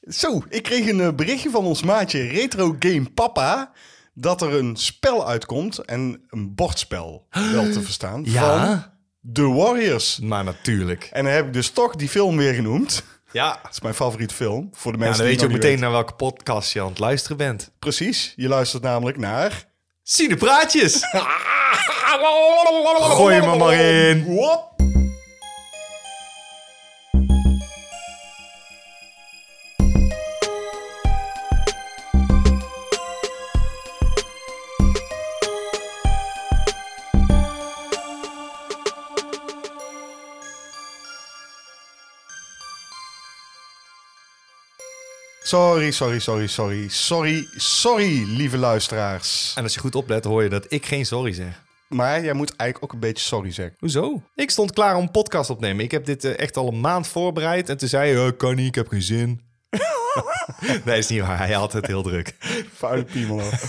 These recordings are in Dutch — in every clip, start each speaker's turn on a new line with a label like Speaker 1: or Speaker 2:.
Speaker 1: Zo, ik kreeg een eh, berichtje van ons maatje Retro Game Papa. Dat er een spel uitkomt en een bordspel wel te verstaan. Van
Speaker 2: Ja,
Speaker 1: The Warriors.
Speaker 2: maar natuurlijk.
Speaker 1: En dan heb ik dus toch die film weer genoemd.
Speaker 2: Ja,
Speaker 1: Dat is mijn favoriete film. Voor de
Speaker 2: ja
Speaker 1: mensen
Speaker 2: dan weet
Speaker 1: die
Speaker 2: je ook
Speaker 1: het nog
Speaker 2: meteen
Speaker 1: niet
Speaker 2: naar welke podcast je aan het luisteren bent.
Speaker 1: weten. Precies. Je luistert namelijk naar.
Speaker 2: Cinepraatjes! Gooi hem er maar in.
Speaker 1: Wop. Sorry, sorry, sorry, sorry. Sorry, sorry, lieve luisteraars.
Speaker 2: En als je goed oplet, hoor je dat ik geen sorry zeg.
Speaker 1: Maar jij moet eigenlijk ook een beetje sorry zeggen.
Speaker 2: Hoezo? Ik stond klaar om een podcast op te nemen. Ik heb dit eh, echt al een maand voorbereid. En toen zei je, "Eh, kan niet, ik heb geen zin. nee, is niet waar. Hij had altijd heel druk.
Speaker 1: Vuile piemel. hoor.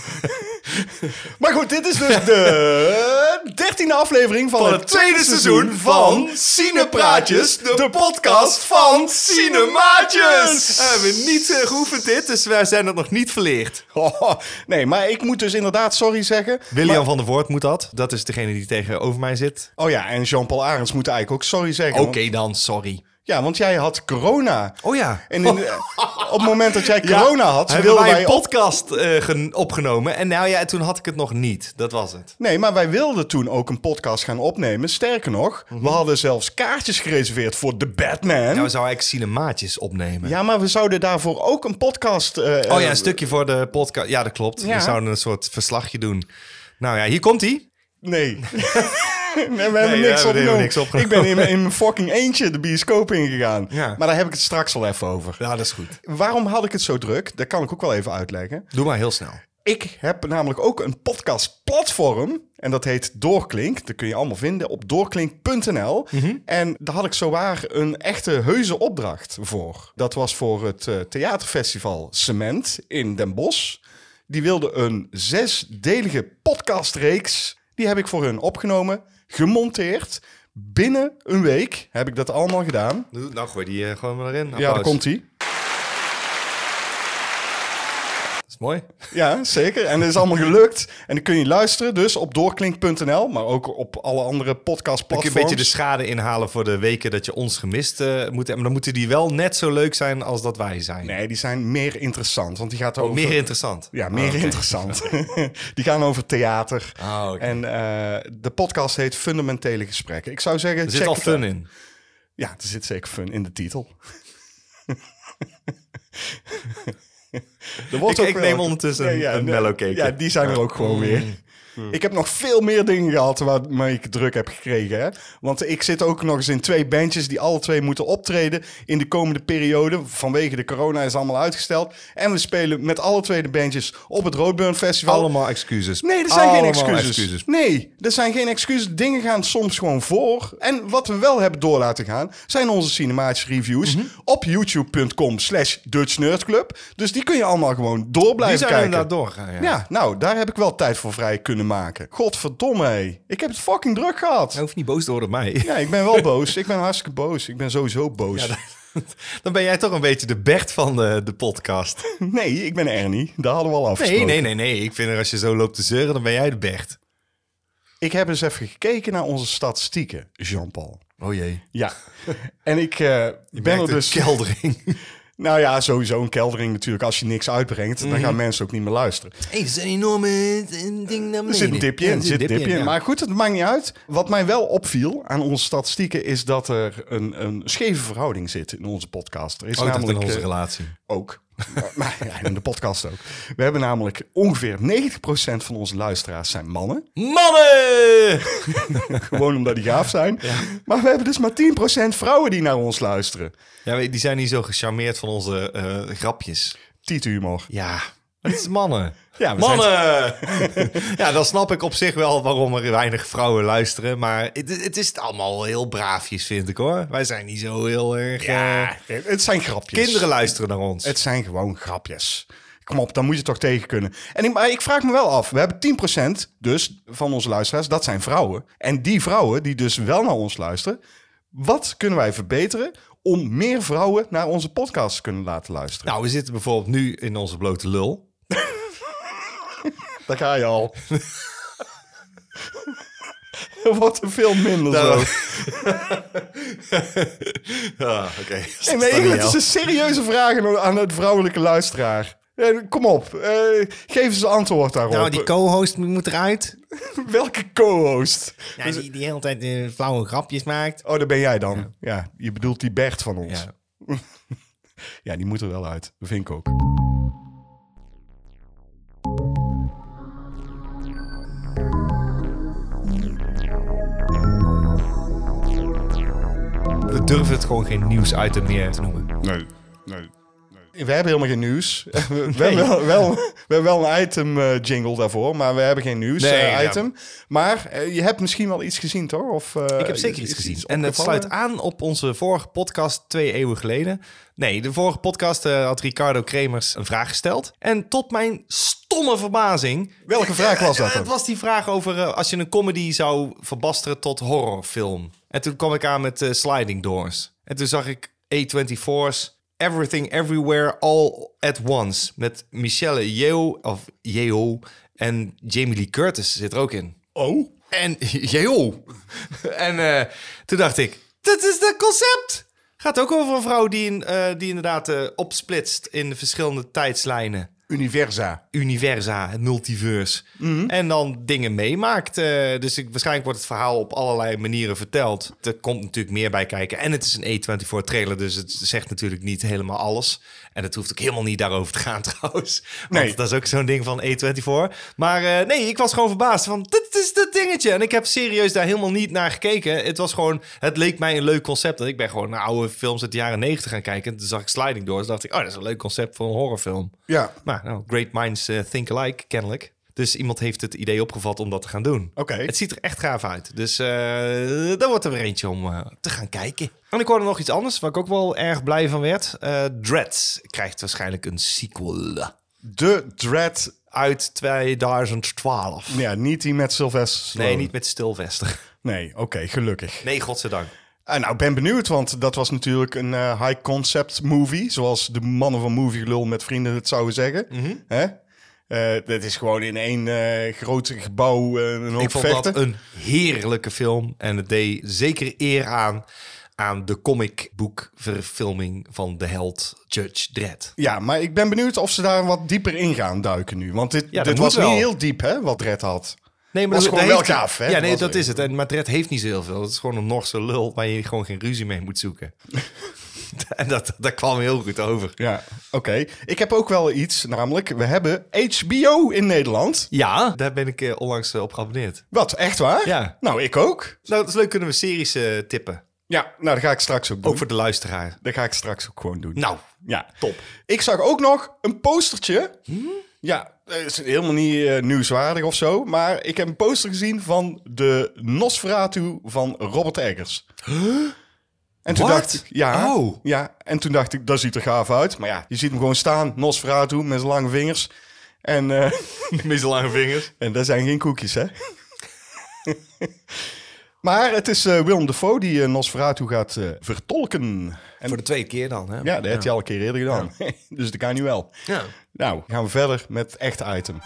Speaker 1: maar goed, dit is dus de dertiende aflevering van,
Speaker 2: Van het tweede seizoen van Cinepraatjes, de podcast van Cinemaatjes. We hebben niet eh, geoefend dit, dus wij zijn het nog niet verleerd.
Speaker 1: Oh, nee, maar ik moet dus inderdaad sorry zeggen.
Speaker 2: William van der Voort moet dat. Dat is degene die tegenover mij zit.
Speaker 1: Oh ja, en Jean-Paul Arends moet eigenlijk ook sorry zeggen.
Speaker 2: Oké
Speaker 1: want-
Speaker 2: dan, sorry.
Speaker 1: Ja, want jij had corona.
Speaker 2: Oh ja.
Speaker 1: En in- op het moment dat jij corona had,
Speaker 2: hebben
Speaker 1: wilden
Speaker 2: wij
Speaker 1: wij...
Speaker 2: een podcast eh, gen- opgenomen. En nou ja, toen had ik het nog niet. Dat was het.
Speaker 1: Nee, maar wij wilden toen ook een podcast gaan opnemen. Sterker nog,
Speaker 2: Mhm.
Speaker 1: we hadden zelfs kaartjes gereserveerd voor The Batman.
Speaker 2: Nou zou ik cinemaatjes opnemen.
Speaker 1: Ja, maar we zouden daarvoor ook een podcast... eh,
Speaker 2: Oh ja,
Speaker 1: eh,
Speaker 2: een stukje voor de podcast. Ja, dat klopt.
Speaker 1: Ja.
Speaker 2: We zouden een soort verslagje doen. Nou ja, hier komt hij.
Speaker 1: Nee. nee, we hebben,
Speaker 2: we
Speaker 1: niks,
Speaker 2: hebben
Speaker 1: opgenomen.
Speaker 2: niks opgenomen.
Speaker 1: Ik ben in, mijn- in mijn fucking eentje de bioscoop ingegaan.
Speaker 2: Ja.
Speaker 1: Maar daar heb ik het straks al even over.
Speaker 2: Ja, dat is goed.
Speaker 1: Waarom had ik het zo druk? Dat kan ik ook wel even uitleggen.
Speaker 2: Doe maar heel snel.
Speaker 1: Ik heb namelijk ook een podcastplatform. En dat heet Doorklink. Dat kun je allemaal vinden op doorklink.nl. En daar had ik zowaar een echte heuse opdracht voor. Dat was voor het eh, theaterfestival Cement in Den Bosch. Die wilde een zesdelige podcastreeks. Die heb ik voor hun opgenomen, gemonteerd. Binnen een week heb ik dat allemaal gedaan.
Speaker 2: Nou, gooi die eh, gewoon maar erin.
Speaker 1: Ja, daar
Speaker 2: Applaus.
Speaker 1: komt hij.
Speaker 2: Dat is mooi.
Speaker 1: Ja, zeker. En dat is allemaal gelukt. En dan kun je luisteren dus op doorklink.nl, maar ook op alle andere
Speaker 2: Dan kun
Speaker 1: podcastplatforms.
Speaker 2: je een beetje de schade inhalen voor de weken dat je ons gemist eh, moet hebben. Maar dan moeten die wel net zo leuk zijn als dat wij zijn.
Speaker 1: Nee, die zijn meer interessant, want die gaat over...
Speaker 2: Oh, Meer Oh, interessant.
Speaker 1: Ja, meer interessant. die gaan over theater.
Speaker 2: Ah, oké.
Speaker 1: En eh, de podcast heet Fundamentele Gesprekken. Ik zou zeggen...
Speaker 2: Er zit al fun in.
Speaker 1: Ja, er zit zeker fun in de titel. Er wordt
Speaker 2: Ik-
Speaker 1: ook
Speaker 2: ik
Speaker 1: wel-
Speaker 2: neem ondertussen een- een mellowcake.
Speaker 1: Ja, die zijn er ook gewoon weer. Ik heb nog veel meer dingen gehad waarmee ik druk heb gekregen. Hè? Want ik zit ook nog eens in twee bandjes die alle twee moeten optreden in de komende periode. Vanwege de corona is allemaal uitgesteld. En we spelen met alle twee de bandjes op het Roadburn Festival.
Speaker 2: Allemaal excuses.
Speaker 1: Nee, er zijn geen
Speaker 2: Allemaal
Speaker 1: excuses. Nee, er zijn geen excuses. Dingen gaan soms gewoon voor. En wat we wel hebben door laten gaan, zijn onze cinematische reviews
Speaker 2: Mhm.
Speaker 1: op youtube.com slash Dutch Nerd Club. Dus die kun je allemaal gewoon door
Speaker 2: Die
Speaker 1: blijven
Speaker 2: zijn
Speaker 1: kijken.
Speaker 2: inderdaad doorgaan. Ja.
Speaker 1: Ja, nou, daar heb ik wel tijd voor vrij kunnen maken. Godverdomme, hé. ik heb het fucking druk gehad.
Speaker 2: Hij hoeft niet boos te worden op mij.
Speaker 1: Ja, ik ben wel boos. Ik ben hartstikke boos. Ik ben sowieso boos.
Speaker 2: Dan ben jij toch een beetje de Bert van de, de podcast.
Speaker 1: Nee, ik ben Ernie. Daar hadden we al afgesproken.
Speaker 2: Nee, nee, nee, nee. Ik vind er als je zo loopt te zeuren, dan ben jij de Bert.
Speaker 1: Ik heb eens even gekeken naar onze statistieken, Jean-Paul.
Speaker 2: Oh jee.
Speaker 1: Ja. En ik eh, ben er
Speaker 2: Merkt
Speaker 1: dus...
Speaker 2: een keldering.
Speaker 1: Nou ja, sowieso een keldering natuurlijk. Als je niks uitbrengt,
Speaker 2: Mhm.
Speaker 1: dan gaan mensen ook niet meer luisteren.
Speaker 2: hey, er is een enorme ding naar beneden.
Speaker 1: Er zit een dipje in, er zit een dipje in.
Speaker 2: Oh,
Speaker 1: Maar goed, het maakt niet uit. Wat mij wel opviel aan onze statistieken... is dat er een, een scheve verhouding zit in onze podcast. Er is namelijk
Speaker 2: Oh, in onze
Speaker 1: eh,
Speaker 2: relatie.
Speaker 1: ook. Maar- maar ja, in de podcast ook. We hebben namelijk ongeveer 90% van onze luisteraars zijn mannen.
Speaker 2: Mannen!
Speaker 1: Gewoon omdat die gaaf zijn. Maar we hebben dus maar 10% vrouwen die naar ons luisteren.
Speaker 2: Ja, maar die zijn niet zo gecharmeerd van onze eh, grapjes.
Speaker 1: Tiethumor.
Speaker 2: Ja. Het is mannen.
Speaker 1: Ja, we zijn-
Speaker 2: mannen! ja, dan snap ik op zich wel waarom er weinig vrouwen luisteren. Maar het, het is allemaal heel braafjes, vind ik hoor. Wij zijn niet zo heel erg... eh,
Speaker 1: Het zijn grapjes.
Speaker 2: kinderen luisteren naar ons.
Speaker 1: Het zijn gewoon grapjes. Kom op, dan moet je toch tegen kunnen. En ik, maar ik vraag me wel af. We hebben 10% dus van onze luisteraars, dat zijn vrouwen. En die vrouwen die dus wel naar ons luisteren, wat kunnen wij verbeteren om meer vrouwen naar onze podcast te kunnen laten luisteren.
Speaker 2: Nou, we zitten bijvoorbeeld nu in onze blote lul.
Speaker 1: Daar ga je al. Er wordt er veel minder
Speaker 2: Nou,
Speaker 1: zo.
Speaker 2: Ah, oké.
Speaker 1: Nee, maar eigenlijk, het is een serieuze vraag aan- aan het vrouwelijke luisteraar. Eh, Kom op, eh, geef eens een antwoord daarop.
Speaker 2: Nou, die co-host moet eruit.
Speaker 1: Welke co-host?
Speaker 2: Ja, die, die hele tijd eh, flauwe grapjes maakt.
Speaker 1: Oh, daar ben jij dan. Ja. je bedoelt die Bert van ons.
Speaker 2: Ja.
Speaker 1: Ja. die moet er wel uit. Dat vind ik ook.
Speaker 2: We durven het gewoon geen nieuwsitem meer te noemen.
Speaker 1: Nee, nee. We hebben helemaal geen nieuws. We, hebben wel, wel, we hebben wel een item eh, jingle daarvoor, maar we hebben geen nieuws
Speaker 2: Nee,
Speaker 1: eh,
Speaker 2: ja.
Speaker 1: item. Maar eh, je hebt misschien wel iets gezien, toch? Of, eh,
Speaker 2: Ik heb zeker
Speaker 1: is-
Speaker 2: iets
Speaker 1: is
Speaker 2: gezien. En het
Speaker 1: opgevallen?
Speaker 2: sluit aan op onze vorige podcast twee eeuwen geleden. Nee, de vorige podcast eh, had Ricardo Kremers een vraag gesteld. En tot mijn stomme verbazing...
Speaker 1: Welke vraag was dat
Speaker 2: Eh,
Speaker 1: dan?
Speaker 2: Het was die vraag over eh, als je een comedy zou verbasteren tot horrorfilm. En toen kwam ik aan met eh, Sliding Doors. En toen zag ik A24's Everything Everywhere All at Once. Met Michelle Yeoh of Yeoh en Jamie Lee Curtis zit er ook in.
Speaker 1: Oh,
Speaker 2: En joh. En eh, toen dacht ik, dit is het concept. Gaat ook over een vrouw die, in, eh, die inderdaad eh, opsplitst in de verschillende tijdslijnen.
Speaker 1: Universa.
Speaker 2: Universa, het multiverse. En dan dingen meemaakt. eh, dus ik, waarschijnlijk wordt het verhaal op allerlei manieren verteld. Er komt natuurlijk meer bij kijken. En het is een E24 trailer, dus het zegt natuurlijk niet helemaal alles. En het hoeft ook helemaal niet daarover te gaan trouwens. Want
Speaker 1: Nee.
Speaker 2: dat is ook zo'n ding van E24. Maar eh, nee, ik was gewoon verbaasd van, dit is dat dingetje. En ik heb serieus daar helemaal niet naar gekeken. Het was gewoon, het leek mij een leuk concept. En ik ben gewoon naar oude films uit de jaren 90 gaan kijken. En toen zag ik Sliding Doors, dacht ik, oh, dat is een leuk concept voor een horrorfilm.
Speaker 1: Ja,
Speaker 2: Nou, nou, great minds eh, think alike, kennelijk. Dus iemand heeft het idee opgevat om dat te gaan doen.
Speaker 1: Oké.
Speaker 2: Het ziet er echt gaaf uit. Dus eh daar wordt er weer eentje om eh, te gaan kijken. En ik hoorde nog iets anders, waar ik ook wel erg blij van werd. Eh Dread krijgt waarschijnlijk een sequel
Speaker 1: de Dread.
Speaker 2: uit 2012.
Speaker 1: Ja, niet die met Sylvester Stallone.
Speaker 2: Nee, niet met Stilvester.
Speaker 1: Nee, oké, gelukkig.
Speaker 2: Nee, godzijdank.
Speaker 1: Ah, nou, ben benieuwd, want dat was natuurlijk een eh, high concept movie. Zoals de mannen van Movie Lul met vrienden het zouden zeggen.
Speaker 2: Mhm.
Speaker 1: Hè? Eh, dat is gewoon in één eh groot gebouw eh, een hoop
Speaker 2: Ik vond
Speaker 1: vechten.
Speaker 2: dat een heerlijke film. En het deed zeker eer aan aan de comicboekverfilming van de held Judge Dredd.
Speaker 1: Ja, maar ik ben benieuwd of ze daar wat dieper in gaan duiken nu. Want dit,
Speaker 2: Ja, dat
Speaker 1: dit
Speaker 2: moet
Speaker 1: was
Speaker 2: wel.
Speaker 1: niet heel diep, hè, wat Red had.
Speaker 2: Nee, maar
Speaker 1: Was
Speaker 2: dat
Speaker 1: gewoon
Speaker 2: dat
Speaker 1: wel
Speaker 2: heeft-
Speaker 1: gaaf, hè?
Speaker 2: Ja, nee,
Speaker 1: Was
Speaker 2: dat
Speaker 1: leuk.
Speaker 2: is het. En Madrid heeft niet zo heel veel. Het is gewoon een Norse lul waar je gewoon geen ruzie mee moet zoeken. en dat, dat kwam heel goed over.
Speaker 1: Ja, oké. Ik heb ook wel iets, namelijk we hebben HBO in Nederland.
Speaker 2: Ja, daar ben ik eh, onlangs eh, op geabonneerd.
Speaker 1: Wat, echt waar?
Speaker 2: Ja.
Speaker 1: Nou, ik ook.
Speaker 2: Nou, dat is leuk. Kunnen we series eh, tippen?
Speaker 1: Ja, nou, dat ga ik straks ook doen.
Speaker 2: Ook voor de luisteraar.
Speaker 1: Dat ga ik straks ook gewoon doen.
Speaker 2: Nou,
Speaker 1: Ja,
Speaker 2: top.
Speaker 1: Ik zag ook nog een postertje.
Speaker 2: Hm?
Speaker 1: Ja, dat is helemaal niet eh, nieuwswaardig of zo. Maar ik heb een poster gezien van de Nosferatu van Robert Eggers. En toen
Speaker 2: What?
Speaker 1: dacht ik, ja,
Speaker 2: Oh.
Speaker 1: ja. En toen dacht ik, dat ziet er gaaf uit. Maar ja, je ziet hem gewoon staan, Nosferatu met zijn lange vingers. En, eh,
Speaker 2: Met zijn lange vingers.
Speaker 1: en dat zijn geen koekjes, hè? maar het is eh, Willem Dafoe die eh, Nosferatu gaat eh, vertolken. En
Speaker 2: Voor de tweede keer dan, hè?
Speaker 1: ja, dat heeft hij al een keer eerder gedaan. dus dat kan nu wel.
Speaker 2: Ja.
Speaker 1: Nou, gaan we verder met het echte item.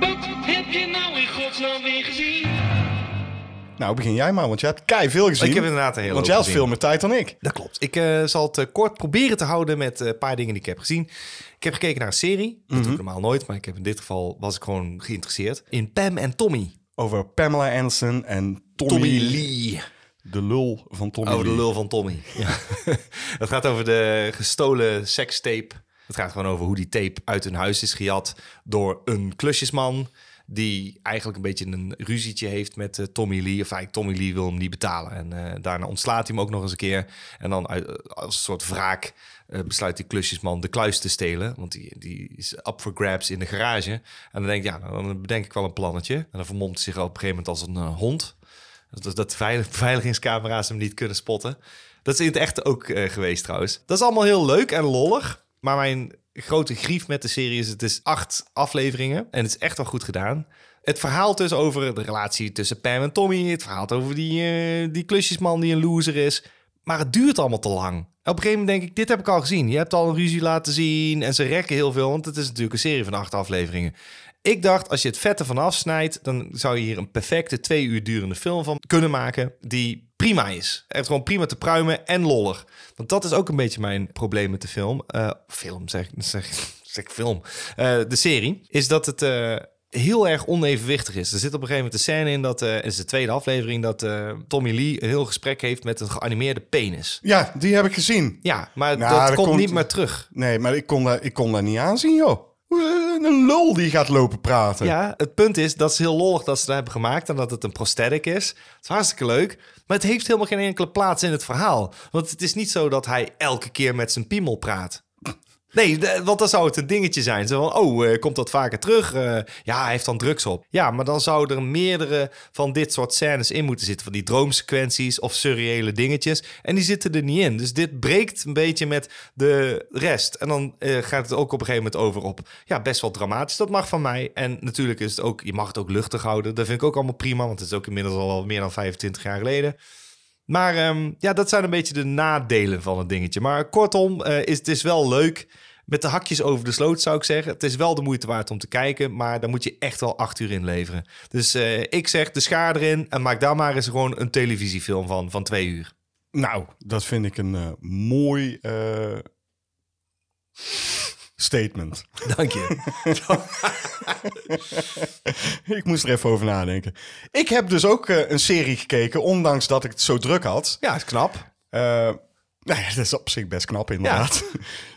Speaker 3: Wat heb je nou in godsnaam weer gezien?
Speaker 1: Nou, begin jij maar, want jij hebt kei veel gezien.
Speaker 2: Ik heb inderdaad een hele
Speaker 1: Want jij
Speaker 2: hoop
Speaker 1: had
Speaker 2: gezien.
Speaker 1: veel meer tijd dan ik.
Speaker 2: Dat klopt. Ik eh, zal het eh, kort proberen te houden met eh, een paar dingen die ik heb gezien. Ik heb gekeken naar een serie. Dat doe ik normaal nooit, maar ik heb in dit geval was ik gewoon geïnteresseerd. In Pam en Tommy.
Speaker 1: Over Pamela Anderson en Tommy,
Speaker 2: Tommy Lee.
Speaker 1: De lul van Tommy
Speaker 2: Oh, de
Speaker 1: Lee.
Speaker 2: lul van Tommy. Ja. Het gaat over de gestolen sekstape. Het gaat gewoon over hoe die tape uit hun huis is gejat door een klusjesman. Die eigenlijk een beetje een ruzietje heeft met eh, Tommy Lee. Of eigenlijk Tommy Lee wil hem niet betalen. En eh, daarna ontslaat hij hem ook nog eens een keer. En dan uit- als een soort wraak eh, besluit die klusjesman de kluis te stelen. Want die, die is up for grabs in de garage. En dan denk ik, ja, nou, dan bedenk ik wel een plannetje. En dan vermomt hij zich op een gegeven moment als een eh, hond. Dat, dat veilig, beveiligingscamera's hem niet kunnen spotten. Dat is in het echt ook eh, geweest trouwens. Dat is allemaal heel leuk en lollig. Maar mijn grote grief met de serie is... het is acht afleveringen. En het is echt wel goed gedaan. Het verhaal dus over de relatie tussen Pam en Tommy. Het verhaal over die, eh, die klusjesman die een loser is. Maar het duurt allemaal te lang. Op een gegeven moment denk ik, dit heb ik al gezien. Je hebt al een ruzie laten zien en ze rekken heel veel. Want het is natuurlijk een serie van acht afleveringen. Ik dacht, als je het vette vanaf snijdt, dan zou je hier een perfecte twee uur durende film van kunnen maken. Die prima is. Echt gewoon prima te pruimen en lollig. Want dat is ook een beetje mijn probleem met de film. Eh, film, zeg, zeg, zeg ik film. Eh, de serie. Is dat het eh, heel erg onevenwichtig is. Er zit op een gegeven moment een scène in dat. eh, het is de tweede aflevering dat eh, Tommy Lee een heel gesprek heeft met een geanimeerde penis.
Speaker 1: Ja, die heb ik gezien.
Speaker 2: Ja, maar
Speaker 1: Nou,
Speaker 2: dat
Speaker 1: dat
Speaker 2: komt
Speaker 1: komt-
Speaker 2: niet meer terug.
Speaker 1: Nee, maar ik kon, daar, ik kon daar niet aanzien, joh. Hoe- Een lul die gaat lopen praten.
Speaker 2: Ja, het punt is, dat is heel lollig dat ze dat hebben gemaakt en dat het een prosthetic is. Het is hartstikke leuk, maar het heeft helemaal geen enkele plaats in het verhaal. Want het is niet zo dat hij elke keer met zijn piemel praat. Nee, de- want dan zou het een dingetje zijn. Zo van, oh, eh, komt dat vaker terug? Eh, ja, hij heeft dan drugs op. Ja, maar dan zou er meerdere van dit soort scènes in moeten zitten. Van die droomsequenties of surreële dingetjes. En die zitten er niet in. Dus dit breekt een beetje met de rest. En dan eh, gaat het ook op een gegeven moment over op... Ja, best wel dramatisch. Dat mag van mij. En natuurlijk is het ook... Je mag het ook luchtig houden. Dat vind ik ook allemaal prima. Want het is ook inmiddels al wel meer dan 25 jaar geleden. Maar ehm, ja, dat zijn een beetje de nadelen van het dingetje. Maar kortom, eh, is, het is wel leuk. Met de hakjes over de sloot zou ik zeggen. Het is wel de moeite waard om te kijken. Maar daar moet je echt wel acht uur in leveren. Dus eh, ik zeg de schaar erin. En maak daar maar eens gewoon een televisiefilm van. Van twee uur.
Speaker 1: Nou, dat vind ik een eh, mooi eh, statement.
Speaker 2: Dank je.
Speaker 1: ik moest er even over nadenken. Ik heb dus ook eh, een serie gekeken, ondanks dat ik het zo druk had.
Speaker 2: ja, is knap.
Speaker 1: Eh, nou ja, dat is op zich best knap, inderdaad.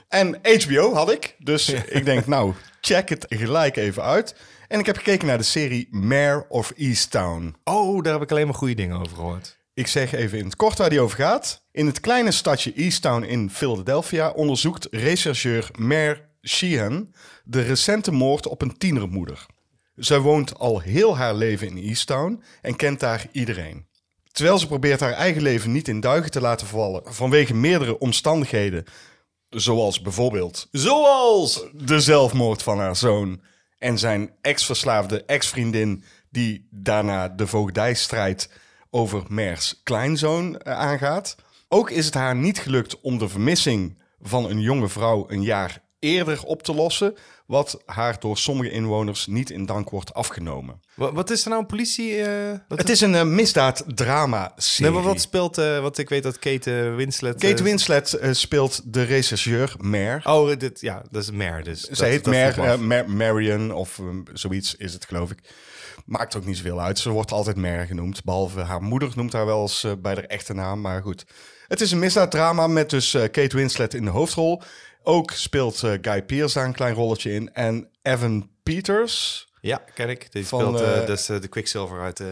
Speaker 1: En HBO had ik, dus ik denk, nou, check het gelijk even uit. En ik heb gekeken naar de serie Mare of Easttown.
Speaker 2: Oh, daar heb ik alleen maar goede dingen over gehoord.
Speaker 1: Ik zeg even in het kort waar die over gaat. In het kleine stadje Easttown in Philadelphia onderzoekt rechercheur Mare Sheehan de recente moord op een tienermoeder. Zij woont al heel haar leven in Easttown en kent daar iedereen. Terwijl ze probeert haar eigen leven niet in duigen te laten vallen vanwege meerdere omstandigheden, zoals bijvoorbeeld
Speaker 2: Zoals!
Speaker 1: de zelfmoord van haar zoon en zijn ex-verslaafde ex-vriendin, die daarna de voogdijstrijd over Mers kleinzoon eh, aangaat. Ook is het haar niet gelukt om de vermissing van een jonge vrouw een jaar eerder op te lossen, wat haar door sommige inwoners niet in dank wordt afgenomen.
Speaker 2: Wat, wat is er nou een politie... eh, wat-
Speaker 1: Het is een eh, misdaad-drama-serie.
Speaker 2: nee, maar wat speelt... eh want ik weet dat Kate eh, Winslet...
Speaker 1: Kate
Speaker 2: eh,
Speaker 1: Winslet eh, speelt de rechercheur Mer.
Speaker 2: Oh, dit, ja, dat is Mare dus.
Speaker 1: Ze heet Mer, eh, Mer- Marion of um, zoiets is het, geloof ik. Maakt ook niet zoveel uit. Ze wordt altijd Mer genoemd. Behalve haar moeder noemt haar wel eens eh, bij haar echte naam. Maar goed. Het is een misdaaddrama met dus eh, Kate Winslet in de hoofdrol. Ook speelt eh, Guy Pearce daar een klein rolletje in. En Evan Peters.
Speaker 2: Ja, ken ik. Die
Speaker 1: Van,
Speaker 2: speelt eh,
Speaker 1: eh,
Speaker 2: dus, eh, de Quicksilver uit eh,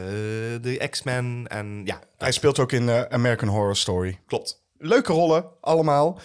Speaker 2: de X-Men. En ja,
Speaker 1: Hij speelt ook in eh, American Horror Story.
Speaker 2: klopt.
Speaker 1: Leuke rollen, allemaal.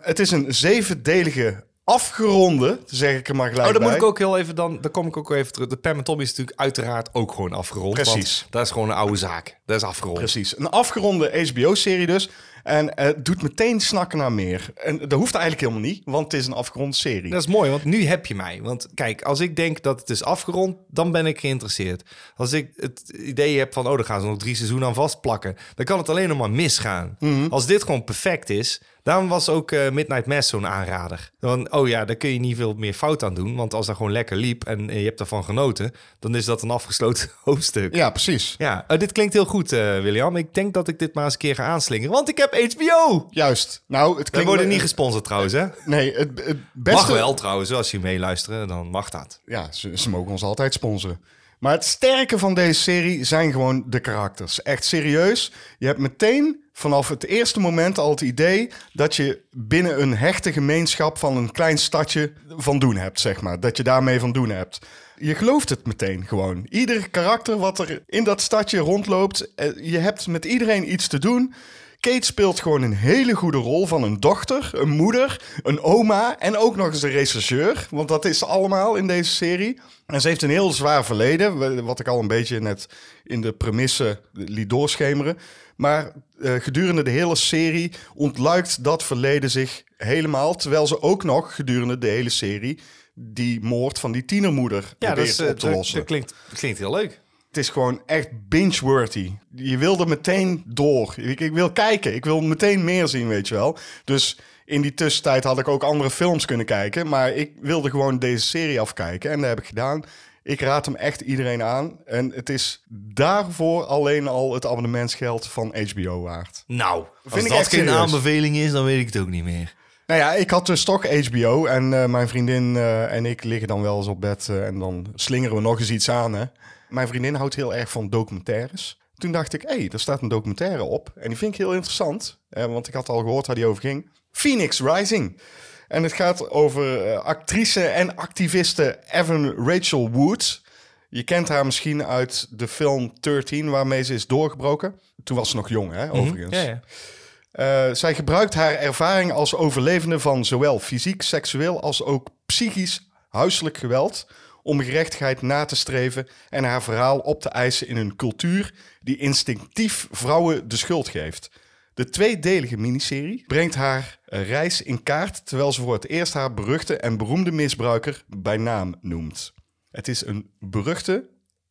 Speaker 1: Het is een zevendelige afgeronde, zeg ik er maar gelijk
Speaker 2: Oh, dan
Speaker 1: bij.
Speaker 2: moet ik ook heel even dan, daar kom ik ook even terug. De Pam en Tommy is natuurlijk uiteraard ook gewoon afgerond.
Speaker 1: Precies.
Speaker 2: Want dat is gewoon een oude zaak. Dat is afgerond.
Speaker 1: Precies. Een afgeronde HBO-serie dus. En eh, het doet meteen snakken naar meer. En dat hoeft eigenlijk helemaal niet, want het is een afgeronde serie.
Speaker 2: Dat is mooi, want nu heb je mij. Want kijk, als ik denk dat het is afgerond, dan ben ik geïnteresseerd. Als ik het idee heb van, oh, daar gaan ze nog drie seizoenen aan vastplakken, dan kan het alleen nog maar misgaan.
Speaker 1: Mhm.
Speaker 2: Als dit gewoon perfect is, daarom was ook eh, Midnight Mass zo'n aanrader. Dan, oh ja, daar kun je niet veel meer fout aan doen, want als dat gewoon lekker liep en eh, je hebt ervan genoten, dan is dat een afgesloten hoofdstuk.
Speaker 1: Ja, precies.
Speaker 2: Ja, eh, dit klinkt heel goed, eh, William. Ik denk dat ik dit maar eens een keer ga aanslingeren, want ik heb HBO.
Speaker 1: Juist. Nou, het
Speaker 2: We
Speaker 1: klinkt...
Speaker 2: worden niet gesponsord trouwens, hè?
Speaker 1: Nee, het, het beste...
Speaker 2: Mag wel trouwens, als je meeluistert, dan mag dat.
Speaker 1: Ja, ze, ze mogen ons altijd sponsoren. Maar het sterke van deze serie zijn gewoon de karakters. Echt serieus. Je hebt meteen vanaf het eerste moment al het idee dat je binnen een hechte gemeenschap van een klein stadje van doen hebt, zeg maar. Dat je daarmee van doen hebt. Je gelooft het meteen gewoon. Ieder karakter wat er in dat stadje rondloopt, eh, je hebt met iedereen iets te doen. Kate speelt gewoon een hele goede rol van een dochter, een moeder, een oma en ook nog eens een rechercheur. Want dat is ze allemaal in deze serie. En ze heeft een heel zwaar verleden, wa- wat ik al een beetje net in de premisse liet doorschemeren. Maar eh, gedurende de hele serie ontluikt dat verleden zich helemaal. Terwijl ze ook nog gedurende de hele serie die moord van die tienermoeder
Speaker 2: Ja, dat,
Speaker 1: probeert
Speaker 2: is, eh,
Speaker 1: op te
Speaker 2: dat-
Speaker 1: lossen.
Speaker 2: dat klinkt, dat klinkt heel leuk.
Speaker 1: Het is gewoon echt binge-worthy. Je wil er meteen door. Ik, ik wil kijken. Ik wil meteen meer zien, weet je wel. Dus in die tussentijd had ik ook andere films kunnen kijken. Maar ik wilde gewoon deze serie afkijken. En dat heb ik gedaan. Ik raad hem echt iedereen aan. En het is daarvoor alleen al het abonnementsgeld van HBO waard.
Speaker 2: Nou, als
Speaker 1: ik
Speaker 2: dat
Speaker 1: echt
Speaker 2: geen
Speaker 1: serieus.
Speaker 2: aanbeveling is, dan weet ik het ook niet meer.
Speaker 1: Nou ja, ik had dus toch HBO. En eh, mijn vriendin eh, en ik liggen dan wel eens op bed. eh, en dan slingeren we nog eens iets aan. Hè. Mijn vriendin houdt heel erg van documentaires. Toen dacht ik, hé, hey, er staat een documentaire op. En die vind ik heel interessant. eh, want ik had al gehoord waar die over ging. Phoenix Rising. En het gaat over eh, actrice en activiste Evan Rachel Wood. Je kent haar misschien uit de film 13, waarmee ze is doorgebroken. Toen was ze nog jong, hè, overigens.
Speaker 2: Mhm. Ja, ja.
Speaker 1: Eh, zij gebruikt haar ervaring als overlevende van zowel fysiek, seksueel als ook psychisch huiselijk geweld om gerechtigheid na te streven en haar verhaal op te eisen in een cultuur die instinctief vrouwen de schuld geeft. De tweedelige miniserie brengt haar eh, reis in kaart terwijl ze voor het eerst haar beruchte en beroemde misbruiker bij naam noemt. Het is een beruchte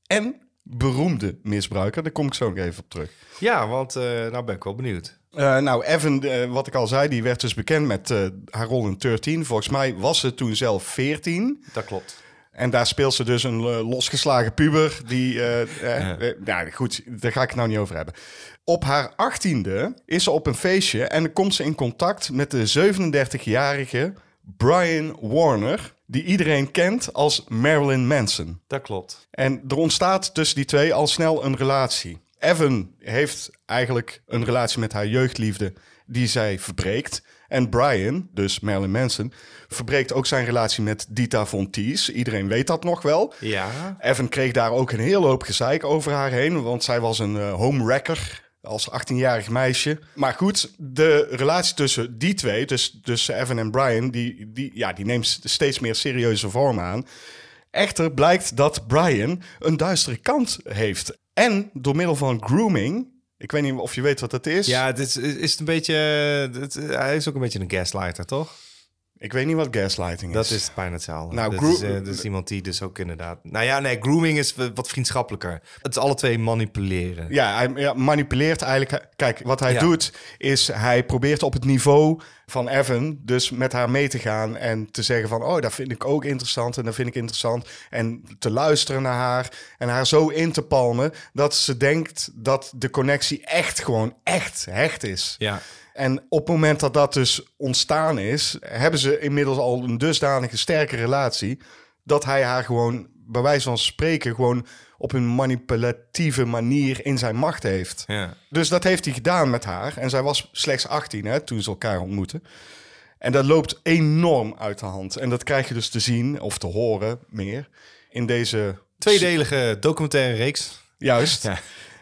Speaker 1: en beroemde misbruiker, daar kom ik zo nog even op terug.
Speaker 2: Ja, want eh, nou ben ik wel benieuwd.
Speaker 1: Eh, nou, Evan, eh, wat ik al zei, die werd dus bekend met eh, haar rol in 13. Volgens mij was ze toen zelf 14.
Speaker 2: Dat klopt.
Speaker 1: En daar speelt ze dus een eh, losgeslagen puber. Die, eh, eh, eh, nou goed, daar ga ik het nou niet over hebben. Op haar achttiende is ze op een feestje en dan komt ze in contact met de 37-jarige Brian Warner. Die iedereen kent als Marilyn Manson.
Speaker 2: Dat klopt.
Speaker 1: En er ontstaat tussen die twee al snel een relatie. Evan heeft eigenlijk een relatie met haar jeugdliefde die zij verbreekt. En Brian, dus Marilyn Manson, verbreekt ook zijn relatie met Dita Von Teese. Iedereen weet dat nog wel.
Speaker 2: Ja.
Speaker 1: Evan kreeg daar ook een hele hoop gezeik over haar heen, want zij was een eh, homewrecker als 18-jarig meisje. Maar goed, de relatie tussen die twee, dus tussen Evan en Brian, die, die, ja, die neemt steeds meer serieuze vorm aan. Echter blijkt dat Brian een duistere kant heeft. En door middel van grooming, ik weet niet of je weet wat dat is.
Speaker 2: Ja, dit is, is het een beetje. eh, Het, hij is ook een beetje een gaslighter, toch?
Speaker 1: Ik weet niet wat gaslighting is.
Speaker 2: Dat is bijna hetzelfde.
Speaker 1: Nou,
Speaker 2: dat,
Speaker 1: groo-
Speaker 2: is, eh, dat is iemand die dus ook inderdaad... Nou ja, nee, grooming is w- wat vriendschappelijker. Het is alle twee manipuleren.
Speaker 1: Ja, hij ja, manipuleert eigenlijk. Kijk, wat hij
Speaker 2: Ja.
Speaker 1: doet is hij probeert op het niveau van Evan dus met haar mee te gaan en te zeggen van, oh, dat vind ik ook interessant en dat vind ik interessant. En te luisteren naar haar en haar zo in te palmen dat ze denkt dat de connectie echt gewoon echt hecht is.
Speaker 2: Ja.
Speaker 1: En op het moment dat dat dus ontstaan is, hebben ze inmiddels al een dusdanige sterke relatie dat hij haar gewoon bij wijze van spreken gewoon op een manipulatieve manier in zijn macht heeft.
Speaker 2: Ja.
Speaker 1: Dus dat heeft hij gedaan met haar. En zij was slechts 18 hè, toen ze elkaar ontmoetten. En dat loopt enorm uit de hand. En dat krijg je dus te zien of te horen meer in deze.
Speaker 2: Tweedelige documentaire reeks.
Speaker 1: Juist.
Speaker 2: Ja.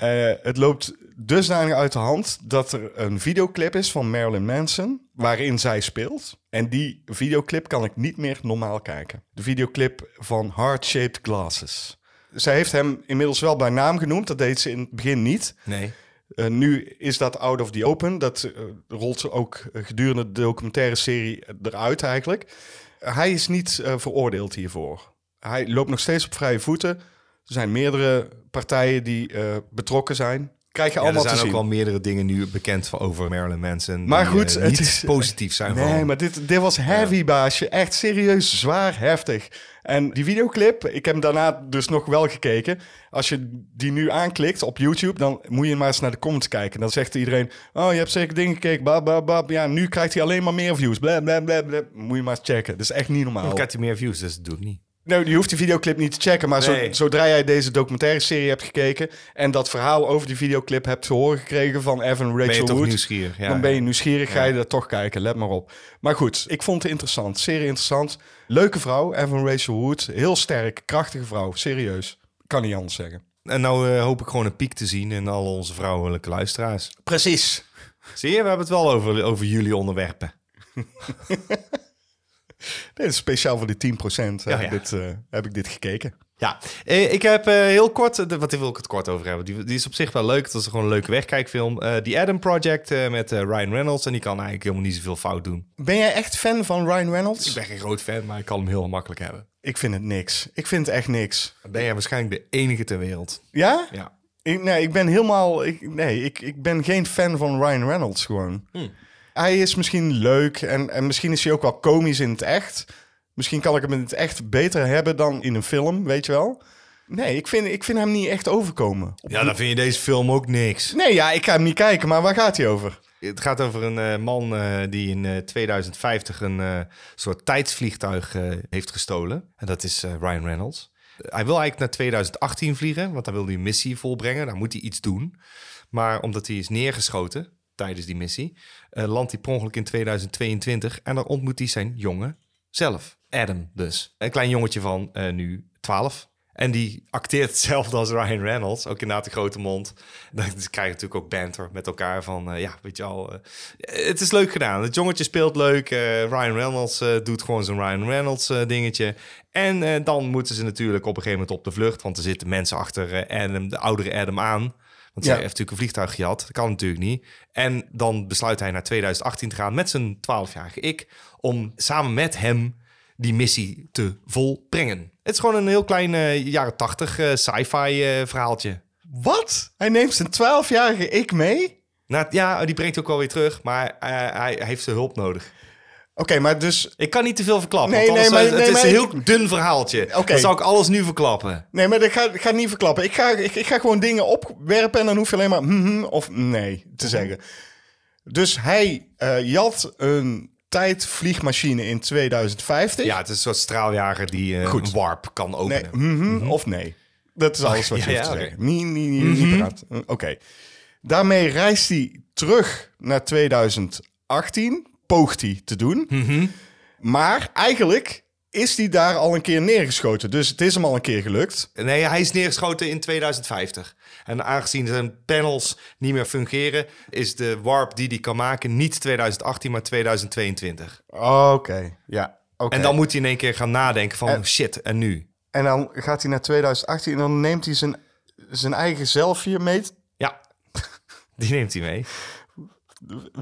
Speaker 1: Eh, het loopt dusdanig uit de hand dat er een videoclip is van Marilyn Manson waarin zij speelt. En die videoclip kan ik niet meer normaal kijken. De videoclip van Heart Shaped Glasses. Zij heeft hem inmiddels wel bij naam genoemd. Dat deed ze in het begin niet.
Speaker 2: Nee.
Speaker 1: Eh, nu is dat out of the open. Dat eh, rolt ook eh, gedurende de documentaire serie eruit eigenlijk. hij is niet eh, veroordeeld hiervoor. Hij loopt nog steeds op vrije voeten. Er zijn meerdere partijen die eh, betrokken zijn. Krijg je
Speaker 2: Ja, er
Speaker 1: allemaal
Speaker 2: zijn
Speaker 1: te
Speaker 2: ook
Speaker 1: zien.
Speaker 2: wel meerdere dingen nu bekend van over Marilyn Manson.
Speaker 1: Maar
Speaker 2: die,
Speaker 1: goed,
Speaker 2: eh,
Speaker 1: het
Speaker 2: niet
Speaker 1: is-
Speaker 2: positief zijn
Speaker 1: Nee,
Speaker 2: vooral.
Speaker 1: maar dit, dit was heavy, baasje. Echt serieus, zwaar, heftig. En die videoclip, ik heb hem daarna dus nog wel gekeken. Als je die nu aanklikt op YouTube, dan moet je maar eens naar de comments kijken. Dan zegt iedereen, oh, je hebt zeker dingen gekeken, bab, bab, bab. Ja, nu krijgt hij alleen maar meer views, bla, bla, bla, bla. Moet je maar eens checken. Dat is echt niet normaal.
Speaker 2: Dan krijgt hij meer views, dus dat doe ik niet.
Speaker 1: Nou, je hoeft die videoclip niet te checken, maar zo-
Speaker 2: Nee.
Speaker 1: zodra jij deze documentaire serie hebt gekeken en dat verhaal over die videoclip hebt te horen gekregen van Evan Rachel
Speaker 2: Ben je toch
Speaker 1: Wood,
Speaker 2: nieuwsgierig? Ja,
Speaker 1: dan ben je
Speaker 2: ja.
Speaker 1: nieuwsgierig, ga je dat toch kijken, let maar op. Maar goed, ik vond het interessant, serie interessant. Leuke vrouw, Evan Rachel Wood, heel sterk, krachtige vrouw, serieus. Kan niet anders zeggen.
Speaker 2: En nou eh, hoop ik gewoon een piek te zien in al onze vrouwelijke luisteraars.
Speaker 1: Precies.
Speaker 2: Zie je, we hebben het wel over, over jullie onderwerpen.
Speaker 1: Dit is speciaal voor die 10%, heb,
Speaker 2: Ja,
Speaker 1: ik
Speaker 2: ja.
Speaker 1: dit, eh, heb ik dit gekeken.
Speaker 2: Ja, eh, ik heb eh, heel kort, eh, de- wat daar wil ik het kort over hebben. Die, die is op zich wel leuk. Het is gewoon een leuke wegkijkfilm. Eh The Adam Project eh, met eh, Ryan Reynolds. En die kan eigenlijk helemaal niet zoveel fout doen.
Speaker 1: Ben jij echt fan van Ryan Reynolds?
Speaker 2: Ik ben geen groot fan, maar ik kan hem heel makkelijk hebben.
Speaker 1: Ik vind het niks. Ik vind het echt niks.
Speaker 2: Dan ben jij waarschijnlijk de enige ter wereld.
Speaker 1: Ja?
Speaker 2: Ja.
Speaker 1: Ik, nee, ik ben helemaal... Ik, nee, ik, ik ben geen fan van Ryan Reynolds gewoon. Hij is misschien leuk en, en misschien is hij ook wel komisch in het echt. Misschien kan ik hem in het echt beter hebben dan in een film, weet je wel? Nee, ik vind, ik vind hem niet echt overkomen.
Speaker 2: Ja, dan vind je deze film ook niks.
Speaker 1: Nee, ja, ik ga hem niet kijken, maar waar gaat hij over?
Speaker 2: Het gaat over een eh, man eh, die in eh, 2050 een eh, soort tijdsvliegtuig eh, heeft gestolen. En dat is eh, Ryan Reynolds. Hij wil eigenlijk naar 2018 vliegen, want daar wil hij een missie volbrengen. Daar moet hij iets doen. Maar omdat hij is neergeschoten tijdens die missie, eh, landt hij per ongeluk in 2022. En dan ontmoet hij zijn jongen zelf, Adam dus. Een klein jongetje van eh, nu 12. En die acteert hetzelfde als Ryan Reynolds, ook inderdaad de grote mond. Dan krijg je natuurlijk ook banter met elkaar van, eh, ja, weet je al, het is leuk gedaan. Het jongetje speelt leuk, eh, Ryan Reynolds eh, doet gewoon zo'n Ryan Reynolds eh, dingetje. En eh, dan moeten ze natuurlijk op een gegeven moment op de vlucht, want er zitten mensen achter eh, Adam, de oudere Adam aan. Want
Speaker 1: Ja.
Speaker 2: zij heeft natuurlijk een vliegtuig gehad, dat kan natuurlijk niet. En dan besluit hij naar 2018 te gaan met zijn 12-jarige ik, om samen met hem die missie te volbrengen. Het is gewoon een heel klein eh, jaren tachtig sci-fi eh, verhaaltje.
Speaker 1: Wat? Hij neemt zijn 12-jarige ik mee? Oké,
Speaker 2: Nou, ja, die brengt ook alweer terug, maar eh, hij, hij heeft zijn hulp nodig.
Speaker 1: maar dus...
Speaker 2: Ik kan niet te veel verklappen,
Speaker 1: Nee,
Speaker 2: want anders,
Speaker 1: nee, maar-
Speaker 2: eh, het
Speaker 1: nee,
Speaker 2: is
Speaker 1: maar
Speaker 2: een
Speaker 1: ik-
Speaker 2: heel dun verhaaltje.
Speaker 1: Oké.
Speaker 2: Dan zou ik alles nu verklappen.
Speaker 1: Nee, maar ik ga, ik ga het niet verklappen. Ik ga, ik, ik ga gewoon dingen opwerpen en dan hoef je alleen maar mhm of nee te
Speaker 2: Mhm.
Speaker 1: zeggen. Dus hij eh, jat een tijdvliegmachine in 2050.
Speaker 2: Ja, het is een soort straaljager die eh,
Speaker 1: Goed.
Speaker 2: een warp kan
Speaker 1: Nee,
Speaker 2: openen.
Speaker 1: mhm of nee. Dat is alles wat je
Speaker 2: ja,
Speaker 1: hoeft te
Speaker 2: oké. Mhm.
Speaker 1: zeggen. Niet, niet, niet, niet praten. Eh, Oké. Daarmee reist hij terug naar 2018. Poogt hij te doen.
Speaker 2: Mhm.
Speaker 1: Maar eigenlijk is hij daar al een keer neergeschoten. Dus het is hem al een keer gelukt.
Speaker 2: Nee, hij is neergeschoten in 2050. En aangezien zijn panels niet meer fungeren, is de warp die hij kan maken niet 2018, maar 2022.
Speaker 1: Oké, ja. oké.
Speaker 2: En dan moet hij in één keer gaan nadenken van
Speaker 1: En-
Speaker 2: shit, en nu?
Speaker 1: En dan gaat hij naar 2018 en dan neemt hij zijn, zijn eigen zelfje mee.
Speaker 2: Ja, die neemt hij mee.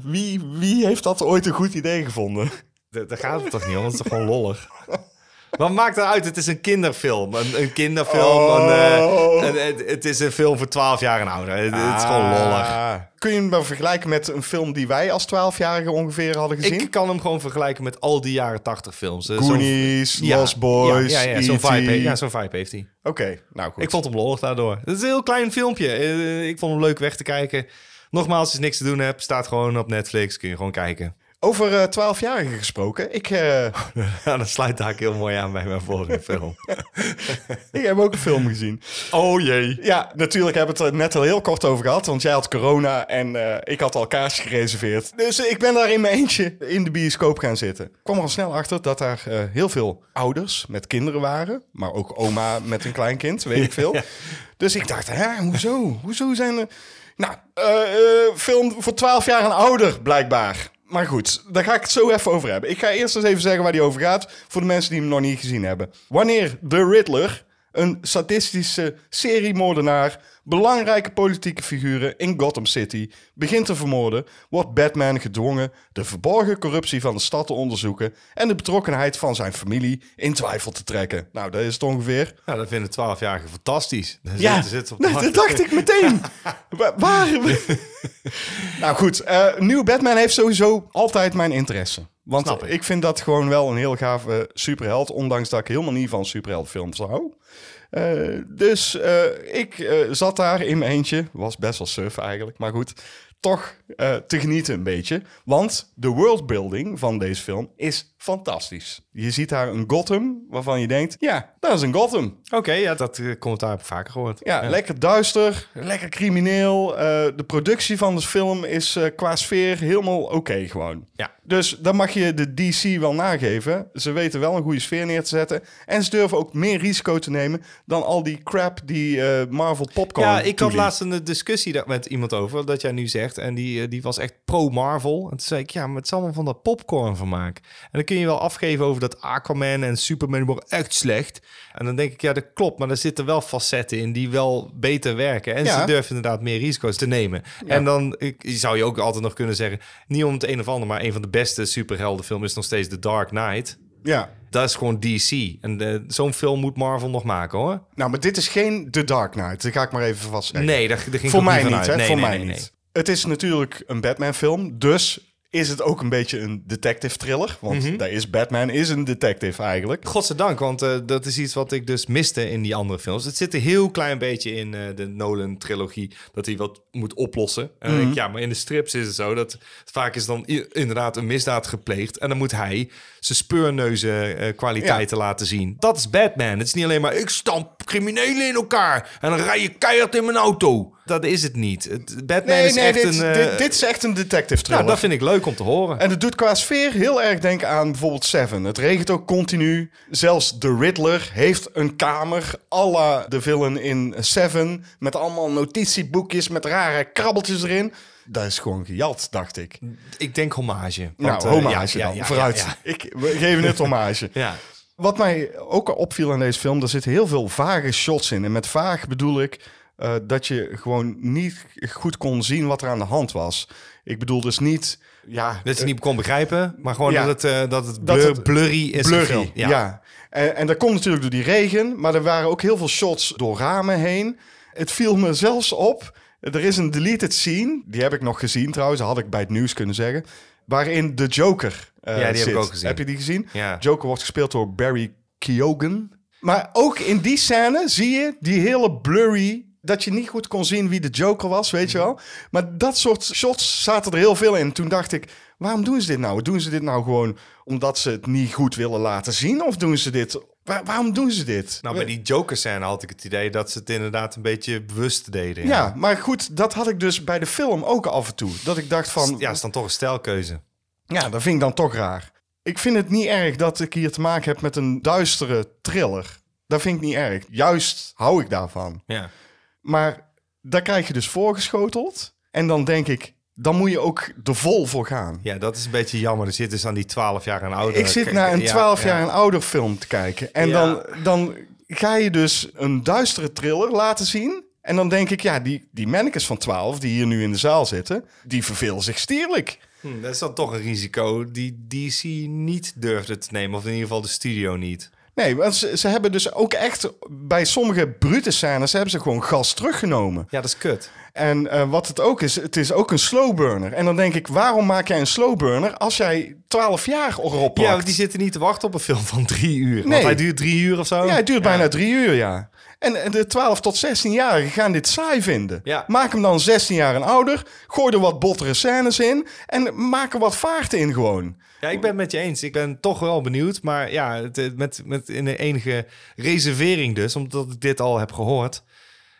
Speaker 1: Wie, wie heeft dat ooit een goed idee gevonden?
Speaker 2: Da- Daar gaat het toch niet om, het is toch gewoon lollig? Wat maakt het uit? Het is een kinderfilm. Een, een kinderfilm.
Speaker 1: Oh.
Speaker 2: Een, eh, een- het- het is een film voor 12 jaar en ouder. Het, het is gewoon lollig.
Speaker 1: Ah. Kun je hem dan vergelijken met een film die wij als 12-jarige ongeveer hadden gezien?
Speaker 2: Ik kan hem gewoon vergelijken met al die jaren 80 films. Eh, zo'n-
Speaker 1: Goonies, Lost Boys, E
Speaker 2: Ja, ja, ja, zo'n
Speaker 1: E.T..
Speaker 2: vibe, he- ja, zo'n vibe heeft hij.
Speaker 1: Oké, nou goed.
Speaker 2: Ik vond hem lollig daardoor. Het is een heel klein filmpje. Eh, Ik vond hem leuk weg te kijken. Nogmaals, als je niks te doen hebt, staat gewoon op Netflix. Kun je gewoon kijken.
Speaker 1: Over eh, 12-jarigen gesproken. Ik, eh,
Speaker 2: Ja, dat sluit daar heel mooi aan bij mijn vorige film.
Speaker 1: ik heb ook een film gezien.
Speaker 2: Oh jee.
Speaker 1: Ja, natuurlijk hebben we het er net al heel kort over gehad. Want jij had corona en eh, ik had al kaartjes gereserveerd. Dus ik ben daar in mijn eentje in de bioscoop gaan zitten. Ik kwam er al snel achter dat daar eh, heel veel ouders met kinderen waren. Maar ook oma met een kleinkind, weet ik veel. Dus ik dacht, hè, hoezo? Hoezo zijn er... Nou, eh, eh, film voor 12 jaar en ouder, blijkbaar. Maar goed, daar ga ik het zo even over hebben. Ik ga eerst eens even zeggen waar die over gaat. Voor de mensen die hem nog niet gezien hebben. Wanneer de Riddler, een sadistische seriemoordenaar. belangrijke politieke figuren in Gotham City. begint te vermoorden. wordt Batman gedwongen de verborgen corruptie van de stad te onderzoeken. en de betrokkenheid van zijn familie in twijfel te trekken. Nou, dat is het ongeveer.
Speaker 2: Nou, dat vinden 12-jarigen fantastisch. Daar
Speaker 1: Ja,
Speaker 2: zitten- zitten ze op te
Speaker 1: dat,
Speaker 2: wachten.
Speaker 1: dat dacht ik meteen. Wa- Waar? nou goed, eh nieuw Batman heeft sowieso altijd mijn interesse. Want
Speaker 2: Snap
Speaker 1: ik.
Speaker 2: ik.
Speaker 1: vind dat gewoon wel een heel gave eh, superheld. Ondanks dat ik helemaal niet van superheldfilms hou. Eh, dus eh, ik eh, zat daar in mijn eentje. Was best wel surf eigenlijk, maar goed. Toch eh, te genieten een beetje. Want de worldbuilding van deze film is fantastisch. Je ziet daar een Gotham waarvan je denkt... Ja, dat is een Gotham.
Speaker 2: Oké, ja, dat eh, commentaar heb ik vaker gehoord.
Speaker 1: Ja, lekker duister, lekker crimineel. Eh, de productie van de film is eh, qua sfeer helemaal oké gewoon.
Speaker 2: Ja.
Speaker 1: Dus dan mag je de DC wel nageven. Ze weten wel een goede sfeer neer te zetten. En ze durven ook meer risico te nemen dan al die crap die eh, Marvel Popcorn
Speaker 2: Ja, ik had
Speaker 1: toeliet.
Speaker 2: laatst een eh, discussie daar met iemand over, dat jij nu zegt. En die, eh, die was echt pro-Marvel. En toen zei ik, ja, maar het is allemaal van dat popcorn vermaak. En dan kun je kun je wel afgeven over dat Aquaman en Superman worden echt slecht. En dan denk ik, ja, dat klopt. Maar er zitten wel facetten in die wel beter werken. En
Speaker 1: Ja.
Speaker 2: ze durven inderdaad meer risico's te nemen. En dan ik, zou je ook altijd nog kunnen zeggen... niet om het een of ander, maar een van de beste superheldenfilms... is nog steeds The Dark Knight.
Speaker 1: Ja.
Speaker 2: Dat is gewoon DC. En eh, zo'n film moet Marvel nog maken, hoor.
Speaker 1: Nou, maar dit is geen The Dark Knight. Dat ga ik maar even vastleggen.
Speaker 2: Nee, daar, daar ging ik
Speaker 1: Voor
Speaker 2: ook
Speaker 1: mij
Speaker 2: niet,
Speaker 1: niet,
Speaker 2: van
Speaker 1: hè?
Speaker 2: uit. Nee,
Speaker 1: Voor
Speaker 2: nee,
Speaker 1: mij
Speaker 2: nee, nee.
Speaker 1: niet. Het is natuurlijk een Batman-film, dus is het ook een beetje een detective thriller. Want
Speaker 2: Mhm.
Speaker 1: daar is Batman is een detective eigenlijk.
Speaker 2: Godzijdank, want eh, dat is iets wat ik dus miste in die andere films. Het zit een heel klein beetje in eh, de Nolan-trilogie dat hij wat moet oplossen. En dan denk
Speaker 1: Mhm.
Speaker 2: ik, ja, maar in de strips is het zo dat vaak is dan i- inderdaad een misdaad gepleegd. En dan moet hij zijn speurneuzen eh, kwaliteiten laten zien. Dat is Batman. Het is niet alleen maar ik stamp criminelen in elkaar en dan rij je keihard in mijn auto. Dat is het niet. Het- Batman
Speaker 1: Nee,
Speaker 2: is
Speaker 1: nee,
Speaker 2: echt
Speaker 1: dit,
Speaker 2: een... eh,
Speaker 1: dit, dit is echt een detective thriller.
Speaker 2: nou, dat vind ik leuk om te horen.
Speaker 1: En het doet qua sfeer heel erg denken aan bijvoorbeeld Seven. Het regent ook continu. Zelfs de Riddler heeft een kamer à la de villain in Seven. Met allemaal notitieboekjes met rare krabbeltjes erin. Dat is gewoon gejat, dacht ik.
Speaker 2: Ik denk hommage.
Speaker 1: nou,
Speaker 2: Want, eh,
Speaker 1: hommage
Speaker 2: ja, ja,
Speaker 1: dan.
Speaker 2: ja,
Speaker 1: Vooruit.
Speaker 2: ja,
Speaker 1: Ik, we geven het hommage.
Speaker 2: ja.
Speaker 1: Wat mij ook al opviel aan deze film, er zitten heel veel vage shots in. En met vaag bedoel ik eh, dat je gewoon niet goed kon zien wat er aan de hand was. Ik bedoel dus niet... Ja,
Speaker 2: Dat je het niet kon begrijpen, maar gewoon
Speaker 1: ja.
Speaker 2: dat het, eh, dat het,
Speaker 1: Dat
Speaker 2: blur-
Speaker 1: het
Speaker 2: blurry is.
Speaker 1: Blurry,
Speaker 2: gefilmd.
Speaker 1: ja. En, en dat komt natuurlijk door die regen, maar er waren ook heel veel shots door ramen heen. Het viel me zelfs op, er is een deleted scene, die heb ik nog gezien trouwens, dat had ik bij het nieuws kunnen zeggen, waarin de Joker eh,
Speaker 2: Ja, die heb ik
Speaker 1: zit.
Speaker 2: ook gezien.
Speaker 1: Heb je die gezien?
Speaker 2: Ja.
Speaker 1: Joker wordt gespeeld door Barry Keoghan. Maar ook in die scène zie je die hele blurry, dat je niet goed kon zien wie de Joker was, weet je wel. Maar dat soort shots zaten er heel veel in. Toen dacht ik, waarom doen ze dit nou? Doen ze dit nou gewoon omdat ze het niet goed willen laten zien? Of doen ze dit... Waar- waarom doen ze dit?
Speaker 2: Nou, bij die Joker-scène had ik het idee dat ze het inderdaad een beetje bewust deden.
Speaker 1: Ja, maar goed, dat had ik dus bij de film ook af en toe. Dat ik dacht van,
Speaker 2: Ja, is dan toch een stijlkeuze.
Speaker 1: Ja, dat vind ik dan toch raar. Ik vind het niet erg dat ik hier te maken heb met een duistere thriller. Dat vind ik niet erg. Juist hou ik daarvan.
Speaker 2: Ja.
Speaker 1: Maar daar krijg je dus voorgeschoteld. En dan denk ik, dan moet je ook er vol voor gaan.
Speaker 2: ja, dat is een beetje jammer. Er zit dus aan die 12 jaar en ouder.
Speaker 1: Ik zit naar een
Speaker 2: Ja,
Speaker 1: 12
Speaker 2: ja.
Speaker 1: jaar een ouder film te kijken. En
Speaker 2: Ja.
Speaker 1: dan, dan ga je dus een duistere thriller laten zien. En dan denk ik, ja, die, die mannekes van 12 die hier nu in de zaal zitten, die vervelen zich stierlijk.
Speaker 2: Hm, dat is dan toch een risico die DC niet durfde te nemen. Of in ieder geval de studio niet.
Speaker 1: Nee, want ze, ze hebben dus ook echt bij sommige brute scènes hebben ze gewoon gas teruggenomen.
Speaker 2: Ja, dat is kut.
Speaker 1: En eh, wat het ook is, het is ook een slow burner. En dan denk ik, waarom maak jij een slow burner als jij 12 jaar erop
Speaker 2: Ja,
Speaker 1: plakt?
Speaker 2: want die zitten niet te wachten op een film van drie uur. Want
Speaker 1: Nee.
Speaker 2: hij duurt drie uur of zo.
Speaker 1: Ja, het duurt bijna drie uur, ja. En en de 12 tot 16-jarigen gaan dit saai vinden.
Speaker 2: Ja.
Speaker 1: Maak hem dan 16 jaar en ouder. Gooi er wat bottere scènes in. En maak er wat vaart in gewoon.
Speaker 2: Ja, ik ben het met je eens. Ik ben toch wel benieuwd. Maar ja, het, eh, met, met in de enige reservering dus, omdat ik dit al heb gehoord.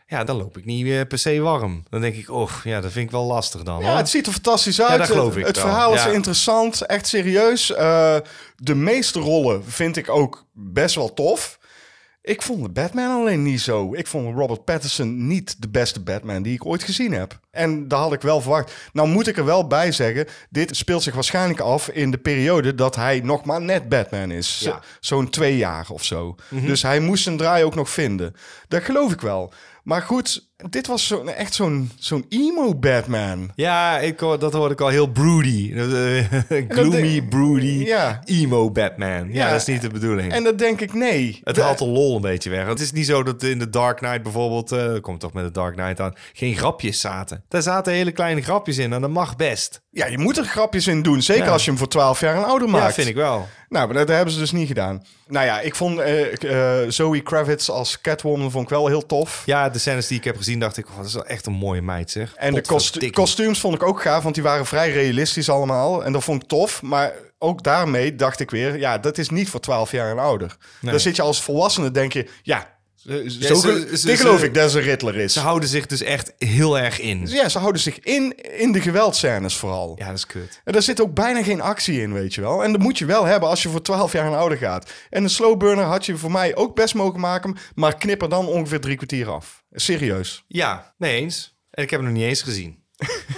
Speaker 2: Ja, dan loop ik niet eh, per se warm. Dan denk ik, oh, ja, dat vind ik wel lastig dan.
Speaker 1: Ja,
Speaker 2: hoor.
Speaker 1: het ziet er fantastisch uit.
Speaker 2: dat geloof
Speaker 1: het,
Speaker 2: ik
Speaker 1: het
Speaker 2: wel.
Speaker 1: verhaal is
Speaker 2: Ja.
Speaker 1: interessant, echt serieus. Eh, de meeste rollen vind ik ook best wel tof. Ik vond de Batman alleen niet zo. Ik vond Robert Pattinson niet de beste Batman die ik ooit gezien heb. En daar had ik wel verwacht. Nou moet ik er wel bij zeggen, dit speelt zich waarschijnlijk af in de periode dat hij nog maar net Batman is. Zo-
Speaker 2: Ja. Mhm.
Speaker 1: Zo'n twee jaar of zo. Dus hij moest zijn draai ook nog vinden. Dat geloof ik wel. Maar goed, dit was zo, echt zo'n zo'n emo Batman.
Speaker 2: Ja, ik, hoor- dat hoorde ik al heel broody. Eh, Gloomy,
Speaker 1: denk-
Speaker 2: broody,
Speaker 1: Ja.
Speaker 2: emo Batman. Ja,
Speaker 1: Ja.
Speaker 2: dat is niet de bedoeling.
Speaker 1: En dat denk ik, nee.
Speaker 2: het haalt de lol een beetje weg. Het is niet zo dat in de Dark Knight bijvoorbeeld, eh komt toch met de Dark Knight aan, geen grapjes zaten. Daar zaten hele kleine grapjes in en dat mag best.
Speaker 1: Ja, je moet er grapjes in doen. Zeker
Speaker 2: Ja.
Speaker 1: als je hem voor 12 jaar en ouder maakt.
Speaker 2: Ja, vind ik wel.
Speaker 1: Nou, maar dat hebben ze dus niet gedaan. Nou ja, ik vond eh, ik, eh, Zoe Kravitz als Catwoman vond ik wel heel tof.
Speaker 2: Ja, de scènes die ik heb gezien, dacht ik, oh, dat is wel echt een mooie meid, zeg.
Speaker 1: En de kostu-
Speaker 2: Potverdikkie.
Speaker 1: kostuums vond ik ook gaaf, want die waren vrij realistisch allemaal. En dat vond ik tof. Maar ook daarmee dacht ik weer, ja, dat is niet voor 12 jaar en ouder. Dan zit je als volwassene, denk je, ja, eh, zo
Speaker 2: ze-
Speaker 1: gel-
Speaker 2: ze-
Speaker 1: dit
Speaker 2: ze-
Speaker 1: geloof ik dat ze een Riddler is.
Speaker 2: Ze houden zich dus echt heel erg in.
Speaker 1: ja, ze houden zich in, in de geweldscènes vooral.
Speaker 2: Ja, dat is kut.
Speaker 1: En daar zit ook bijna geen actie in, weet je wel. En dat moet je wel hebben als je voor 12 jaar en ouder gaat. En een slow burner had je voor mij ook best mogen maken, maar knip er dan ongeveer drie kwartier af. Serieus.
Speaker 2: Ja, nee eens. En ik heb hem nog niet eens gezien.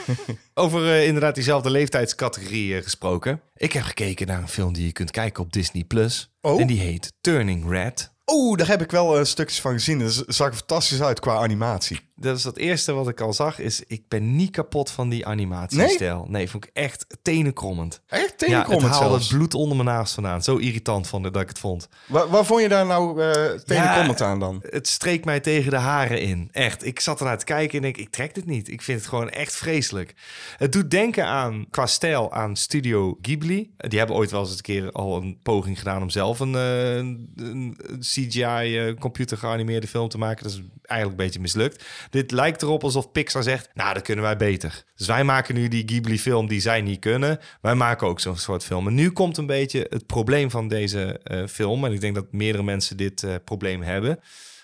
Speaker 2: Over eh, inderdaad diezelfde leeftijdscategorie eh, gesproken. Ik heb gekeken naar een film die je kunt kijken op Disney+. Plus
Speaker 1: Oh.
Speaker 2: En die heet Turning Red.
Speaker 1: Oeh, daar heb ik wel eh, stukjes van gezien. Dat z- zag er fantastisch uit qua animatie.
Speaker 2: Dat is het eerste wat ik al zag, is ik ben niet kapot van die animatiestijl. Nee, vond ik echt tenenkrommend.
Speaker 1: Echt
Speaker 2: Ja, het
Speaker 1: tegenkomend
Speaker 2: haalde
Speaker 1: zelfs.
Speaker 2: het bloed onder mijn naast vandaan. Zo irritant vond ik dat ik het vond.
Speaker 1: Waar, waar vond je daar nou eh tegenkomend
Speaker 2: Ja.
Speaker 1: aan dan?
Speaker 2: Het streek mij tegen de haren in. Echt. Ik zat ernaar te kijken en ik, ik trek dit niet. Ik vind het gewoon echt vreselijk. Het doet denken aan, qua stijl, aan Studio Ghibli. Die hebben ooit wel eens een keer al een poging gedaan om zelf een, eh, een, een CGI-computer eh, geanimeerde film te maken. Dat is eigenlijk een beetje mislukt. Dit lijkt erop alsof Pixar zegt, nou, dat kunnen wij beter. Dus wij maken nu die Ghibli-film die zij niet kunnen. Wij maken ook zo'n soort film. En nu komt een beetje het probleem van deze eh, film. En ik denk dat meerdere mensen dit eh, probleem hebben.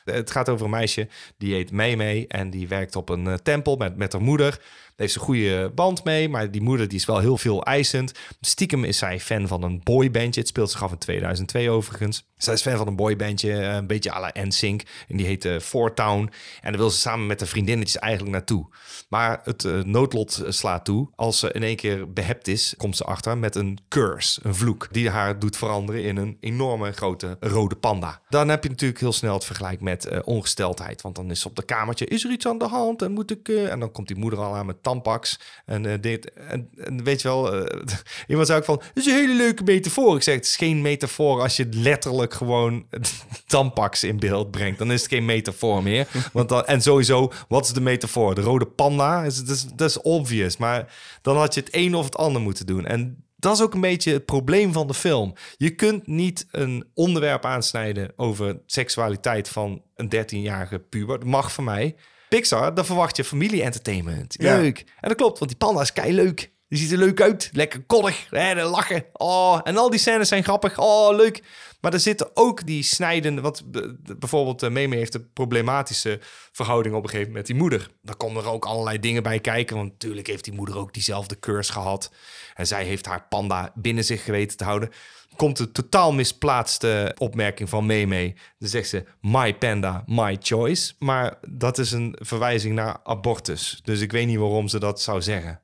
Speaker 2: Het gaat over een meisje die heet Mei Mei en die werkt op een eh, tempel met, met haar moeder. Daar heeft ze een goede band mee, maar die moeder die is wel heel veel eisend. Stiekem is zij fan van een boybandje. Het speelt zich af in 2002 overigens. Zij is fan van een boybandje, eh, een beetje à la NSYNC. En die heet eh Four Town. En daar wil ze samen met de vriendinnetjes eigenlijk naartoe. Maar het eh, noodlot eh, slaat toe. Als ze in één keer behept is, komt ze achter met een curse, een vloek. Die haar doet veranderen in een enorme grote rode panda. Dan heb je natuurlijk heel snel het vergelijk met eh, ongesteldheid. Want dan is ze op de kamertje, is er iets aan de hand? En moet ik... eh?" En dan komt die moeder al aan met tampax. En eh, dit... En, en weet je wel, eh, iemand zei ook van, dat is een hele leuke metafoor. Ik zeg, het is geen metafoor als je letterlijk gewoon tampax in beeld brengt. Dan is het geen metafoor meer. Want dan, en sowieso, wat is de metafoor? De rode panda? Is, dat, is, dat is obvious. Maar dan had je het een of het ander moeten doen. En dat is ook een beetje het probleem van de film. Je kunt niet een onderwerp aansnijden over seksualiteit van een 13-jarige puber. Dat mag van mij. Pixar, dan verwacht je familie-entertainment.
Speaker 1: Ja.
Speaker 2: Leuk. En dat klopt, want die panda is kei leuk. Die ziet er leuk uit. Lekker koddig. Hè, dan lachen. Oh, en al die scènes zijn grappig. Oh, leuk. Maar er zitten ook die snijdende... Want eh, bijvoorbeeld eh, Meme heeft een problematische verhouding op een gegeven moment met die moeder. Daar komen er ook allerlei dingen bij kijken. Want natuurlijk heeft die moeder ook diezelfde curse gehad. En zij heeft haar panda binnen zich geweten te houden. Komt een totaal misplaatste opmerking van Meme. Dan zegt ze, my panda, my choice. Maar dat is een verwijzing naar abortus. Dus ik weet niet waarom ze dat zou zeggen.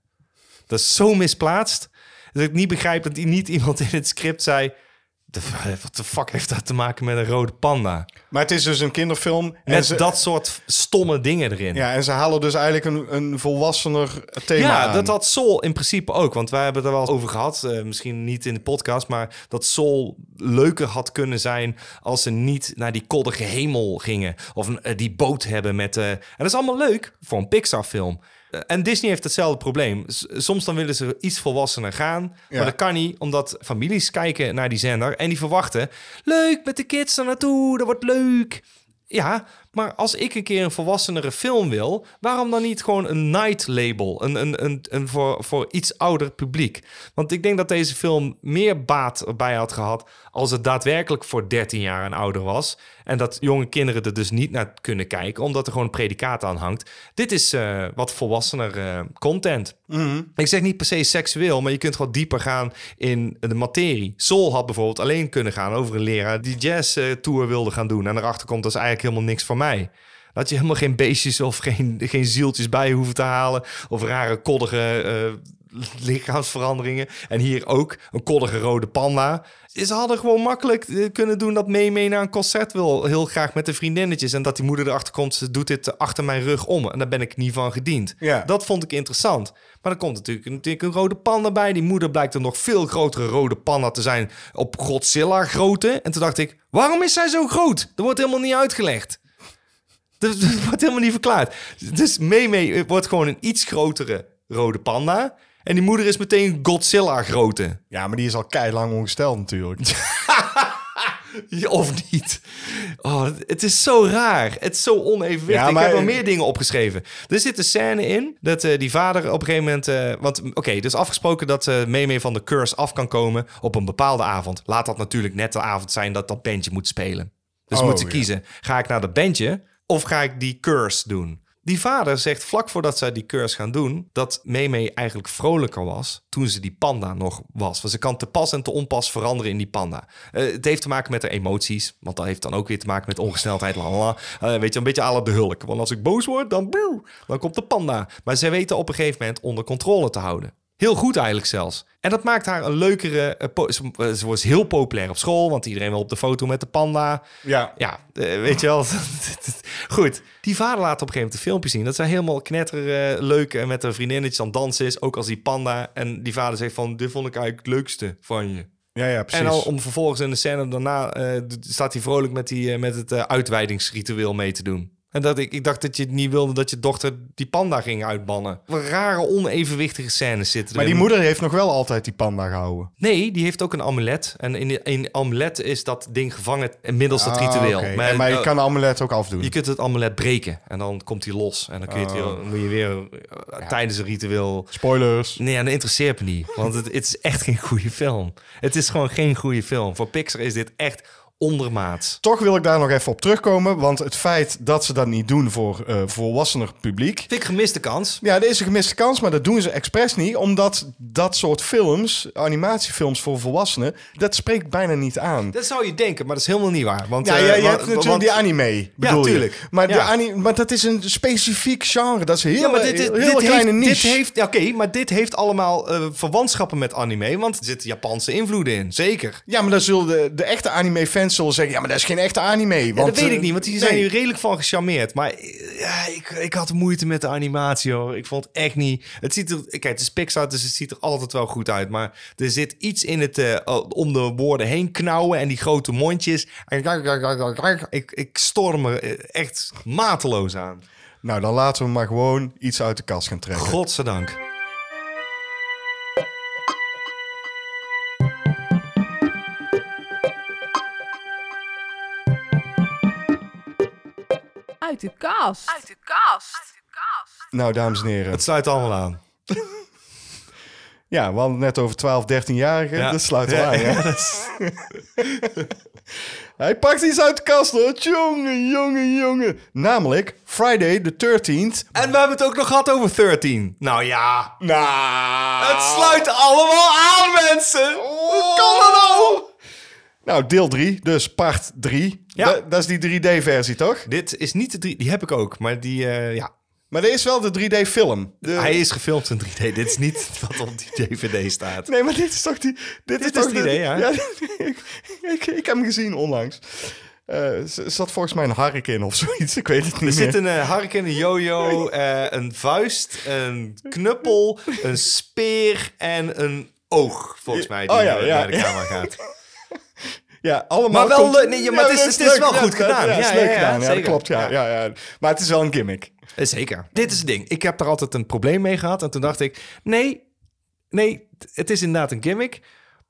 Speaker 2: Dat is zo misplaatst. Dat ik niet begrijp dat i- niet iemand in het script zei... "De- Wat de fuck heeft dat te maken met een rode panda?
Speaker 1: Maar het is dus een kinderfilm. en,
Speaker 2: Met
Speaker 1: ze,
Speaker 2: dat soort stomme dingen erin.
Speaker 1: ja, en ze halen dus eigenlijk een, een volwassener thema
Speaker 2: Ja,
Speaker 1: aan.
Speaker 2: dat had Soul in principe ook. Want wij hebben het er wel over gehad. eh, misschien niet in de podcast. Maar dat Soul leuker had kunnen zijn. als ze niet naar die koddige hemel gingen. Of een- eh, die boot hebben met. eh, en dat is allemaal leuk voor een Pixar-film. Eh, en Disney heeft hetzelfde probleem. S- soms dan willen ze iets volwassener gaan.
Speaker 1: Ja.
Speaker 2: Maar dat kan niet, omdat families kijken naar die zender. en die verwachten. Leuk met de kids daar naartoe. Dat wordt leuk. Ja, maar als ik een keer een volwassenere film wil, waarom dan niet gewoon een night label? Een, een, een, een voor, voor iets ouder publiek. Want ik denk dat deze film meer baat bij had gehad als het daadwerkelijk voor 13 jaar en ouder was. En dat jonge kinderen er dus niet naar kunnen kijken, omdat er gewoon een predicaat aan hangt. Dit is eh, wat volwassener eh, content. Ik zeg niet per se seksueel, maar je kunt gewoon dieper gaan in de materie. Soul had bijvoorbeeld alleen kunnen gaan over een leraar die jazz eh, tour wilde gaan doen. En erachter komt dat is eigenlijk helemaal niks voor mij. Dan had je helemaal geen beestjes of geen, geen zieltjes bij hoeven te halen. Of rare koddige eh, lichaamsveranderingen. En hier ook een koddige rode panda. Ze hadden gewoon makkelijk eh, kunnen doen dat mee mee naar een concert wil. Heel graag met de vriendinnetjes. En dat die moeder erachter komt, ze doet dit achter mijn rug om. En daar ben ik niet van gediend.
Speaker 1: Ja.
Speaker 2: Dat dat vond ik interessant. Maar dan komt natuurlijk, natuurlijk een rode panda bij. Die moeder blijkt een nog veel grotere rode panda te zijn op Godzilla grootte. En toen dacht ik, waarom is zij zo groot? Dat wordt helemaal niet uitgelegd. Dat, dat wordt helemaal niet verklaard. Dus Meme wordt gewoon een iets grotere rode panda. En die moeder is meteen Godzilla grootte.
Speaker 1: Ja, maar die is al keilang ongesteld natuurlijk.
Speaker 2: Ja, Of niet. Oh, het is zo raar. Het is zo onevenwichtig.
Speaker 1: Ja, maar-
Speaker 2: Ik heb wel meer dingen opgeschreven. Er zit een scène in dat eh, die vader op een gegeven moment... eh, want oké, dus afgesproken dat eh Meme van de curse af kan komen op een bepaalde avond. Laat dat natuurlijk net de avond zijn dat dat bandje moet spelen. Dus
Speaker 1: Oh,
Speaker 2: moeten
Speaker 1: ja.
Speaker 2: kiezen. Ga ik naar dat bandje of ga ik die curse doen? Die vader zegt vlak voordat zij die curse gaan doen... dat Meme eigenlijk vrolijker was toen ze die panda nog was. Want ze kan te pas en te onpas veranderen in die panda. Eh, het heeft te maken met haar emoties. Want dat heeft dan ook weer te maken met ongesneldheid. la, la, la. Eh, weet je, een beetje à la de hulk. Want als ik boos word, dan, boe, dan komt de panda. Maar zij weten op een gegeven moment onder controle te houden. Heel goed eigenlijk zelfs. En dat maakt haar een leukere... eh, po- ze, eh, ze wordt heel populair op school, want iedereen wil op de foto met de panda.
Speaker 1: Ja.
Speaker 2: Ja, eh, weet je wel. Goed, die vader laat op een gegeven moment een filmpje zien. Dat zij helemaal knetter eh, leuk en met haar vriendinnetje aan het dansen is. Ook als die panda. En die vader zegt van, dit vond ik eigenlijk het leukste van je.
Speaker 1: Ja, ja, precies.
Speaker 2: En al om vervolgens in de scène daarna eh, d- staat hij vrolijk met, die, eh, met het eh, uitweidingsritueel mee te doen. En dat ik, ik dacht dat je het niet wilde dat je dochter die panda ging uitbannen. Wat rare, onevenwichtige scènes zitten
Speaker 1: maar die
Speaker 2: erin.
Speaker 1: moeder heeft nog wel altijd die panda gehouden.
Speaker 2: Nee, die heeft ook een amulet. En in, in amulet is dat ding gevangen eh, middels dat ritueel.
Speaker 1: Ah, oké. En- Maar, je
Speaker 2: eh,
Speaker 1: kan de amulet ook afdoen.
Speaker 2: je kunt het amulet breken en dan komt hij los. En dan kun je het weer,
Speaker 1: Oh.
Speaker 2: dan moet je weer eh, tijdens een ritueel...
Speaker 1: Spoilers.
Speaker 2: Nee, en dat interesseert me niet. Want het, het is echt geen goede film. Het is gewoon geen goede film. Voor Pixar is dit echt ondermaats.
Speaker 1: Toch wil ik daar nog even op terugkomen. Want het feit dat ze dat niet doen voor eh, volwassener publiek.
Speaker 2: Vind ik gemiste kans.
Speaker 1: Ja, er is een gemiste kans, maar dat doen ze expres niet. Omdat dat soort films, animatiefilms voor volwassenen, dat spreekt bijna niet aan.
Speaker 2: Dat zou je denken, maar dat is helemaal niet waar. Want,
Speaker 1: Ja,
Speaker 2: eh,
Speaker 1: ja, je
Speaker 2: wa-
Speaker 1: hebt natuurlijk
Speaker 2: want-
Speaker 1: die anime, bedoel je.
Speaker 2: tuurlijk.
Speaker 1: Maar, de
Speaker 2: Ja.
Speaker 1: ani- maar dat is een specifiek genre. Dat is een heel,
Speaker 2: Ja, maar dit, dit,
Speaker 1: heel
Speaker 2: dit
Speaker 1: kleine
Speaker 2: heeft, dit
Speaker 1: niche.
Speaker 2: heeft, ja, oké, maar dit heeft allemaal eh, verwantschappen met anime, want er zitten Japanse invloeden in, zeker.
Speaker 1: Ja, maar dan zullen de, de echte anime-fans zullen zeggen... ja, maar dat is geen echte anime. Want,
Speaker 2: Ja, dat weet
Speaker 1: eh,
Speaker 2: ik niet, want die
Speaker 1: nee.
Speaker 2: zijn hier redelijk van gecharmeerd. Maar eh, ja, ik, ik had moeite met de animatie hoor. Ik vond het echt niet. Het ziet er. Kijk, het is Pixar, dus het ziet er altijd wel goed uit. Maar er zit iets in het eh, om de woorden heen knauwen en die grote mondjes. En ik, ik storm me eh, echt mateloos aan.
Speaker 1: Nou, dan laten we maar gewoon iets uit de kast gaan trekken.
Speaker 2: Godzijdank.
Speaker 4: Uit de kast. Uit de kast.
Speaker 1: Nou, dames en heren.
Speaker 2: Het sluit allemaal aan.
Speaker 1: Ja, we hadden het net over 12, 13-jarigen.
Speaker 2: Ja.
Speaker 1: Dat sluit wel
Speaker 2: Ja,
Speaker 1: aan,
Speaker 2: ja,
Speaker 1: hè? Hij pakt iets uit de kast, hoor. Jongen, jongen, jongen. Namelijk Friday the 13th.
Speaker 2: En we hebben het ook nog gehad over 13. Nou ja.
Speaker 1: Nou...
Speaker 2: Het sluit allemaal aan, mensen. Hoe kan dat nou?
Speaker 1: Oh. Nou, deel 3, dus part 3.
Speaker 2: Ja.
Speaker 1: Da- dat is die 3D-versie, toch?
Speaker 2: Dit is niet de drie, die heb ik ook, maar die, eh, ja.
Speaker 1: Maar er is wel de 3D-film. De-
Speaker 2: Hij is gefilmd in 3D. Dit is niet wat op die DVD staat.
Speaker 1: Nee, maar dit is toch die... Dit, is,
Speaker 2: is
Speaker 1: toch
Speaker 2: 3D,
Speaker 1: de-
Speaker 2: ja.
Speaker 1: ik, ik, ik heb hem gezien onlangs. Eh, z- zat volgens mij een hark in of zoiets. Ik weet het niet
Speaker 2: Er
Speaker 1: meer.
Speaker 2: zit een eh harken, een jojo, eh, een vuist, een knuppel, een speer en een oog, volgens mij, die
Speaker 1: Oh ja,
Speaker 2: eh,
Speaker 1: ja,
Speaker 2: naar de
Speaker 1: ja.
Speaker 2: camera gaat.
Speaker 1: Ja, allemaal
Speaker 2: Maar wel
Speaker 1: komt-
Speaker 2: leuk- nee, ja, maar het is-
Speaker 1: dat
Speaker 2: het is
Speaker 1: leuk.
Speaker 2: wel
Speaker 1: Ja,
Speaker 2: goed
Speaker 1: dat-
Speaker 2: gedaan.
Speaker 1: Ja, het is
Speaker 2: Ja,
Speaker 1: leuk
Speaker 2: ja, ja,
Speaker 1: gedaan. Ja, dat
Speaker 2: zeker.
Speaker 1: klopt, ja, ja. Ja, Maar het is wel een gimmick.
Speaker 2: Eh, Zeker. Dit is het ding. Ik heb daar altijd een probleem mee gehad. En toen dacht ik, nee, nee, het is inderdaad een gimmick.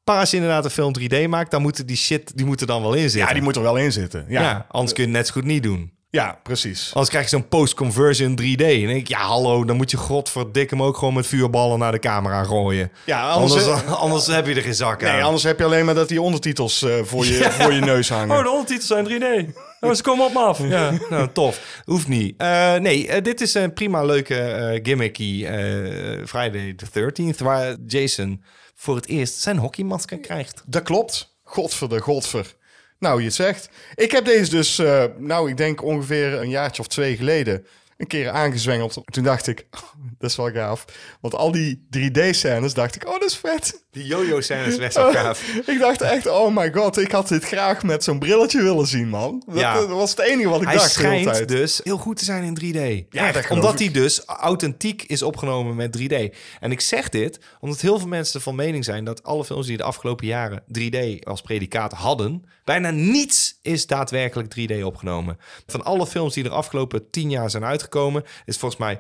Speaker 2: Maar als je inderdaad een film 3D maakt, dan moeten die shit, die moeten dan wel in zitten.
Speaker 1: Ja, die moet er wel in zitten. Ja, ja.
Speaker 2: ja, anders kun je het net zo goed niet doen.
Speaker 1: precies.
Speaker 2: Anders krijg je zo'n post-conversion 3D. En denk ik, ja, hallo, dan moet je godverdik hem ook gewoon met vuurballen naar de camera gooien.
Speaker 1: Ja,
Speaker 2: Anders,
Speaker 1: anders...
Speaker 2: anders, heb je er geen zak aan.
Speaker 1: Nee, anders heb je alleen maar dat die ondertitels eh, voor, je, voor je neus hangen.
Speaker 2: Oh, de ondertitels zijn 3D. ze komen op me af. Ja, nou, tof. Hoeft niet. Eh, nee, eh, dit is een prima leuke eh, gimmicky eh Friday the 13th... waar Jason voor het eerst zijn hockeymasker krijgt.
Speaker 1: Dat klopt. Godver de godver. Nou, je het zegt. Ik heb deze dus, eh, nou, ik denk ongeveer een jaartje of twee geleden een keer aangezwengeld. Toen dacht ik, oh, dat is wel gaaf. Want al die 3D-scènes dacht ik, oh, dat is vet. Oh,
Speaker 2: Die jojo's zijn dus best wel gaaf.
Speaker 1: Ik dacht echt, oh my god, ik had dit graag met zo'n brilletje willen zien, man. Dat, eh,
Speaker 2: Ja.
Speaker 1: dat was het enige wat ik
Speaker 2: Hij
Speaker 1: dacht de hele
Speaker 2: schijnt
Speaker 1: tijd.
Speaker 2: dus heel goed te zijn in 3D.
Speaker 1: Ja, dat
Speaker 2: Echt,
Speaker 1: geloof ik.
Speaker 2: omdat hij dus authentiek is opgenomen met 3D. En ik zeg dit omdat heel veel mensen van mening zijn dat alle films die de afgelopen jaren 3D als predicaat hadden, bijna niets is daadwerkelijk 3D opgenomen. Van alle films die er afgelopen 10 jaar zijn uitgekomen, is volgens mij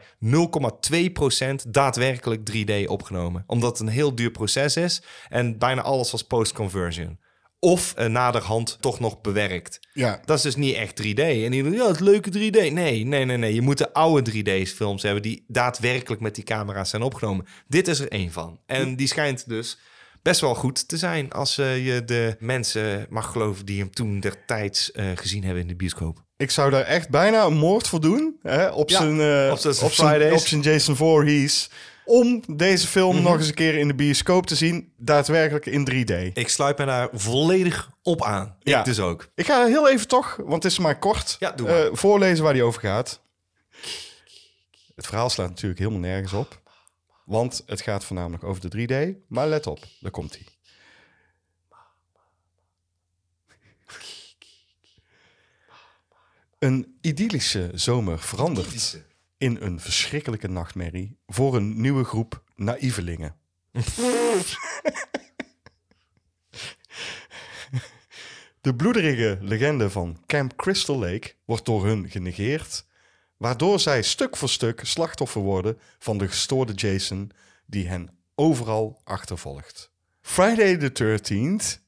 Speaker 2: 0,2% daadwerkelijk 3D opgenomen. Omdat het een heel duur proces is en bijna alles was post-conversion. Of eh, naderhand toch nog bewerkt.
Speaker 1: Ja.
Speaker 2: Dat is dus niet echt 3D. En die ja, het leuke 3D. Nee, nee, nee, nee. Je moet de oude 3D-films hebben die daadwerkelijk met die camera's zijn opgenomen. Dit is er één van. En die schijnt dus best wel goed te zijn als eh, je de mensen mag geloven die hem toen der tijds eh, gezien hebben in de bioscoop.
Speaker 1: Ik zou daar echt bijna een moord voor doen. Hè? Op,
Speaker 2: Ja,
Speaker 1: zijn, eh,
Speaker 2: op zijn
Speaker 1: op, zijn,
Speaker 2: Fridays. Mhm.
Speaker 1: op zijn Jason Voorhees. Om deze film nog eens een keer in de bioscoop te zien. Daadwerkelijk in 3D.
Speaker 2: Ik sluit me daar volledig op aan.
Speaker 1: Ja.
Speaker 2: Ik dus ook.
Speaker 1: Ik ga heel even toch, want het is maar kort,
Speaker 2: Ja, doe maar.
Speaker 1: eh, voorlezen waar die over gaat. Het verhaal slaat natuurlijk helemaal nergens op. Want het gaat voornamelijk over de 3D. Maar let op, daar komt hij. Een idyllische zomer verandert in een verschrikkelijke nachtmerrie voor een nieuwe groep naïvelingen. De bloederige legende van Camp Crystal Lake wordt door hun genegeerd, waardoor zij stuk voor stuk slachtoffer worden van de gestoorde Jason die hen overal achtervolgt. Friday the 13th,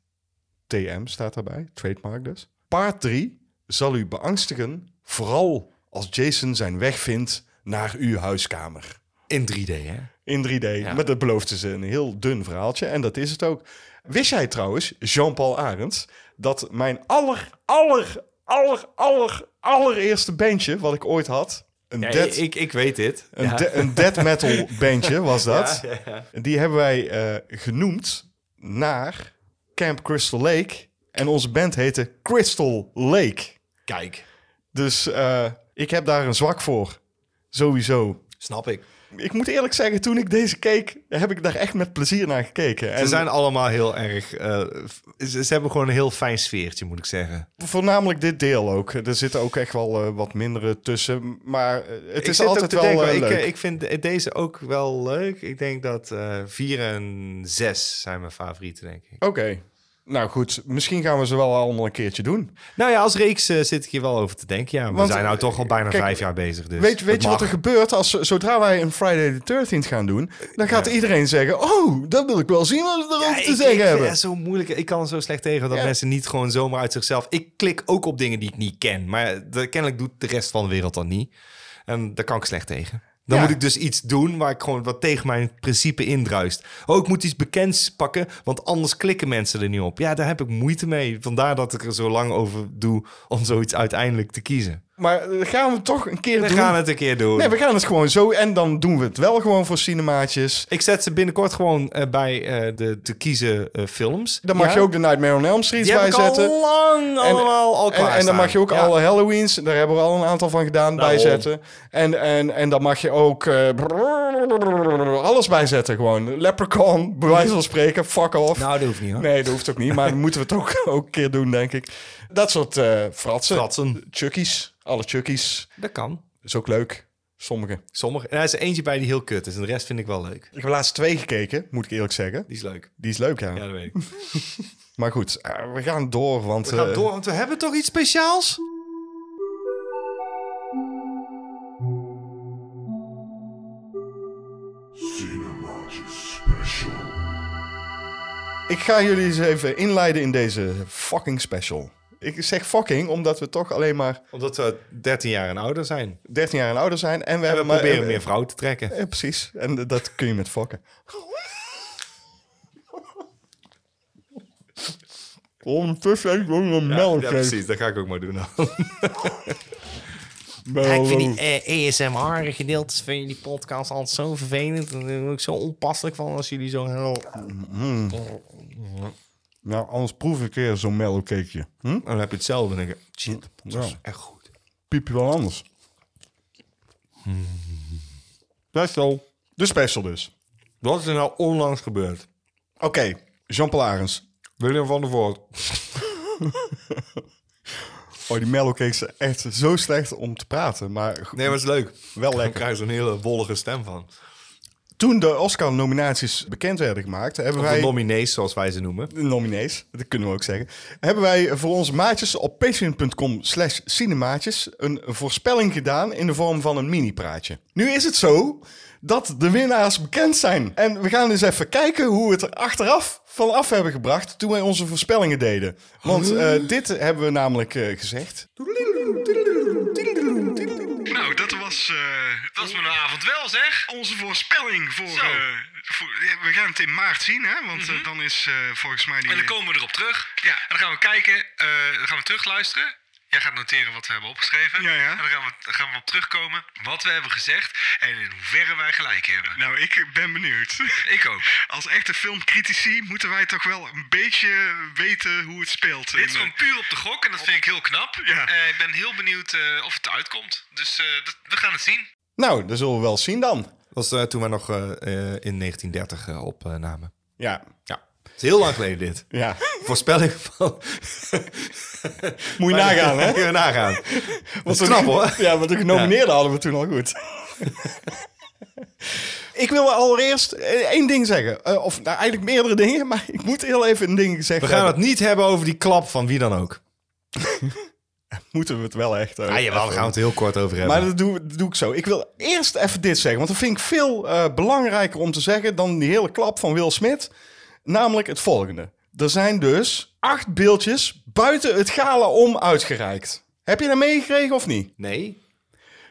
Speaker 1: TM staat daarbij, trademark dus. Part 3 zal u beangstigen, vooral als Jason zijn weg vindt naar uw huiskamer.
Speaker 2: In 3D, hè?
Speaker 1: In 3D. Maar dat beloofde ze een heel dun verhaaltje. En dat is het ook. Wist jij trouwens, Jean-Paul Arends, dat mijn aller, aller, aller, aller, allereerste bandje wat ik ooit had... Een,
Speaker 2: Ja,
Speaker 1: dead,
Speaker 2: ik, ik weet dit.
Speaker 1: een,
Speaker 2: Ja.
Speaker 1: de- een dead metal bandje was dat.
Speaker 2: Ja, ja, ja.
Speaker 1: Die hebben wij eh, genoemd naar Camp Crystal Lake. En onze band heette Crystal Lake.
Speaker 2: Kijk,
Speaker 1: Dus eh, ik heb daar een zwak voor. Sowieso.
Speaker 2: snap ik.
Speaker 1: Ik moet eerlijk zeggen, toen ik deze keek, heb ik daar echt met plezier naar gekeken. En
Speaker 2: Ze zijn allemaal heel erg... eh, f- ze, ze hebben gewoon een heel fijn sfeertje, moet ik zeggen.
Speaker 1: voornamelijk dit deel ook. Er zitten ook echt wel eh, wat mindere tussen. Maar eh, het
Speaker 2: Ik
Speaker 1: is
Speaker 2: zit ook
Speaker 1: altijd
Speaker 2: te
Speaker 1: wel
Speaker 2: denken,
Speaker 1: eh,
Speaker 2: ik,
Speaker 1: leuk.
Speaker 2: eh, ik vind de- deze ook wel leuk. Ik denk dat eh 4 en 6 zijn mijn favorieten, denk ik.
Speaker 1: Oké. Nou goed, misschien gaan we ze wel allemaal een keertje doen.
Speaker 2: Nou ja, als reeks eh, zit ik hier wel over te denken. Ja, we
Speaker 1: Want,
Speaker 2: zijn nou
Speaker 1: eh,
Speaker 2: toch al bijna
Speaker 1: kijk,
Speaker 2: vijf jaar bezig. Dus
Speaker 1: weet
Speaker 2: dat
Speaker 1: weet je wat er
Speaker 2: mag.
Speaker 1: gebeurt als zodra wij een Friday the 13th gaan doen? Dan gaat iedereen zeggen: Oh, dat wil ik wel zien wat we
Speaker 2: Ja,
Speaker 1: erover
Speaker 2: ik-
Speaker 1: te
Speaker 2: ik,
Speaker 1: zeggen
Speaker 2: vind
Speaker 1: hebben.
Speaker 2: het zo moeilijk. Ik kan er zo slecht tegen dat
Speaker 1: Ja.
Speaker 2: mensen niet gewoon zomaar uit zichzelf... Ik klik ook op dingen die ik niet ken. Maar de, kennelijk doet de rest van de wereld dat niet. En daar kan ik slecht tegen. Dan
Speaker 1: Ja.
Speaker 2: moet ik dus iets doen waar ik gewoon wat tegen mijn principe indruist. Oh, ik moet iets bekends pakken, want anders klikken mensen er niet op. Ja, daar heb ik moeite mee. Vandaar dat ik er zo lang over doe om zoiets uiteindelijk te kiezen.
Speaker 1: Maar eh, gaan we toch een keer
Speaker 2: We
Speaker 1: doen?
Speaker 2: gaan het een keer doen.
Speaker 1: Nee, we gaan het gewoon zo. En dan doen we het wel gewoon voor cinemaatjes.
Speaker 2: Ik zet ze binnenkort gewoon eh, bij eh, de te kiezen eh, films.
Speaker 1: Dan mag
Speaker 2: Ja.
Speaker 1: je ook de Nightmare on Elm Street
Speaker 2: Die heb
Speaker 1: bij
Speaker 2: ik al
Speaker 1: zetten.
Speaker 2: lang allemaal al
Speaker 1: en, en dan
Speaker 2: klaarstaan.
Speaker 1: mag je ook
Speaker 2: Ja. Nou.
Speaker 1: alle Halloweens, daar hebben we al een aantal van gedaan,
Speaker 2: Daarom.
Speaker 1: bijzetten. En, en, en dan mag je ook eh, alles bijzetten gewoon. Leprechaun, bij wijze van spreken, fuck off.
Speaker 2: Nou, dat hoeft niet hoor.
Speaker 1: nee, dat hoeft ook niet, maar dan moeten we het ook, ook een keer doen, denk ik. Dat soort eh fratsen.
Speaker 2: Fratsen.
Speaker 1: Chuckies, alle Chuckies.
Speaker 2: Dat kan.
Speaker 1: Is ook leuk, sommige.
Speaker 2: Sommige. Er is er eentje bij die heel kut is en de rest vind ik wel leuk.
Speaker 1: Ik heb laatst twee gekeken, moet ik eerlijk zeggen.
Speaker 2: Die is leuk.
Speaker 1: Die is leuk, ja.
Speaker 2: Ja, dat weet ik.
Speaker 1: Maar goed, eh, we gaan door, want...
Speaker 2: We gaan
Speaker 1: eh,
Speaker 2: door, want we hebben toch iets speciaals?
Speaker 1: Ik ga jullie eens even inleiden in deze fucking special. Ik zeg fucking omdat we toch alleen maar
Speaker 2: Omdat we 13 jaar en ouder zijn.
Speaker 1: 13 jaar en ouder zijn. En we,
Speaker 2: En we
Speaker 1: hebben maar-
Speaker 2: proberen
Speaker 1: eh,
Speaker 2: meer vrouwen te trekken.
Speaker 1: eh, precies. En eh, dat kun je met fokken. Ondertussen heb ik ook nog melk.
Speaker 2: ja, precies. Dat ga ik ook maar doen.
Speaker 1: Melk.
Speaker 5: ik vind
Speaker 2: Oh.
Speaker 5: die eh, ASMR-gedeeltes van jullie podcast altijd zo vervelend. Daar word ik zo onpasselijk van als jullie zo...
Speaker 1: Nou, anders proef ik een keer zo'n melkcakeje. Hm?
Speaker 2: Oh, Dan heb je hetzelfde. Dan denk ik, shit, dat is
Speaker 1: Ja.
Speaker 2: echt goed.
Speaker 1: Piep je wel anders. Special. De special dus.
Speaker 2: Wat is er nou onlangs gebeurd?
Speaker 1: Oké, Jean-Paul Arens.
Speaker 2: Willem van der Voort.
Speaker 1: Oh, die mellowcakes zijn echt zo slecht om te praten. Maar goed,
Speaker 2: Nee, maar het is leuk.
Speaker 1: wel
Speaker 2: Dan
Speaker 1: lekker.
Speaker 2: krijg je zo'n hele wollige stem van.
Speaker 1: Toen de Oscar-nominaties bekend werden gemaakt... hebben
Speaker 2: Of de
Speaker 1: wij...
Speaker 2: nominees, zoals wij ze noemen.
Speaker 1: de nominees, dat kunnen we ook zeggen... hebben wij voor onze maatjes op patreon.com slash cinemaatjes... een voorspelling gedaan in de vorm van een mini-praatje. Nu is het zo dat de winnaars bekend zijn. En we gaan eens even kijken hoe we het er achteraf van af hebben gebracht... toen wij onze voorspellingen deden. Want eh, dit hebben we namelijk eh, gezegd.
Speaker 6: Nou, dat was, eh, dat was mijn avond wel, zeg. Onze voorspelling voor... eh, voor- ja, we gaan het in maart zien, hè? Want eh, dan is eh, volgens mij die...
Speaker 7: En dan komen we erop terug.
Speaker 6: Ja.
Speaker 7: En dan gaan we kijken, eh, dan gaan we terugluisteren.
Speaker 6: Jij gaat noteren wat we hebben opgeschreven.
Speaker 7: Ja, ja.
Speaker 6: En dan gaan we, dan gaan we op terugkomen wat we hebben gezegd en in hoeverre wij gelijk hebben.
Speaker 7: Nou, ik ben benieuwd.
Speaker 6: Ik ook.
Speaker 7: Als echte filmcritici moeten wij toch wel een beetje weten hoe het speelt.
Speaker 6: Dit is
Speaker 7: En, eh,
Speaker 6: gewoon puur op de gok en dat vind ik heel knap.
Speaker 7: Ja.
Speaker 6: Eh, ik ben heel benieuwd eh, of het uitkomt. Dus eh, dat, we gaan het zien.
Speaker 1: Nou, dat zullen we wel zien dan.
Speaker 2: Dat was eh, toen we nog eh, eh, in 1930 eh, opnamen.
Speaker 1: Ja,
Speaker 2: Ja. Het is heel lang geleden dit.
Speaker 1: ja.
Speaker 2: Voorspelling van...
Speaker 1: Moet je nagaan, hè?
Speaker 2: Kun je nagaan.
Speaker 1: Want
Speaker 2: is knap,
Speaker 1: de-
Speaker 2: hoor.
Speaker 1: Ja, want de genomineerden hadden we toen al goed. ik wil allereerst eh, één ding zeggen. Eh, of nou, eigenlijk meerdere dingen, maar ik moet heel even een ding
Speaker 2: We
Speaker 1: zeggen.
Speaker 2: gaan het niet hebben over die klap van wie dan ook.
Speaker 1: Moeten we het wel echt... eh,
Speaker 2: Ah, jawel, daar gaan we het heel kort over hebben.
Speaker 1: Maar dat doe, dat doe ik zo. Ik wil eerst even dit zeggen, want dat vind ik veel eh, belangrijker om te zeggen dan die hele klap van Will Smith. Namelijk het volgende. Er zijn dus acht beeldjes buiten het gala om uitgereikt. Heb je dat meegekregen of niet?
Speaker 2: Nee?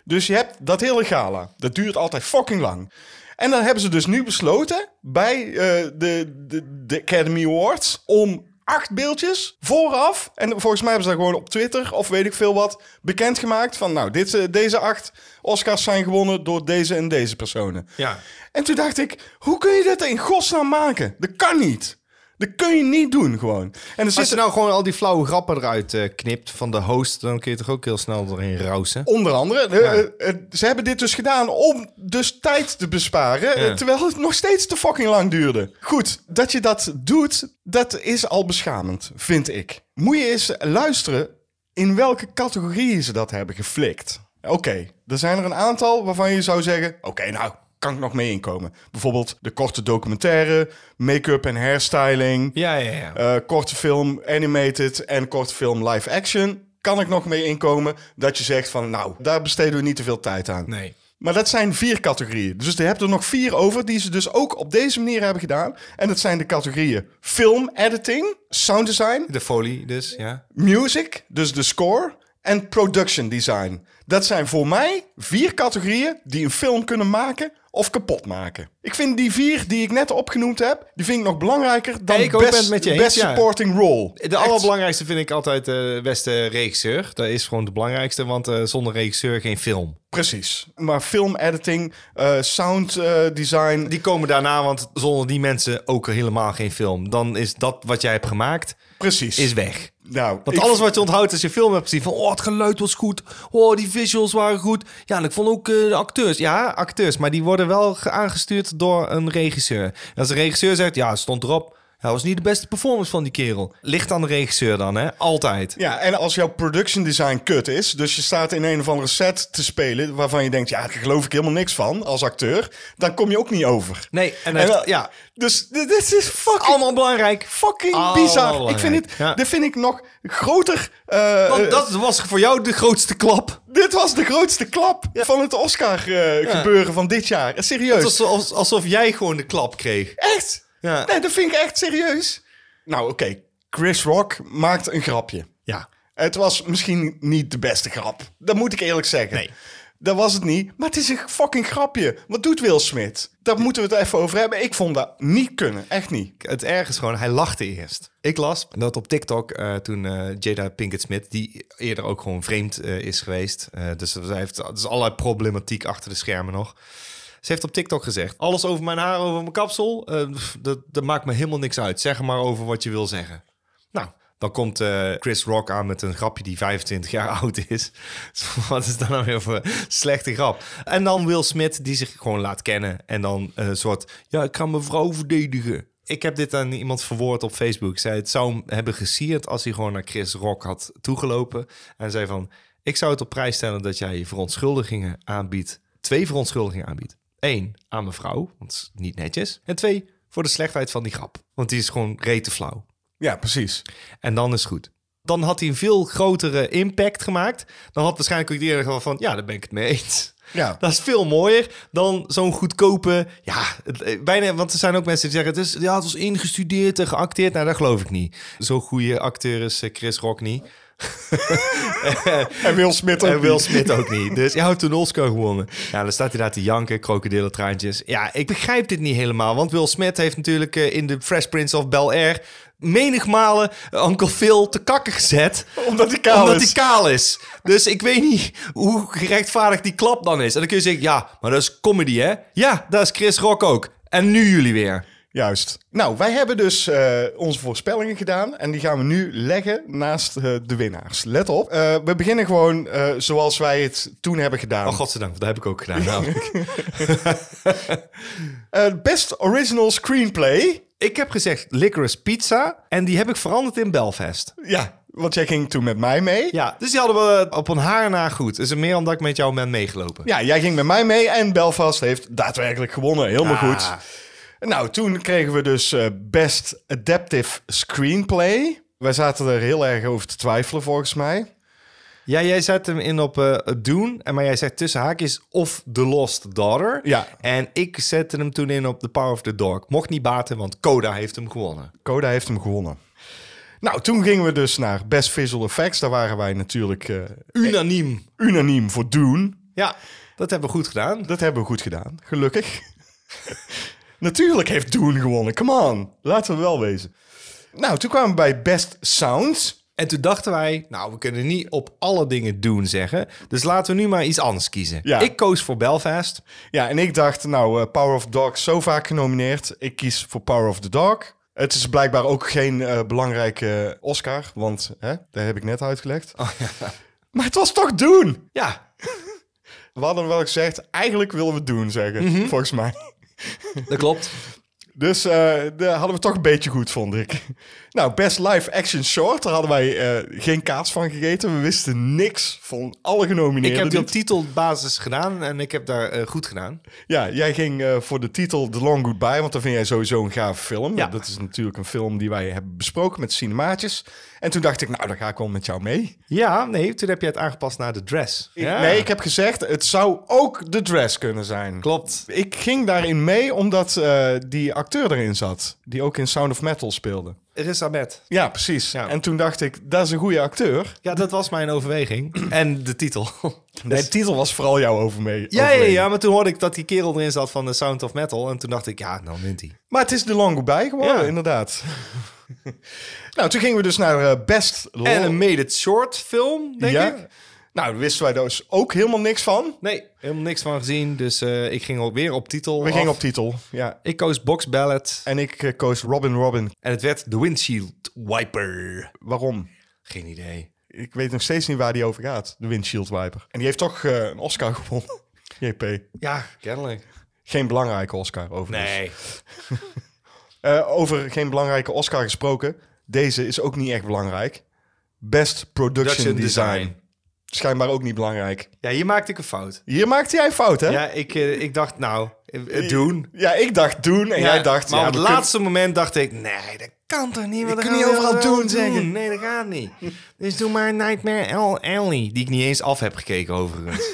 Speaker 1: Dus je hebt dat hele gala. Dat duurt altijd fucking lang. En dan hebben ze dus nu besloten bij eh, de, de, de Academy Awards om acht beeldjes vooraf. En volgens mij hebben ze dat gewoon op Twitter of weet ik veel wat bekendgemaakt. Van nou, dit, eh, deze acht Oscars zijn gewonnen door deze en deze personen.
Speaker 2: Ja.
Speaker 1: En toen dacht ik, hoe kun je dit in godsnaam maken? Dat kan niet. Dat kun je niet doen gewoon. En er
Speaker 2: Als je
Speaker 1: zitten
Speaker 2: nou gewoon al die flauwe grappen eruit eh, knipt van de host... dan kun je toch ook heel snel erin rousen?
Speaker 1: Onder andere, eh, eh, eh, ze hebben dit dus gedaan om dus tijd te besparen, eh, terwijl het nog steeds te fucking lang duurde. Goed, dat je dat doet, dat is al beschamend, vind ik. Moet je eens luisteren in welke categorieën ze dat hebben geflikt. Oké, er zijn er een aantal waarvan je zou zeggen, oké, nou, kan ik nog mee inkomen. Bijvoorbeeld de korte documentaire, make-up en hairstyling.
Speaker 2: Ja, ja, ja.
Speaker 1: Eh, korte film animated en korte film live action. Kan ik nog mee inkomen dat je zegt van nou, daar besteden we niet te veel tijd aan.
Speaker 2: nee.
Speaker 1: Maar dat zijn vier categorieën. Dus je hebt er nog vier over die ze dus ook op deze manier hebben gedaan. En dat zijn de categorieën film editing, sound design,
Speaker 2: De folie dus, ja.
Speaker 1: music, dus de score, en production design. Dat zijn voor mij vier categorieën die een film kunnen maken of kapot maken. Ik vind die vier die ik net opgenoemd heb, die vind ik nog belangrijker dan
Speaker 2: Ja, ik ook ben
Speaker 1: best,
Speaker 2: het met je eens,
Speaker 1: best
Speaker 2: ja.
Speaker 1: supporting role.
Speaker 2: De allerbelangrijkste vind ik altijd de beste regisseur. Dat is gewoon de belangrijkste, want eh, zonder regisseur geen film.
Speaker 1: Precies. Maar film editing, eh, sound eh, design.
Speaker 2: Die komen daarna, want zonder die mensen ook helemaal geen film. Dan is dat wat jij hebt gemaakt,
Speaker 1: precies.
Speaker 2: is weg.
Speaker 1: nou,
Speaker 2: Want
Speaker 1: ik-
Speaker 2: alles wat je onthoudt als je film hebt gezien, van oh, het geluid was goed, oh, die visuals waren goed. Ja, en ik vond ook eh, de acteurs. Ja, acteurs, maar die worden wel ge- aangestuurd door een regisseur. En als de regisseur zegt, ja, het stond erop, dat was niet de beste performance van die kerel. Ligt aan de regisseur dan, hè? Altijd.
Speaker 1: Ja, en als jouw production design kut is, dus je staat in een of andere set te spelen waarvan je denkt, ja, daar geloof ik helemaal niks van als acteur, dan kom je ook niet over.
Speaker 2: Nee, en,
Speaker 1: En
Speaker 2: hij-
Speaker 1: wel-
Speaker 2: ja,
Speaker 1: Dus dit dit is fucking,
Speaker 2: allemaal belangrijk.
Speaker 1: fucking
Speaker 2: Allemaal
Speaker 1: bizar. Ik vind
Speaker 2: belangrijk.
Speaker 1: dit,
Speaker 2: Ja.
Speaker 1: dit vind ik nog groter. eh,
Speaker 2: Want dat was voor jou de grootste klap.
Speaker 1: dit was de grootste klap van het Oscar eh, gebeuren van dit jaar. Serieus.
Speaker 2: Het was als- alsof jij gewoon de klap kreeg.
Speaker 1: Echt?
Speaker 2: Ja.
Speaker 1: Nee, dat vind ik echt serieus. Nou, oké. Chris Rock maakt een grapje.
Speaker 2: Ja.
Speaker 1: Het was misschien niet de beste grap. Dat moet ik eerlijk zeggen.
Speaker 2: Nee.
Speaker 1: Dat was het niet. Maar het is een fucking grapje. Wat doet Will Smith? Daar moeten we het even over hebben. Ik vond dat niet kunnen. Echt niet.
Speaker 2: het erg is gewoon, hij lachte eerst. Ik las dat op TikTok eh, toen eh, Jada Pinkett Smith, die eerder ook gewoon vreemd eh, is geweest. eh, dus hij heeft dus allerlei problematiek achter de schermen nog. Ze heeft op TikTok gezegd: Alles over mijn haar, over mijn kapsel, eh, pff, dat, dat maakt me helemaal niks uit. Zeg maar over wat je wil zeggen. Nou, dan komt eh, Chris Rock aan met een grapje die 25 jaar oud is. Wat is dat nou weer voor een slechte grap? En dan Will Smith, die zich gewoon laat kennen. En dan eh, een soort, ja, ik ga mijn vrouw verdedigen. Ik heb dit aan iemand verwoord op Facebook. Ik zei, het zou hem hebben gesierd als hij gewoon naar Chris Rock had toegelopen. En zei van, ik zou het op prijs stellen dat jij je verontschuldigingen aanbiedt. Twee verontschuldigingen aanbiedt. Eén, aan mijn vrouw, want het is niet netjes. En twee, voor de slechtheid van die grap. Want die is gewoon rete flauw.
Speaker 1: Ja, precies.
Speaker 2: En dan is het goed. Dan had hij een veel grotere impact gemaakt. Dan had waarschijnlijk ook iedereen gewoon van... ja, daar ben ik het mee eens.
Speaker 1: Ja.
Speaker 2: Dat is veel mooier dan zo'n goedkope... ja, het- eh, bijna... want er zijn ook mensen die zeggen... Het, is, ja, het was ingestudeerd en geacteerd. Nou, dat geloof ik niet. Zo'n goede acteur is eh, Chris Rock niet.
Speaker 1: En Will Smith ook
Speaker 2: En Will
Speaker 1: niet.
Speaker 2: Smith ook niet. Dus hij heeft toen Oscar gewonnen. Ja, dan staat hij daar te janken, krokodillentraantjes. Ja, ik begrijp dit niet helemaal. Want Will Smith heeft natuurlijk eh, in de Fresh Prince of Bel-Air... menigmalen eh, Uncle Phil te kakken gezet.
Speaker 1: Omdat hij kaal
Speaker 2: omdat
Speaker 1: is.
Speaker 2: hij kaal is. Dus ik weet niet hoe gerechtvaardigd die klap dan is. En dan kun je zeggen, ja, maar dat is comedy, hè? Ja, dat is Chris Rock ook. En nu jullie weer.
Speaker 1: Juist. Nou, wij hebben dus eh, onze voorspellingen gedaan. En die gaan we nu leggen naast eh, de winnaars. Let op. Eh, we beginnen gewoon eh, zoals wij het toen hebben gedaan.
Speaker 2: Oh, godzijdank, want dat heb ik ook gedaan. namelijk.
Speaker 1: Eh, best original screenplay.
Speaker 2: ik heb gezegd Licorice Pizza. En die heb ik veranderd in Belfast.
Speaker 1: Ja, want jij ging toen met mij mee.
Speaker 2: Ja, dus die hadden we op een haar na goed. Dus meer dan dat ik met jou ben meegelopen.
Speaker 1: Ja, jij ging met mij mee en Belfast heeft daadwerkelijk gewonnen. Helemaal
Speaker 2: Ah.
Speaker 1: goed. Nou, toen kregen we dus eh, Best Adaptive Screenplay. Wij zaten er heel erg over te twijfelen, volgens mij.
Speaker 2: Ja, jij zet hem in op eh Doen. En maar jij zegt tussen haakjes of The Lost Daughter.
Speaker 1: Ja.
Speaker 2: En ik zette hem toen in op The Power of the Dog. Mocht niet baten, want Coda heeft hem gewonnen.
Speaker 1: Coda heeft hem gewonnen. Nou, toen gingen we dus naar Best Visual Effects. Daar waren wij natuurlijk eh,
Speaker 2: Unaniem.
Speaker 1: unaniem voor Dune.
Speaker 2: Ja, dat hebben we goed gedaan.
Speaker 1: Dat hebben we goed gedaan, gelukkig. natuurlijk heeft Dune gewonnen. Come on, laten we wel wezen. Nou, toen kwamen we bij Best Sound.
Speaker 2: En toen dachten wij, nou, we kunnen niet op alle dingen Doen zeggen. Dus laten we nu maar iets anders kiezen.
Speaker 1: Ja.
Speaker 2: Ik koos voor Belfast.
Speaker 1: Ja, en ik dacht, nou, eh, Power of the Dog is zo vaak genomineerd. Ik kies voor Power of the Dog. Het is blijkbaar ook geen eh, belangrijke Oscar, want hè, dat heb ik net uitgelegd. Maar het was toch doen.
Speaker 2: Ja,
Speaker 1: We hadden wel gezegd, eigenlijk willen we doen zeggen,
Speaker 2: Mhm.
Speaker 1: volgens mij.
Speaker 2: dat klopt.
Speaker 1: Dus eh dat hadden we toch een beetje goed, vond ik. Nou, Best Live Action Short, daar hadden wij eh, geen kaas van gegeten. We wisten niks van alle
Speaker 2: Ik
Speaker 1: genomineerden. Dus
Speaker 2: heb die op
Speaker 1: niet.
Speaker 2: titelbasis gedaan en ik heb daar eh, goed gedaan.
Speaker 1: Ja, jij ging eh, voor de titel The Long Goodbye, want dat vind jij sowieso een gave film.
Speaker 2: Ja.
Speaker 1: Dat is natuurlijk een film die wij hebben besproken met cinemaatjes. En toen dacht ik, nou, dan ga ik wel met jou mee.
Speaker 2: Ja, nee, toen heb je het aangepast naar de dress. Ja.
Speaker 1: Nee, ik heb gezegd, het zou ook The Dress kunnen zijn.
Speaker 2: Klopt.
Speaker 1: Ik ging daarin mee omdat eh, die acteur erin zat, die ook in Sound of Metal speelde.
Speaker 2: Er is Ahmed.
Speaker 1: Ja, precies.
Speaker 2: Ja.
Speaker 1: En toen dacht ik, dat is een goede acteur.
Speaker 2: Ja, dat was mijn overweging. En de titel.
Speaker 1: Nee, de titel was vooral jou over mee.
Speaker 2: Ja, ja,
Speaker 1: overleden.
Speaker 2: ja, maar toen hoorde ik dat die kerel erin zat van de Sound of Metal. En toen dacht ik, ja, nou wint hij.
Speaker 1: Maar het is The Long Goodbye geworden,
Speaker 2: Ja.
Speaker 1: inderdaad. nou, toen gingen we dus naar eh, Best Long...
Speaker 2: En een made it short film, denk
Speaker 1: ja.
Speaker 2: ik.
Speaker 1: Nou, daar wisten wij dus ook helemaal niks van.
Speaker 2: Nee, helemaal niks van gezien. Dus eh, ik ging weer op titel.
Speaker 1: We gingen
Speaker 2: af.
Speaker 1: op titel, ja.
Speaker 2: Ik koos Box Ballad.
Speaker 1: En ik eh, koos Robin Robin.
Speaker 2: En het werd The Windshield Wiper.
Speaker 1: Waarom?
Speaker 2: Geen idee.
Speaker 1: Ik weet nog steeds niet waar die over gaat, de windshield wiper. En die heeft toch eh, een Oscar gewonnen. JP.
Speaker 2: Ja, kennelijk. Dus-
Speaker 1: Geen belangrijke Oscar, overigens.
Speaker 2: Nee.
Speaker 1: Eh, over geen belangrijke Oscar gesproken. Deze is ook niet echt belangrijk. Best Production,
Speaker 2: Production
Speaker 1: design.
Speaker 2: design.
Speaker 1: Schijnbaar ook niet belangrijk.
Speaker 2: Ja, hier maakte ik een fout.
Speaker 1: Hier maakte jij fout, hè?
Speaker 2: Ja, ik, eh, ik dacht, nou, eh, eh, doen.
Speaker 1: Ja, ik dacht doen en jij dacht...
Speaker 2: maar
Speaker 1: ja,
Speaker 2: op het
Speaker 1: we kunnen-
Speaker 2: laatste moment dacht ik, nee, dat kan toch niet? Want
Speaker 1: Je kunt
Speaker 2: dat gaan
Speaker 1: niet
Speaker 2: we
Speaker 1: overal
Speaker 2: wel
Speaker 1: doen, zeggen.
Speaker 2: Nee, dat gaat niet. Dus doe maar Nightmare Al- Alley, die ik niet eens af heb gekeken overigens.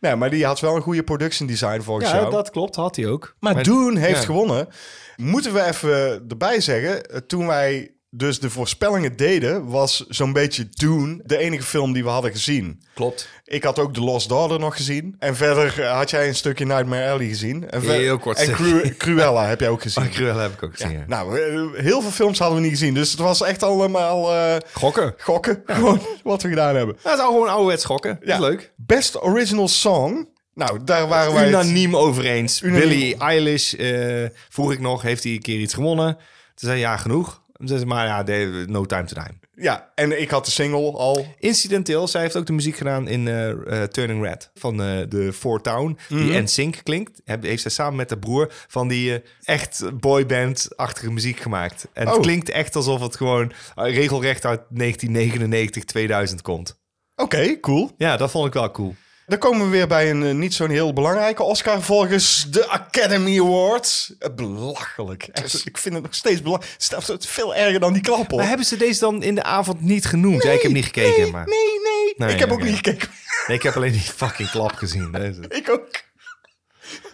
Speaker 1: Nee, maar die had wel een goede production design volgens jou.
Speaker 2: klopt, had hij ook.
Speaker 1: Maar, Doen heeft
Speaker 2: ja.
Speaker 1: gewonnen. Moeten we even erbij zeggen, eh, toen wij dus de voorspellingen deden, was zo'n beetje Doen de enige film die we hadden gezien.
Speaker 2: Klopt.
Speaker 1: Ik had ook The Lost Daughter nog gezien. En verder eh, had jij een stukje Nightmare Alley gezien. En ver-
Speaker 2: Heel kort
Speaker 1: En
Speaker 2: stukje.
Speaker 1: Cru- Cruella heb jij ook gezien.
Speaker 2: Cruel heb ik ook gezien, ja.
Speaker 1: Nou, eh, heel veel films hadden we niet gezien. Dus het was echt allemaal eh,
Speaker 2: Gokken.
Speaker 1: gokken. Gewoon wat we gedaan hebben.
Speaker 2: Dat is al gewoon ouderwets gokken. Dat is leuk.
Speaker 1: Best Original Song. Nou, daar waren wij het-
Speaker 2: Unaniem over eens.
Speaker 1: Unaniem.
Speaker 2: Billie Eilish, eh, vroeg ik nog, heeft hij een keer iets gewonnen? Toen zei hij, ja, genoeg. Toen zei ze, maar ja, de- no time to die.
Speaker 1: Ja, en ik had de single al.
Speaker 2: Incidenteel, zij heeft ook de muziek gedaan in eh, eh, Turning Red van eh, de Four Town. Die NSYNC klinkt. Heb, heeft zij samen met haar broer van die eh, echt boyband-achtige muziek gemaakt. En
Speaker 1: Oh.
Speaker 2: het klinkt echt alsof het gewoon eh, regelrecht uit 1999, 2000 komt.
Speaker 1: Oké, cool.
Speaker 2: Ja, dat vond ik wel cool.
Speaker 1: Dan komen we weer bij een eh, niet zo'n heel belangrijke Oscar volgens de Academy Awards. Eh, Belachelijk. Echt, ik vind het nog steeds belangrijk. Het is veel erger dan die klap, hoor.
Speaker 2: Maar hebben ze deze dan in de avond niet genoemd? ja, ik heb niet gekeken,
Speaker 1: nee,
Speaker 2: maar...
Speaker 1: Nee, nee,
Speaker 2: Nee,
Speaker 1: Ik heb ook
Speaker 2: oké.
Speaker 1: niet gekeken.
Speaker 2: Nee, ik heb alleen die fucking klap gezien. Dat is het.
Speaker 1: ik ook.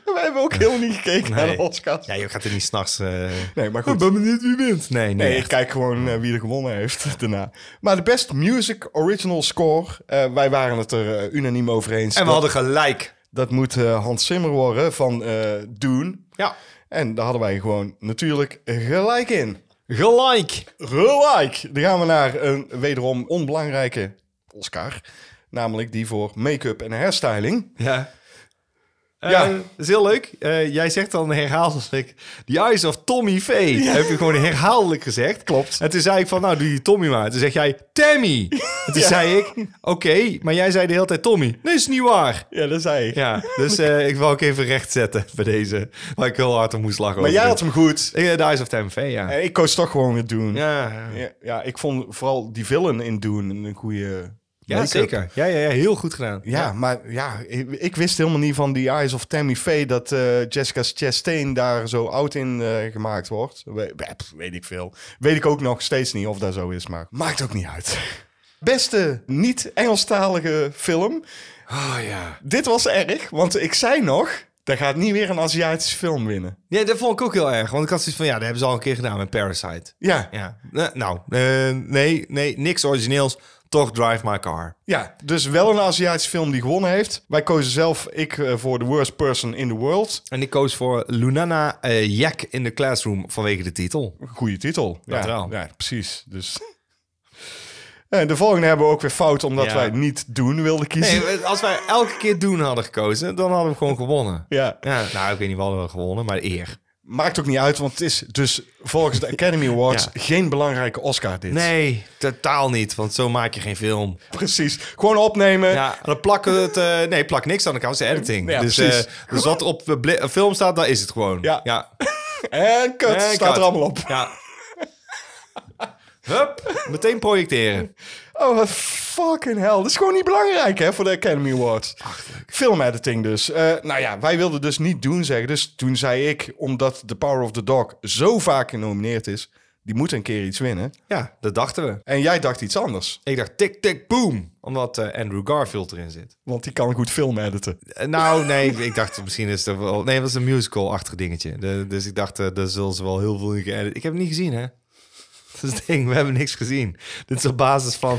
Speaker 1: We hebben ook helemaal niet gekeken naar de
Speaker 2: Nee.
Speaker 1: Oscars.
Speaker 2: Ja, je gaat er niet s'nachts... eh
Speaker 1: Nee, maar goed.
Speaker 2: Ik ben benieuwd wie wint. Nee, nee.
Speaker 1: Nee, ik
Speaker 2: echt.
Speaker 1: kijk gewoon eh, wie er gewonnen heeft daarna. Maar de Best Music Original Score. eh, wij waren het er eh, unaniem over eens.
Speaker 2: En we
Speaker 1: dat,
Speaker 2: hadden gelijk.
Speaker 1: dat moet eh, Hans Zimmer worden van eh Dune.
Speaker 2: Ja.
Speaker 1: En daar hadden wij gewoon natuurlijk gelijk in.
Speaker 2: Gelijk.
Speaker 1: Gelijk. Dan gaan we naar een wederom onbelangrijke Oscar. Namelijk die voor make-up en hairstyling.
Speaker 2: Ja.
Speaker 1: Ja.
Speaker 2: ja, is heel leuk. Eh, jij zegt dan herhaaldelijk... The Eyes of Tommy Vee. Heb je gewoon herhaaldelijk gezegd.
Speaker 1: Klopt.
Speaker 2: En toen zei ik van, nou doe die Tommy maar. Toen zeg jij, Tammy. En toen zei ik, oké, maar jij zei de hele tijd Tommy. Nee, is niet waar.
Speaker 1: Ja, dat zei ik.
Speaker 2: Ja, dus eh, ik wou ook even rechtzetten bij deze. Waar ik heel hard om moest lachen.
Speaker 1: Maar
Speaker 2: over
Speaker 1: jij had
Speaker 2: dit.
Speaker 1: hem goed.
Speaker 2: Eh, The Eyes of Tommy Vee, ja.
Speaker 1: En ik koos toch gewoon weer doen.
Speaker 2: Ja, ja.
Speaker 1: Ja, ja, ik vond vooral die villain in doen een goede.
Speaker 2: ja
Speaker 1: make-up.
Speaker 2: zeker. Ja, ja, ja, heel goed gedaan.
Speaker 1: Ja, maar ja, ik, ik wist helemaal niet van die Eyes of Tammy Faye dat eh, Jessica Chastain daar zo oud in eh, gemaakt wordt. We- we- pff, weet ik veel. Weet ik ook nog steeds niet of dat zo is, maar maakt ook niet uit. Beste niet-Engelstalige film.
Speaker 2: Oh ja.
Speaker 1: Dit was erg, want ik zei nog, daar gaat niet weer een Aziatische film winnen.
Speaker 2: Nee, dat vond ik ook heel erg. Want ik had zoiets van, ja, dat hebben ze al een keer gedaan met Parasite.
Speaker 1: Ja, ja.
Speaker 2: Ja, eh, nou, eh, nee, nee, niks origineels. Toch Drive My Car.
Speaker 1: dus wel een Aziatische film die gewonnen heeft. Wij kozen zelf, ik eh, voor The Worst Person in the World.
Speaker 2: En ik koos voor Lunana eh Jack in the Classroom vanwege de titel.
Speaker 1: Goede titel.
Speaker 2: Dat
Speaker 1: ja,
Speaker 2: wel.
Speaker 1: ja, precies. Dus. En de volgende hebben we ook weer fout, omdat
Speaker 2: Ja.
Speaker 1: wij het niet doen wilden kiezen.
Speaker 2: Nee, als wij elke keer Doen hadden gekozen, dan hadden we gewoon gewonnen.
Speaker 1: Ja,
Speaker 2: Ja, nou, ik weet niet wat we hadden gewonnen, maar eer.
Speaker 1: maakt ook niet uit, want het is dus volgens de Academy Awards
Speaker 2: Ja.
Speaker 1: geen belangrijke Oscar dit.
Speaker 2: Nee, totaal niet, want zo maak je geen film.
Speaker 1: Precies. Gewoon opnemen.
Speaker 2: Ja, en dan plakken we het... eh, nee, plak niks aan de kant, het is editing.
Speaker 1: Eh. Ja,
Speaker 2: dus,
Speaker 1: precies.
Speaker 2: eh, dus wat op de bli- film staat, daar is het gewoon.
Speaker 1: Ja.
Speaker 2: ja.
Speaker 1: En kut,
Speaker 2: En
Speaker 1: staat
Speaker 2: cut.
Speaker 1: er allemaal op.
Speaker 2: Eh, Ja. Hup, meteen projecteren.
Speaker 1: Oh, wat fucking hell. Dat is gewoon niet belangrijk, hè, voor de Academy Awards. Filmediting dus. Eh, nou ja, wij wilden dus niet doen zeggen. Dus toen zei ik, omdat The Power of the Dog zo vaak genomineerd is... die moet een keer iets winnen.
Speaker 2: Ja, dat dachten we.
Speaker 1: En jij dacht iets anders.
Speaker 2: Ik dacht tik, tik, boom. Omdat eh, Andrew Garfield erin zit.
Speaker 1: Want die kan goed film editen.
Speaker 2: Eh, nou, nee, ik dacht misschien is er wel... Nee, dat is een musical-achtig dingetje. De- dus ik dacht, eh, daar zullen ze wel heel veel in geëdit. Ik heb het niet gezien, hè? Dat is het ding, we hebben niks gezien. Dit is op basis van,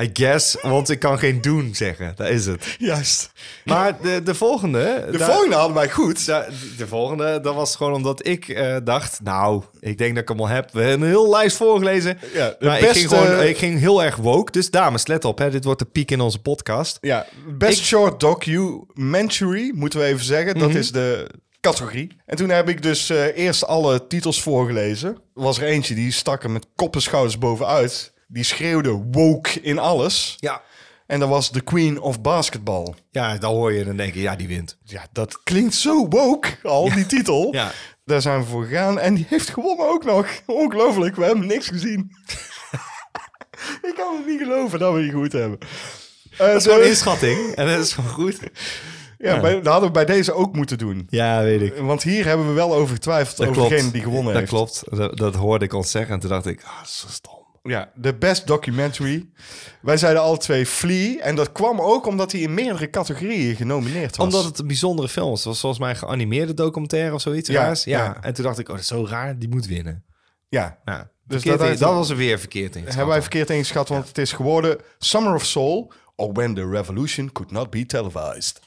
Speaker 2: I guess, want ik kan geen doen zeggen. Dat is het.
Speaker 1: Juist.
Speaker 2: Maar de, de volgende...
Speaker 1: De volgende hadden wij goed.
Speaker 2: Da- de volgende, dat was gewoon omdat ik eh, dacht, nou, ik denk dat ik hem al heb. We hebben een heel lijst voorgelezen.
Speaker 1: Ja, de
Speaker 2: maar ik, ging
Speaker 1: beste-
Speaker 2: gewoon, ik ging heel erg woke. Dus dames, let op, hè, dit wordt de piek in onze podcast.
Speaker 1: Ja, Best
Speaker 2: Ik- Mhm.
Speaker 1: Short Documentary, moeten we even zeggen. Dat is de categorie. En toen heb ik dus eh, eerst alle titels voorgelezen. Er was er eentje die stak er met kop en schouders bovenuit. Die schreeuwde woke in alles.
Speaker 2: Ja.
Speaker 1: En dat was The Queen of Basketball.
Speaker 2: Ja, dan hoor je en dan denk je, ja, die wint.
Speaker 1: Ja, dat klinkt zo woke, al die titel.
Speaker 2: Ja.
Speaker 1: Daar zijn we voor gegaan. En die heeft gewonnen ook nog. Ongelooflijk, we hebben niks gezien. ik kan het niet geloven dat we die goed hebben. Eh,
Speaker 2: Dat is gewoon
Speaker 1: de-
Speaker 2: een inschatting en dat is gewoon goed.
Speaker 1: Ja, bij- dat hadden we bij deze ook moeten doen.
Speaker 2: Ja, weet ik.
Speaker 1: Want hier hebben we wel over getwijfeld
Speaker 2: Dat
Speaker 1: over
Speaker 2: klopt.
Speaker 1: degene die gewonnen
Speaker 2: dat
Speaker 1: heeft.
Speaker 2: klopt. Dat, dat hoorde ik ons zeggen en toen dacht ik, ah, dat is zo stom.
Speaker 1: Ja, de best documentary. Wij zeiden alle twee Flea. En dat kwam ook omdat hij in meerdere categorieën genomineerd was.
Speaker 2: Omdat het een bijzondere film was. Het was volgens mij een geanimeerde documentaire of zoiets.
Speaker 1: Ja,
Speaker 2: Ja, ja.
Speaker 1: ja.
Speaker 2: En toen dacht ik, oh, dat is zo raar, die moet winnen.
Speaker 1: Ja,
Speaker 2: Nou,
Speaker 1: Dus
Speaker 2: dus
Speaker 1: dat-
Speaker 2: dat, dat was er weer verkeerd in.
Speaker 1: hebben wij verkeerd ingeschat, want het is geworden Summer of Soul... or When the Revolution Could Not Be Televised.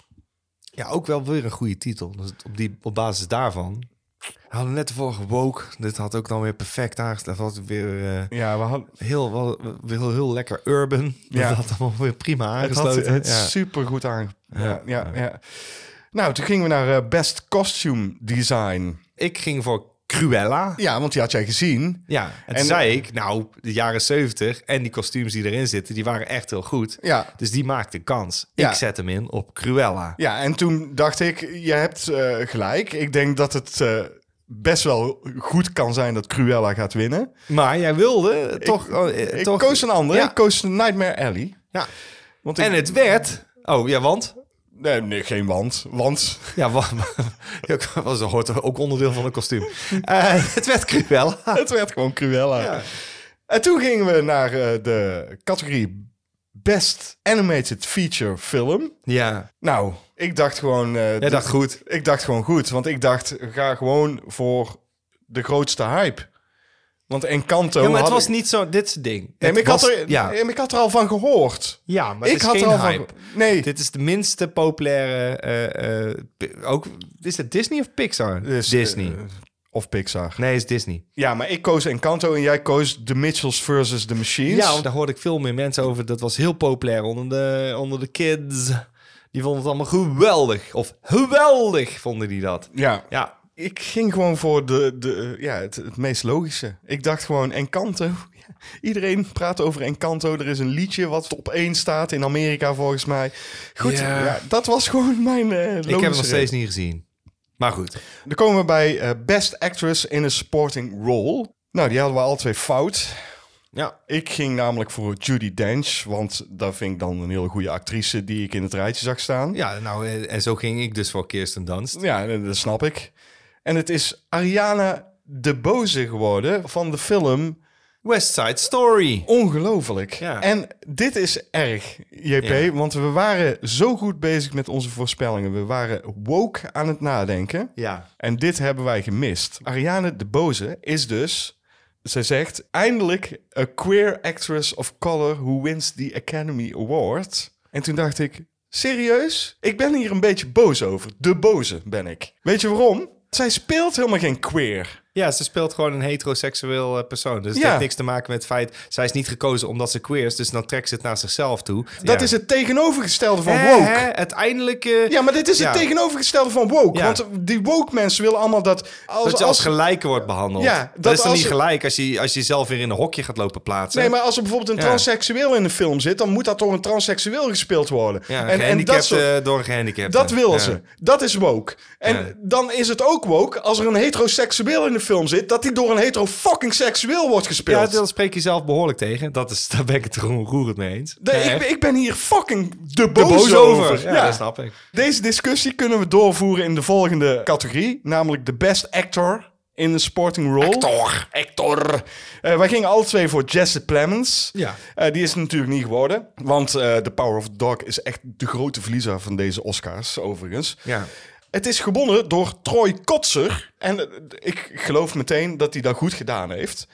Speaker 2: Ja, ook wel weer een goede titel. Dus op, die, op basis daarvan. We hadden net de vorige woke. Dit had ook dan weer perfect aangesloten. Dat had weer eh,
Speaker 1: Ja, we hadden...
Speaker 2: heel, wel- heel, heel lekker urban.
Speaker 1: Ja.
Speaker 2: Dat had allemaal weer prima
Speaker 1: Het had
Speaker 2: aangesloten.
Speaker 1: het
Speaker 2: ja.
Speaker 1: supergoed aan. Ja, ja, ja. Nou, toen gingen we naar eh, Best Costume Design.
Speaker 2: Ik ging voor Cruella.
Speaker 1: Ja, want die had jij gezien.
Speaker 2: Ja, en, toen
Speaker 1: En-
Speaker 2: zei ik, nou, de jaren 70 en die kostuums die erin zitten, die waren echt heel goed.
Speaker 1: Ja.
Speaker 2: Dus die maakte kans.
Speaker 1: Ja.
Speaker 2: Ik zet hem in op Cruella.
Speaker 1: Ja, en toen dacht ik, je hebt eh, gelijk. Ik denk dat het eh, best wel goed kan zijn dat Cruella gaat winnen.
Speaker 2: Maar jij wilde toch... eh,
Speaker 1: Ik
Speaker 2: toch
Speaker 1: koos een andere.
Speaker 2: Ja.
Speaker 1: Ik koos Nightmare Alley.
Speaker 2: Ja.
Speaker 1: Want ik-
Speaker 2: En het werd... Oh, ja, want...
Speaker 1: Nee, nee, geen want. Want...
Speaker 2: Ja, wa- wa- was hoort ook onderdeel van een kostuum. Eh, het werd Cruella.
Speaker 1: Het werd gewoon Cruella.
Speaker 2: Ja.
Speaker 1: En toen gingen we naar eh, de categorie Best Animated Feature Film.
Speaker 2: Ja,
Speaker 1: Nou, ik dacht gewoon... eh,
Speaker 2: jij
Speaker 1: dit-
Speaker 2: dacht goed.
Speaker 1: Ik dacht gewoon goed, want ik dacht, ga gewoon voor de grootste hype. Want Encanto
Speaker 2: Ja, maar het
Speaker 1: had
Speaker 2: was
Speaker 1: ik-
Speaker 2: niet zo dit soort ding.
Speaker 1: Nee,
Speaker 2: Het
Speaker 1: maar ik,
Speaker 2: was-
Speaker 1: had er,
Speaker 2: ja.
Speaker 1: nee, maar ik had er al van gehoord.
Speaker 2: ja, maar
Speaker 1: ik
Speaker 2: ik is
Speaker 1: had
Speaker 2: geen
Speaker 1: er al
Speaker 2: hype.
Speaker 1: van. ge- Nee,
Speaker 2: Dit is de minste populaire. eh, eh, pi- ook is het Disney of Pixar?
Speaker 1: Dus,
Speaker 2: Disney.
Speaker 1: eh, Of Pixar.
Speaker 2: Nee, het is Disney.
Speaker 1: Ja, maar ik koos Encanto en jij koos The Mitchells versus The Machines.
Speaker 2: Ja, want daar hoorde ik veel meer mensen over. Dat was heel populair onder de, onder de kids. Die vonden het allemaal geweldig. Of geweldig vonden die dat.
Speaker 1: ja.
Speaker 2: Ja,
Speaker 1: Ik ging gewoon voor de, de, ja, het, het meest logische. Ik dacht gewoon Encanto. Ja, Iedereen praat over Encanto. Er is een liedje wat op één staat in Amerika volgens mij. Goed,
Speaker 2: Ja.
Speaker 1: ja, dat was gewoon mijn eh logische
Speaker 2: ik heb het nog
Speaker 1: reden.
Speaker 2: steeds niet gezien. Maar goed.
Speaker 1: Dan komen we bij eh, Best Actress in a Supporting Role. Nou, die hadden we alle twee fout.
Speaker 2: Ja.
Speaker 1: Ik ging namelijk voor Judy Dench, want daar vind ik dan een hele goede actrice die ik in het rijtje zag staan.
Speaker 2: Ja, nou, eh, en zo ging ik dus voor Kirsten Dunst.
Speaker 1: Ja, en dat snap ik. En het is Ariana de Boze geworden van de film
Speaker 2: West Side Story.
Speaker 1: Ongelooflijk.
Speaker 2: Ja.
Speaker 1: En dit is erg, JP,
Speaker 2: Ja.
Speaker 1: want we waren zo goed bezig met onze voorspellingen. We waren woke aan het nadenken.
Speaker 2: Ja.
Speaker 1: En dit hebben wij gemist. Ariane de Boze is dus, zij zegt, eindelijk a queer actress of color who wins the Academy Award. En toen dacht ik, serieus? Ik ben hier een beetje boos over. De boze ben ik. Weet je waarom? Zij speelt helemaal geen queer.
Speaker 2: Ja, ze speelt gewoon een heteroseksueel eh, persoon. Dus het
Speaker 1: Ja.
Speaker 2: heeft niks te maken met het feit... Zij is niet gekozen omdat ze queer is, dus dan trekt ze het naar zichzelf toe.
Speaker 1: Dat
Speaker 2: Ja.
Speaker 1: is het tegenovergestelde van
Speaker 2: Hè,
Speaker 1: woke.
Speaker 2: hè, uiteindelijk... eh,
Speaker 1: Ja, maar dit is
Speaker 2: Ja.
Speaker 1: het tegenovergestelde van woke.
Speaker 2: Ja.
Speaker 1: Want die woke mensen willen allemaal dat... Als,
Speaker 2: dat je als gelijke wordt behandeld.
Speaker 1: Ja,
Speaker 2: dat,
Speaker 1: dat
Speaker 2: is dan
Speaker 1: als-
Speaker 2: niet gelijk als je, als je zelf weer in een hokje gaat lopen plaatsen.
Speaker 1: Nee, maar als er bijvoorbeeld een
Speaker 2: Ja.
Speaker 1: transseksueel in de film zit... dan moet dat toch een transseksueel gespeeld worden.
Speaker 2: Ja,
Speaker 1: en, en dat soort-
Speaker 2: gehandicapten door een gehandicapte.
Speaker 1: Dat willen
Speaker 2: Ja.
Speaker 1: ze. Dat is woke. En
Speaker 2: Ja.
Speaker 1: dan is het ook woke als er een heteroseksueel in de film zit... dat die door een hetero fucking seksueel wordt
Speaker 2: Ja,
Speaker 1: gespeeld.
Speaker 2: dat spreek je zelf behoorlijk tegen. Dat is, daar ben ik het gewoon roerend mee eens.
Speaker 1: De-
Speaker 2: Nee,
Speaker 1: ik, ben- ik ben hier fucking de
Speaker 2: echt
Speaker 1: boos, over.
Speaker 2: Ja,
Speaker 1: Ja.
Speaker 2: dat snap ik.
Speaker 1: Deze discussie kunnen we doorvoeren in de volgende categorie. Namelijk de best actor in de sporting role. Actor. Actor. Eh, wij gingen alle twee voor Jesse Plemons.
Speaker 2: Ja.
Speaker 1: Eh, die is het natuurlijk niet geworden. Want eh, The Power of the Dog is echt de grote verliezer van deze Oscars, overigens.
Speaker 2: Ja.
Speaker 1: Het is gewonnen door Troy Kotzer. En eh, ik geloof meteen dat hij dat goed gedaan heeft.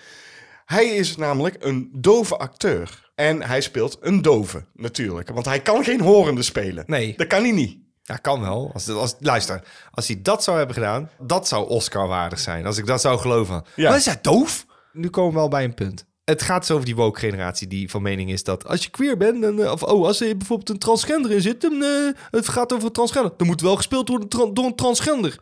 Speaker 1: Hij is namelijk een dove acteur. En hij speelt een dove, natuurlijk. Want hij kan geen horende spelen.
Speaker 2: Nee.
Speaker 1: Dat kan hij niet.
Speaker 2: Ja, kan wel. Als, als, luister, als hij dat zou hebben gedaan, dat zou Oscar-waardig zijn. Als ik dat zou geloven.
Speaker 1: Ja.
Speaker 2: Maar is hij doof? Nu komen we wel bij een punt. Het gaat dus over die woke-generatie die van mening is dat als je queer bent, dan, eh, of oh, als er bijvoorbeeld een transgender in zit, dan, eh, het gaat over een transgender. Dan moet wel gespeeld worden tra- door een transgender.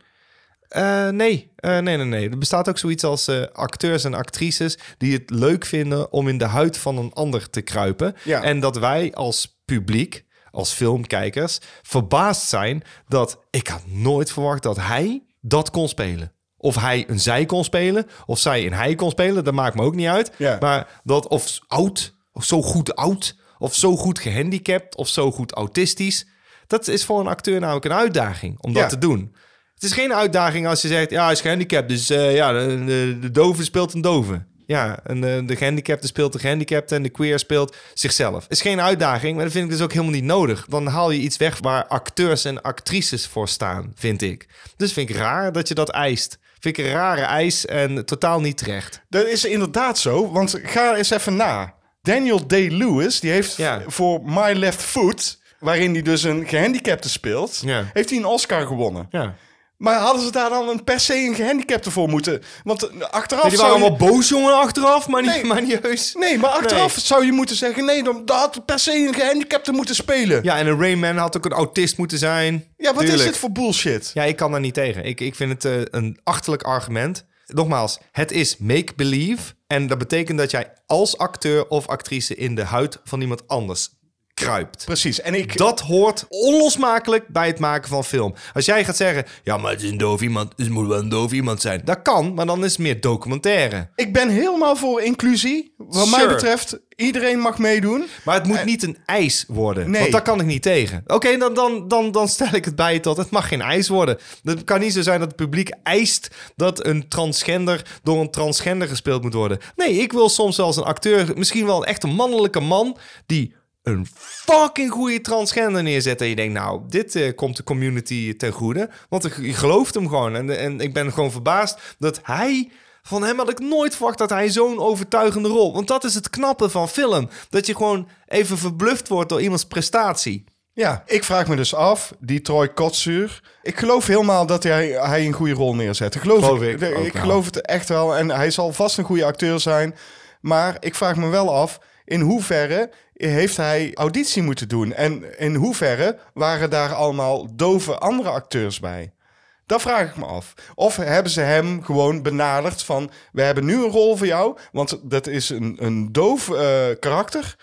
Speaker 2: Eh, nee. Eh, nee, nee, nee. Er bestaat ook zoiets als eh, acteurs en actrices die het leuk vinden om in de huid van een ander te kruipen.
Speaker 1: Ja.
Speaker 2: En dat wij als publiek, als filmkijkers, verbaasd zijn dat ik had nooit verwacht dat hij dat kon spelen. Of hij een zij kon spelen, of zij een hij kon spelen, dat maakt me ook niet uit.
Speaker 1: Ja.
Speaker 2: Maar dat of oud, of zo goed oud, of zo goed gehandicapt, of zo goed autistisch. Dat is voor een acteur namelijk een uitdaging om dat
Speaker 1: Ja.
Speaker 2: te doen. Het is geen uitdaging als je zegt, ja, hij is gehandicapt, dus eh, ja, de, de, de dove speelt een dove. Ja, en de, de gehandicapte speelt de gehandicapte en de queer speelt zichzelf. Is geen uitdaging, maar dat vind ik dus ook helemaal niet nodig. Dan haal je iets weg waar acteurs en actrices voor staan, vind ik. Dus vind ik raar dat je dat eist. Vind ik een rare eis en totaal niet terecht.
Speaker 1: Dat is inderdaad zo, want ga eens even na. Daniel Day-Lewis, die heeft
Speaker 2: Ja.
Speaker 1: voor My Left Foot... waarin hij dus een gehandicapte speelt...
Speaker 2: Ja.
Speaker 1: heeft hij een Oscar gewonnen.
Speaker 2: Ja.
Speaker 1: Maar hadden ze daar dan een, per se een gehandicapte voor moeten? Want eh, achteraf
Speaker 2: die
Speaker 1: zou
Speaker 2: waren
Speaker 1: je-
Speaker 2: allemaal boos jongen achteraf, maar niet,
Speaker 1: Nee.
Speaker 2: maar niet heus.
Speaker 1: Nee, maar achteraf
Speaker 2: Nee.
Speaker 1: zou je moeten zeggen... nee, dan, dan had per se een gehandicapte moeten spelen. Ja,
Speaker 2: Ja, en een Rayman had ook een autist moeten zijn.
Speaker 1: wat
Speaker 2: Tuurlijk.
Speaker 1: is dit voor bullshit?
Speaker 2: Ja, ik kan daar niet tegen. Ik, ik vind het eh, een achterlijk argument. Nogmaals, het is make-believe. En dat betekent dat jij als acteur of actrice in de huid van iemand anders kruipt.
Speaker 1: Precies, en ik...
Speaker 2: Dat hoort onlosmakelijk bij het maken van film. Als jij gaat zeggen, ja, maar het is een doof iemand, dus het moet wel een doof iemand zijn. Dat kan, maar dan is het meer documentaire.
Speaker 1: Ik ben helemaal voor inclusie. Wat mij
Speaker 2: Sure.
Speaker 1: betreft, iedereen mag meedoen.
Speaker 2: Maar het moet niet een ijs worden.
Speaker 1: Nee.
Speaker 2: Want daar kan ik niet tegen. Oké, dan, dan, dan, dan stel ik het bij tot. Het mag geen ijs worden. Het kan niet zo zijn dat het publiek eist dat een transgender door een transgender gespeeld moet worden. Nee, ik wil soms zelfs een acteur, misschien wel een echte mannelijke man, die een fucking goede transgender neerzet. En je denkt, nou, dit eh, komt de community ten goede. Want ik, ik geloof hem gewoon. En, en ik ben gewoon verbaasd dat hij van hem had ik nooit verwacht dat hij zo'n overtuigende rol. Want dat is het knappe van film. Dat je gewoon even verbluft wordt door iemands prestatie.
Speaker 1: Ja, ik vraag me dus af, die Troy Kotsuur. Ik geloof helemaal dat hij, hij een goede rol neerzet. Ik geloof,
Speaker 2: Geloof ik
Speaker 1: ik,
Speaker 2: ook
Speaker 1: ik
Speaker 2: wel.
Speaker 1: geloof het echt wel. En hij zal vast een goede acteur zijn. Maar ik vraag me wel af, in hoeverre heeft hij auditie moeten doen? En in hoeverre waren daar allemaal dove andere acteurs bij? Dat vraag ik me af. Of hebben ze hem gewoon benaderd van... we hebben nu een rol voor jou, want dat is een, een doof eh, karakter.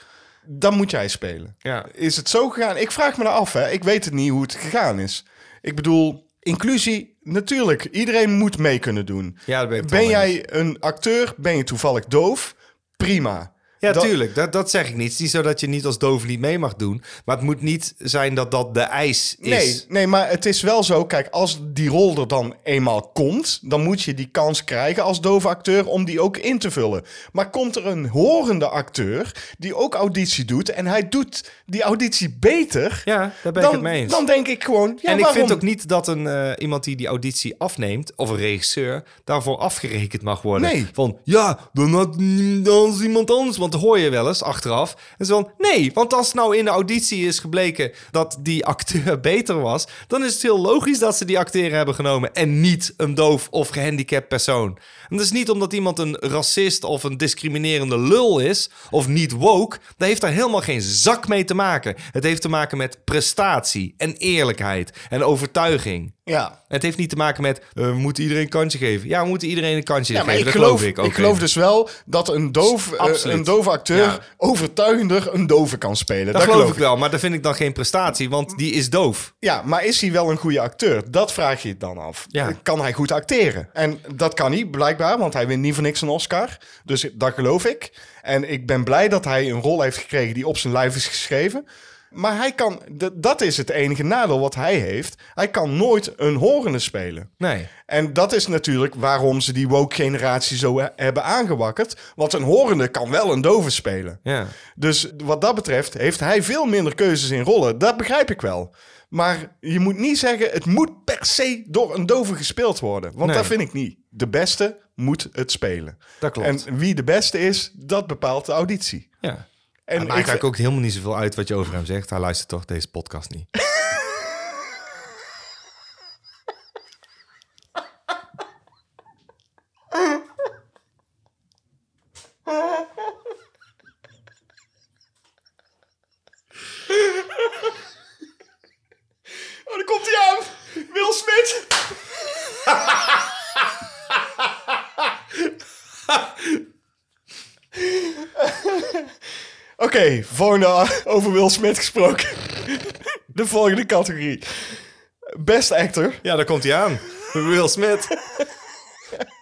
Speaker 1: Dan moet jij spelen.
Speaker 2: Ja.
Speaker 1: Is het zo gegaan? Ik vraag me dat af. Hè. Ik weet het niet hoe het gegaan is. Ik bedoel, inclusie, natuurlijk. Iedereen moet mee kunnen doen.
Speaker 2: Ja, dat ben ik het
Speaker 1: ben
Speaker 2: wel mee
Speaker 1: jij een acteur? Ben je toevallig doof? Prima.
Speaker 2: Ja,
Speaker 1: Dat-
Speaker 2: tuurlijk. Dat, dat zeg ik niet. Het is niet zo dat je niet als doof niet mee mag doen. Maar het moet niet zijn dat dat de eis is.
Speaker 1: Nee, nee, maar het is wel zo. Kijk, als die rol er dan eenmaal komt, dan moet je die kans krijgen als dove acteur om die ook in te vullen. Maar komt er een horende acteur die ook auditie doet en hij doet die auditie beter,
Speaker 2: Ja, daar ben
Speaker 1: dan,
Speaker 2: ik het mee eens.
Speaker 1: dan denk ik gewoon, ja,
Speaker 2: en ik
Speaker 1: waarom?
Speaker 2: vind ook niet dat een, eh, iemand die die auditie afneemt, of een regisseur, daarvoor afgerekend mag worden.
Speaker 1: Nee.
Speaker 2: Van, ja, dan had n- dan is iemand anders. Want dat hoor je wel eens achteraf. En zo van, nee, want als nou in de auditie is gebleken dat die acteur beter was, dan is het heel logisch dat ze die acteur hebben genomen en niet een doof of gehandicapt persoon. En dat is niet omdat iemand een racist of een discriminerende lul is, of niet woke. Dat heeft daar helemaal geen zak mee te maken. Het heeft te maken met prestatie en eerlijkheid en overtuiging.
Speaker 1: Ja.
Speaker 2: Het heeft niet te maken met, eh, we moeten iedereen een kansje geven. Ja, we moeten iedereen een kansje
Speaker 1: Ja,
Speaker 2: geven.
Speaker 1: maar ik
Speaker 2: dat
Speaker 1: geloof,
Speaker 2: ik
Speaker 1: ik,
Speaker 2: ook.
Speaker 1: geloof
Speaker 2: in.
Speaker 1: dus wel dat een, doof, eh,
Speaker 2: Absoluut.
Speaker 1: een dove acteur
Speaker 2: Ja.
Speaker 1: overtuigender een dove kan spelen.
Speaker 2: dat, geloof ik wel, maar dat vind ik dan geen prestatie, want die is doof.
Speaker 1: Ja, maar is hij wel een goede acteur? Dat vraag je het dan af.
Speaker 2: Ja.
Speaker 1: Kan hij goed acteren? En dat kan hij blijkbaar, want hij wint niet voor niks een Oscar. Dus dat geloof ik. En ik ben blij dat hij een rol heeft gekregen die op zijn lijf is geschreven. Maar hij kan, d- dat is het enige nadeel wat hij heeft. Hij kan nooit een horende spelen.
Speaker 2: Nee.
Speaker 1: En dat is natuurlijk waarom ze die woke generatie zo he- hebben aangewakkerd. Want een horende kan wel een dove spelen.
Speaker 2: Ja.
Speaker 1: Dus wat dat betreft heeft hij veel minder keuzes in rollen. Dat begrijp ik wel. Maar je moet niet zeggen, het moet per se door een dove gespeeld worden. Want
Speaker 2: Nee.
Speaker 1: dat vind ik niet. De beste moet het spelen.
Speaker 2: Dat klopt.
Speaker 1: En wie de beste is, dat bepaalt de auditie.
Speaker 2: ja.
Speaker 1: En
Speaker 2: Het maakt
Speaker 1: ik,
Speaker 2: eigenlijk ook helemaal niet zoveel uit wat je over hem zegt. Hij luistert toch deze podcast niet.
Speaker 1: Oh, daar komt hij aan! Will Smith! Oké, volgende over Will Smith gesproken. De volgende categorie. Best actor.
Speaker 2: Ja, daar komt hij aan. Will Smith.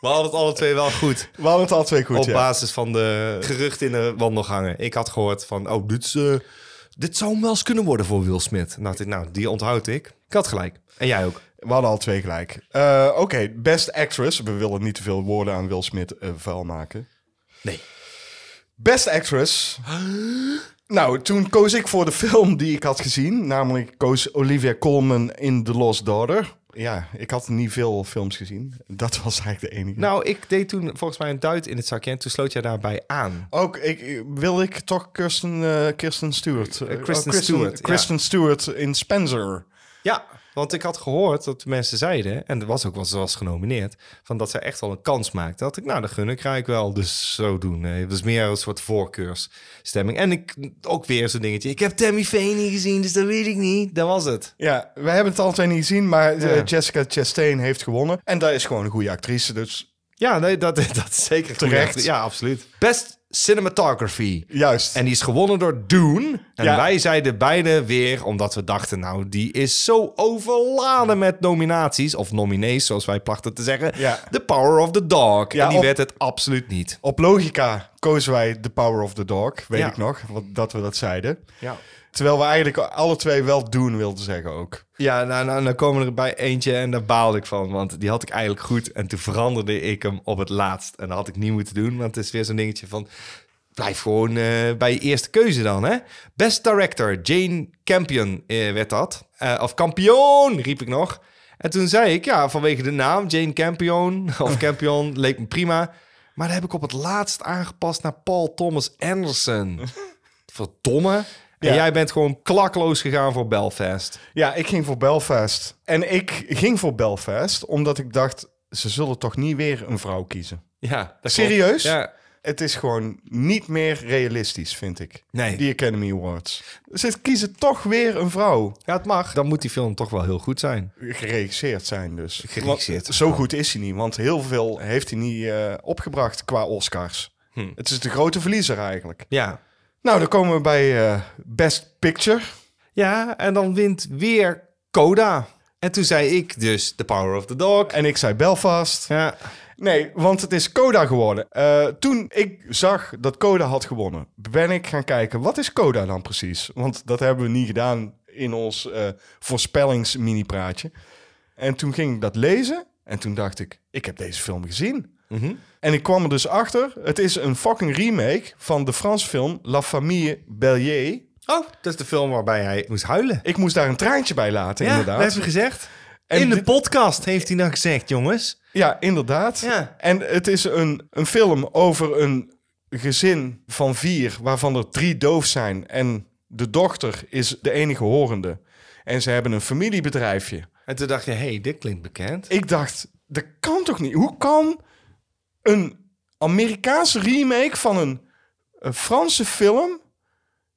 Speaker 2: We hadden het alle twee wel goed.
Speaker 1: We hadden het al twee goed,
Speaker 2: op
Speaker 1: ja.
Speaker 2: basis van de geruchten in de wandelgangen. Ik had gehoord van, oh, dit, is, eh, dit zou hem wel eens kunnen worden voor Will Smith. Nou, dit, nou, die onthoud ik. Ik had gelijk. En jij ook.
Speaker 1: We hadden al twee gelijk. Eh, Oké, best actress. We willen niet te veel woorden aan Will Smith eh, vuil maken.
Speaker 2: Nee.
Speaker 1: Best actress. Nou, toen koos ik voor de film die ik had gezien. Namelijk koos Olivia Colman in The Lost Daughter. Ja, ik had niet veel films gezien. Dat was eigenlijk de enige.
Speaker 2: Nou, ik deed toen volgens mij een duit in het zakje en toen sloot jij daarbij aan.
Speaker 1: Ook ik, ik- wil ik toch Kirsten, eh, Kirsten Stewart.
Speaker 2: Kristen
Speaker 1: Eh,
Speaker 2: Stewart, ja.
Speaker 1: Kristen Stewart in Spencer.
Speaker 2: Ja, want ik had gehoord dat mensen zeiden, en er was ook wel, ze was genomineerd, van dat zij echt wel een kans maakte. Dat ik, nou, de gun ik ik wel. Dus zo doen. hè. Het was meer een soort voorkeursstemming. En ik ook weer zo'n dingetje. Ik heb Tammy Faye niet gezien, dus dat weet ik niet. Dat was het.
Speaker 1: Ja, we hebben het alle twee niet gezien, maar eh, Jessica Chastain heeft gewonnen. En dat is gewoon een goede actrice, dus
Speaker 2: Ja, nee, dat, dat is zeker
Speaker 1: Terecht.
Speaker 2: terecht. Ja, absoluut. Best cinematography.
Speaker 1: juist.
Speaker 2: En die is gewonnen door Dune. En
Speaker 1: Ja.
Speaker 2: wij zeiden beide weer, omdat we dachten, nou, die is zo overladen met nominaties. Of nominees, zoals wij plachten te zeggen.
Speaker 1: Ja.
Speaker 2: The Power of the Dog.
Speaker 1: Ja,
Speaker 2: en die
Speaker 1: op-
Speaker 2: werd het absoluut niet.
Speaker 1: Op logica kozen wij The Power of the Dog, weet
Speaker 2: Ja.
Speaker 1: ik nog, want dat we dat zeiden.
Speaker 2: Ja.
Speaker 1: Terwijl we eigenlijk alle twee wel doen wilden zeggen ook.
Speaker 2: Ja, nou, nou, nou komen er bij eentje en daar baalde ik van. Want die had ik eigenlijk goed. En toen veranderde ik hem op het laatst. En dat had ik niet moeten doen. Want het is weer zo'n dingetje van... Blijf gewoon eh, bij je eerste keuze dan, hè? Best Director, Jane Campion eh, werd dat. Eh, of Campion, riep ik nog. En toen zei ik, ja, vanwege de naam Jane Campion of Campion leek me prima. Maar dat heb ik op het laatst aangepast naar Paul Thomas Anderson. Verdomme. En
Speaker 1: Ja.
Speaker 2: jij bent gewoon klakloos gegaan voor Belfast.
Speaker 1: Ja, ik ging voor Belfast. En ik ging voor Belfast omdat ik dacht, ze zullen toch niet weer een vrouw kiezen.
Speaker 2: Ja, dat
Speaker 1: Serieus?
Speaker 2: klopt. Ja.
Speaker 1: Het is gewoon niet meer realistisch, vind ik.
Speaker 2: Nee.
Speaker 1: Die Academy Awards. Ze kiezen toch weer een vrouw.
Speaker 2: ja, het mag. Dan moet die film toch wel heel goed zijn.
Speaker 1: Geregisseerd zijn dus.
Speaker 2: Geregisseerd.
Speaker 1: Want zo goed is hij niet, want heel veel heeft hij niet eh, opgebracht qua Oscars. Het is de grote verliezer eigenlijk.
Speaker 2: Ja.
Speaker 1: Nou, dan komen we bij eh, Best Picture.
Speaker 2: Ja, en dan wint weer Coda. En toen zei ik dus The Power of the Dog.
Speaker 1: En ik zei Belfast.
Speaker 2: Ja.
Speaker 1: Nee, want het is Coda geworden. Eh, toen ik zag dat Coda had gewonnen, ben ik gaan kijken wat is Coda dan precies? Want dat hebben we niet gedaan in ons eh voorspellings-mini-praatje. En toen ging ik dat lezen en toen dacht ik, ik heb deze film gezien.
Speaker 2: Mhm.
Speaker 1: En ik kwam er dus achter, het is een fucking remake van de Franse film La Famille Bélier.
Speaker 2: Oh, dat is de film waarbij hij moest huilen.
Speaker 1: Ik moest daar een traantje bij laten,
Speaker 2: Ja,
Speaker 1: inderdaad.
Speaker 2: dat heeft hij gezegd.
Speaker 1: En
Speaker 2: In de
Speaker 1: dit-
Speaker 2: podcast heeft hij nou gezegd, jongens.
Speaker 1: Ja, inderdaad.
Speaker 2: Ja.
Speaker 1: En het is een, een film over een gezin van vier, waarvan er drie doof zijn. En de dochter is de enige horende. En ze hebben een familiebedrijfje.
Speaker 2: En toen dacht je, hé, hey, dit klinkt bekend.
Speaker 1: Ik dacht, dat kan toch niet? Hoe kan een Amerikaanse remake van een, een Franse film...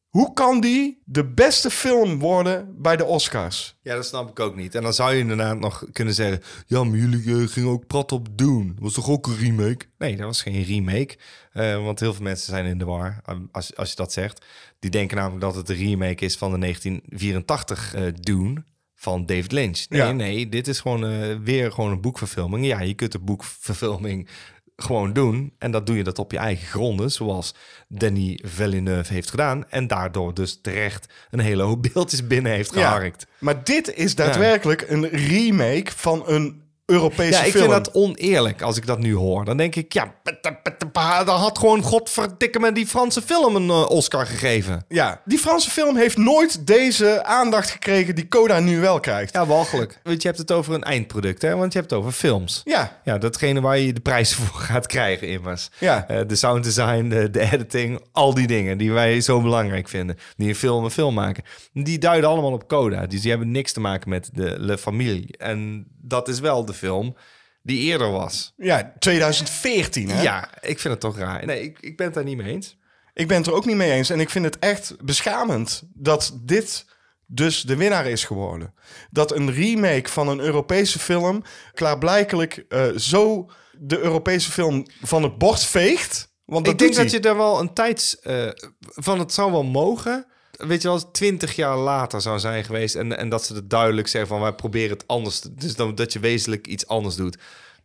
Speaker 1: Hoe kan die de beste film worden bij de Oscars?
Speaker 2: Ja, dat snap ik ook niet. En dan zou je inderdaad nog kunnen zeggen... Ja, maar jullie eh, gingen ook prat op doen. Was toch ook een remake? Nee, dat was geen remake. Eh, want heel veel mensen zijn in de war, um, als, als je dat zegt. Die denken namelijk dat het een remake is van de 1984 eh Dune van David Lynch. Nee,
Speaker 1: Ja.
Speaker 2: nee, dit is gewoon eh, weer gewoon een boekverfilming. Ja, je kunt de boekverfilming gewoon doen. En dat doe je dat op je eigen gronden, zoals Danny Villeneuve heeft gedaan. En daardoor dus terecht een hele hoop beeldjes binnen heeft geharkt.
Speaker 1: Maar dit is daadwerkelijk een remake van een Europese
Speaker 2: Ja, ik
Speaker 1: film.
Speaker 2: vind dat oneerlijk als ik dat nu hoor. Dan denk ik, ja, pata, pata, pa, dan had gewoon godverdikke me die Franse film een eh, Oscar gegeven.
Speaker 1: Ja, die Franse film heeft nooit deze aandacht gekregen die Coda nu wel krijgt.
Speaker 2: Ja, walgelijk. Want je hebt het over een eindproduct, hè? Want je hebt het over films.
Speaker 1: Ja.
Speaker 2: Ja, datgene waar je de prijzen voor gaat krijgen immers.
Speaker 1: Ja.
Speaker 2: Eh, de sound design, de, de editing, al die dingen die wij zo belangrijk vinden. Die een film een film maken. Die duiden allemaal op coda. Dus die hebben niks te maken met de Le Familie. En dat is wel de film die eerder was.
Speaker 1: Ja, 2014 hè?
Speaker 2: Ja, ik vind het toch raar. Nee, ik, ik ben het daar niet mee eens.
Speaker 1: Ik ben het er ook niet mee eens en ik vind het echt beschamend dat dit dus de winnaar is geworden. Dat een remake van een Europese film klaarblijkelijk eh, zo de Europese film van het bord veegt. Want dat
Speaker 2: ik denk
Speaker 1: doet
Speaker 2: dat je
Speaker 1: hij.
Speaker 2: daar wel een tijds... eh, van het zou wel mogen... Weet je wel, twintig jaar later zou zijn geweest... En, en dat ze het duidelijk zeggen van... wij proberen het anders. te- Dus dan, dat je wezenlijk iets anders doet.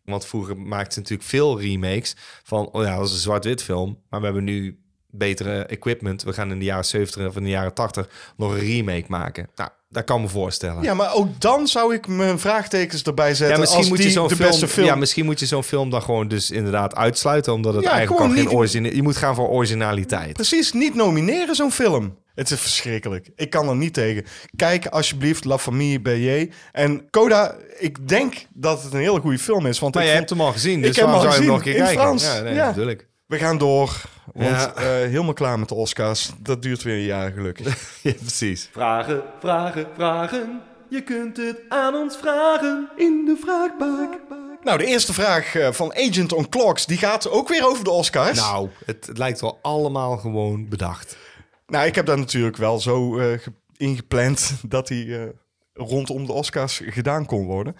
Speaker 2: Want vroeger maakten ze natuurlijk veel remakes... van, oh ja, dat is een zwart-wit film... maar we hebben nu betere equipment. We gaan in de jaren 70 of in de jaren 80... nog een remake maken. Nou, dat kan me voorstellen.
Speaker 1: Ja, maar ook dan zou ik mijn vraagtekens erbij zetten als die de beste film...
Speaker 2: Ja, misschien moet je zo'n film dan gewoon dus inderdaad uitsluiten, omdat het
Speaker 1: Ja,
Speaker 2: eigenlijk al
Speaker 1: gewoon
Speaker 2: geen
Speaker 1: niet-
Speaker 2: origine. Je moet gaan voor originaliteit.
Speaker 1: Precies, niet nomineren zo'n film. Het is verschrikkelijk. Ik kan er niet tegen. Kijk alsjeblieft La Famille Bélier. En Coda, ik denk dat het een hele goede film is. Want
Speaker 2: Maar
Speaker 1: ik
Speaker 2: je hebt
Speaker 1: vond-
Speaker 2: hem al gezien,
Speaker 1: Ik
Speaker 2: dus
Speaker 1: heb hem
Speaker 2: waarom
Speaker 1: al
Speaker 2: zou je hem nog een keer
Speaker 1: gezien, in
Speaker 2: kijken?
Speaker 1: Frans,
Speaker 2: Ja, nee,
Speaker 1: ja.
Speaker 2: natuurlijk.
Speaker 1: We gaan door, want
Speaker 2: Ja.
Speaker 1: eh, helemaal klaar met de Oscars. Dat duurt weer een jaar gelukkig.
Speaker 2: Ja, precies.
Speaker 8: Vragen, vragen, vragen. Je kunt het aan ons vragen in de vraagbaak.
Speaker 1: nou, de eerste vraag eh, van Agent on Clocks, die gaat ook weer over de Oscars.
Speaker 2: Nou, het, het lijkt wel allemaal gewoon bedacht.
Speaker 1: Nou, ik heb dat natuurlijk wel zo eh, ge- ingepland dat hij eh, rondom de Oscars gedaan kon worden.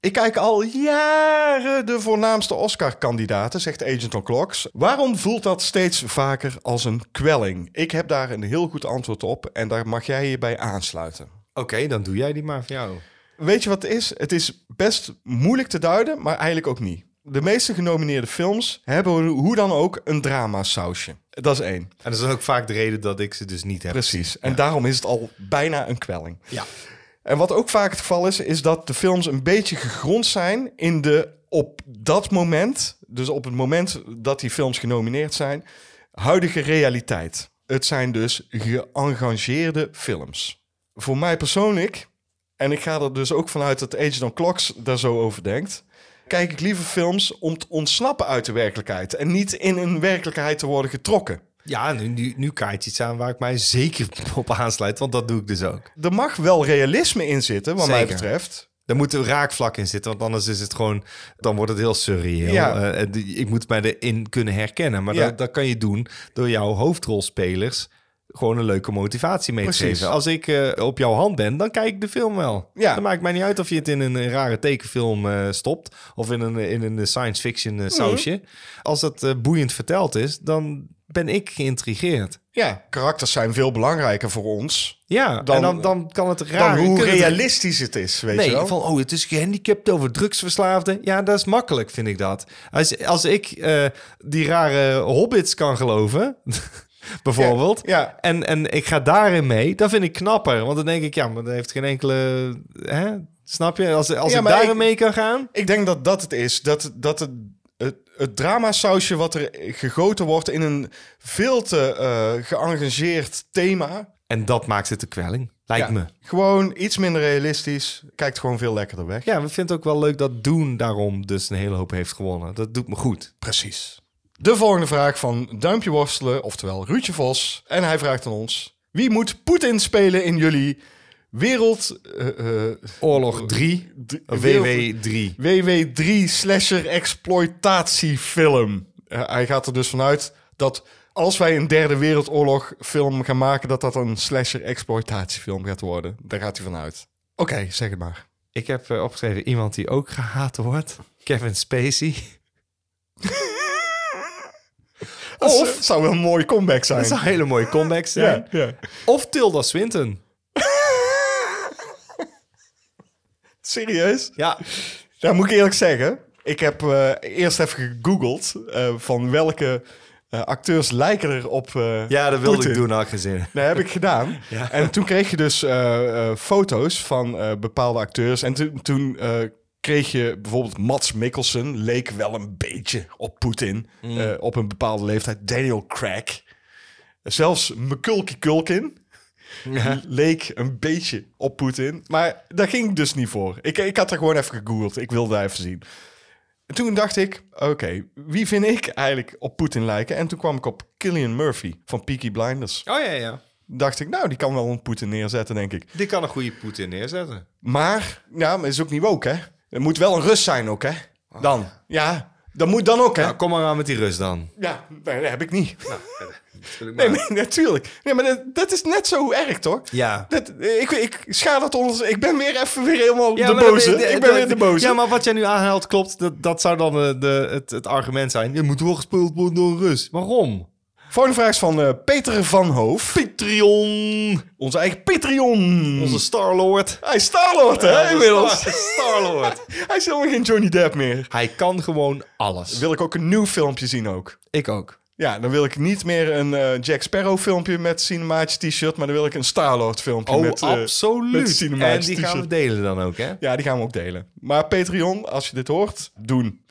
Speaker 1: Ik kijk al jaren de voornaamste Oscar-kandidaten, zegt Agent O'Clocks. Waarom voelt dat steeds vaker als een kwelling? Ik heb daar een heel goed antwoord op en daar mag jij je bij aansluiten.
Speaker 2: Oké, dan doe jij die maar voor jou.
Speaker 1: Weet je wat het is? Het is best moeilijk te duiden, maar eigenlijk ook niet. De meeste genomineerde films hebben hoe dan ook een drama-sausje. Dat is één.
Speaker 2: En dat is ook vaak de reden dat ik ze dus niet heb.
Speaker 1: Precies. En daarom is het al bijna een kwelling.
Speaker 2: Ja.
Speaker 1: En wat ook vaak het geval is, is dat de films een beetje gegrond zijn in de op dat moment, dus op het moment dat die films genomineerd zijn, huidige realiteit. Het zijn dus geëngageerde films. Voor mij persoonlijk, en ik ga er dus ook vanuit dat Agent on Clocks daar zo over denkt, kijk ik liever films om te ontsnappen uit de werkelijkheid en niet in een werkelijkheid te worden getrokken.
Speaker 2: Ja, nu, nu, nu kaart je iets aan waar ik mij zeker op aansluit, want dat doe ik dus ook.
Speaker 1: Er mag wel realisme in zitten, wat mij
Speaker 2: Zeker.
Speaker 1: betreft.
Speaker 2: Daar moet een raakvlak in zitten, want anders is het gewoon, dan wordt het heel surreëel.
Speaker 1: Ja.
Speaker 2: Eh, en die- ik moet mij erin kunnen herkennen, maar
Speaker 1: Ja.
Speaker 2: dat, dat kan je doen door jouw hoofdrolspelers gewoon een leuke motivatie mee te
Speaker 1: Precies.
Speaker 2: geven. Als ik eh, op jouw hand ben, dan kijk ik de film wel.
Speaker 1: Ja.
Speaker 2: Dan maakt mij niet uit of je het in een, eh, rare tekenfilm eh, stopt of in een, in een science fiction
Speaker 1: Mhm.
Speaker 2: eh, sausje. Als dat eh, boeiend verteld is, dan ben ik geïntrigeerd.
Speaker 1: Ja, karakters zijn veel belangrijker voor ons
Speaker 2: Ja,
Speaker 1: Dan-
Speaker 2: en dan, dan kan het
Speaker 1: dan
Speaker 2: raar.
Speaker 1: hoe
Speaker 2: kunnen het-
Speaker 1: realistisch het is, weet je
Speaker 2: Nee,
Speaker 1: wel.
Speaker 2: van oh, het is gehandicapt over drugsverslaafden. Ja, dat is makkelijk, vind ik dat. Als, als ik eh, die rare hobbits kan geloven, bijvoorbeeld,
Speaker 1: ja.
Speaker 2: En, en ik ga daarin mee, dan vind ik knapper. Want dan denk ik, ja, maar dat heeft geen enkele... Hè? Snap je? Als, als
Speaker 1: Ja,
Speaker 2: ik
Speaker 1: maar
Speaker 2: daarin
Speaker 1: ik-
Speaker 2: mee kan gaan...
Speaker 1: Ik denk dat dat het is. Dat, dat het, het, het dramasausje wat er gegoten wordt in een veel te eh geëngageerd thema.
Speaker 2: En dat maakt het een kwelling, lijkt
Speaker 1: Ja,
Speaker 2: me.
Speaker 1: Gewoon iets minder realistisch. Kijkt gewoon veel lekkerder weg.
Speaker 2: Ja, we vinden het ook wel leuk dat Doen daarom dus een hele hoop heeft gewonnen. Dat doet me goed.
Speaker 1: Precies. De volgende vraag van Duimpje Worstelen, oftewel Ruudje Vos. En hij vraagt aan ons: Wie moet Poetin spelen in jullie wereld. eh, eh,
Speaker 2: Oorlog 3,
Speaker 1: d- wereld-
Speaker 2: WW
Speaker 1: WW3
Speaker 2: 3.
Speaker 1: slasher exploitatiefilm. Eh, hij gaat er dus vanuit dat als wij een derde wereldoorlog film gaan maken, dat dat een slasher exploitatiefilm gaat worden. Daar gaat hij vanuit. Oké, zeg het maar.
Speaker 2: Ik heb eh, opgeschreven iemand die ook gehaat wordt. Kevin Spacey.
Speaker 1: Of zou wel een mooie comeback
Speaker 2: eh, Dat
Speaker 1: zijn.
Speaker 2: zou een hele mooie comeback zijn. Of Tilda Swinton.
Speaker 1: Serieus?
Speaker 2: Ja,
Speaker 1: Nou, moet ik eerlijk zeggen. Ik heb eh, eerst even gegoogeld eh, van welke eh, acteurs lijken er op eh,
Speaker 2: ja dat wilde
Speaker 1: Poetin.
Speaker 2: ik doen, had ik gezin.
Speaker 1: Nee, heb ik gedaan. En toen kreeg je dus eh, eh, foto's van eh, bepaalde acteurs. En toen- toen eh, kreeg je bijvoorbeeld Mats Mikkelsen. Leek wel een beetje op Poetin. eh, op een bepaalde leeftijd. Daniel Craig. Zelfs McCulkey Culkin. Leek een beetje op Poetin. Maar daar ging ik dus niet voor. Ik, ik had er gewoon even gegoogeld. Ik wilde even zien. En toen dacht ik, oké, wie vind ik eigenlijk op Poetin lijken? En toen kwam ik op Killian Murphy van Peaky Blinders
Speaker 2: Oh ja, ja.
Speaker 1: dacht ik, nou, die kan wel een Poetin neerzetten, denk ik.
Speaker 2: Die kan een goede Poetin neerzetten.
Speaker 1: Maar, ja, maar is ook niet woke, hè? Er moet wel een rust zijn ook, hè?
Speaker 2: Oh,
Speaker 1: Dan. Ja, dat moet dan ook, hè?
Speaker 2: Nou, kom maar aan met die rust dan.
Speaker 1: Ja, nee, dat heb ik niet.
Speaker 2: Nee,
Speaker 1: Nee, maar natuurlijk. Nee, maar dat, dat is net zo erg, toch?
Speaker 2: Ja.
Speaker 1: Dat, eh, ik, ik schaar dat onder... Ik ben weer even weer helemaal de
Speaker 2: maar dan
Speaker 1: boze.
Speaker 2: ben je-
Speaker 1: ik ben weer de boze.
Speaker 2: Ja, maar wat jij nu aanhaalt klopt. Dat, dat zou dan eh, de, het, het argument zijn. Je moet wel gespeeld worden door een Rus. Waarom?
Speaker 1: Volgende vraag is van eh, Peter van Hoof.
Speaker 2: Patreon.
Speaker 1: Onze eigen Patreon.
Speaker 2: Onze Starlord.
Speaker 1: Hij is Starlord, hè, inmiddels.
Speaker 2: Star- Starlord.
Speaker 1: Hij is helemaal geen Johnny Depp meer.
Speaker 2: Hij kan gewoon alles.
Speaker 1: Wil ik ook een nieuw filmpje zien ook.
Speaker 2: Ik ook.
Speaker 1: Ja, dan wil ik niet meer een eh, Jack Sparrow filmpje met Cinemaatje t-shirt, maar dan wil ik een Starlord filmpje
Speaker 2: Oh,
Speaker 1: met eh, met
Speaker 2: absoluut. en
Speaker 1: Cinemaatje
Speaker 2: die
Speaker 1: t-shirt.
Speaker 2: gaan we delen dan ook, hè?
Speaker 1: Ja, die gaan we ook delen. Maar Patreon, als je dit hoort, doen.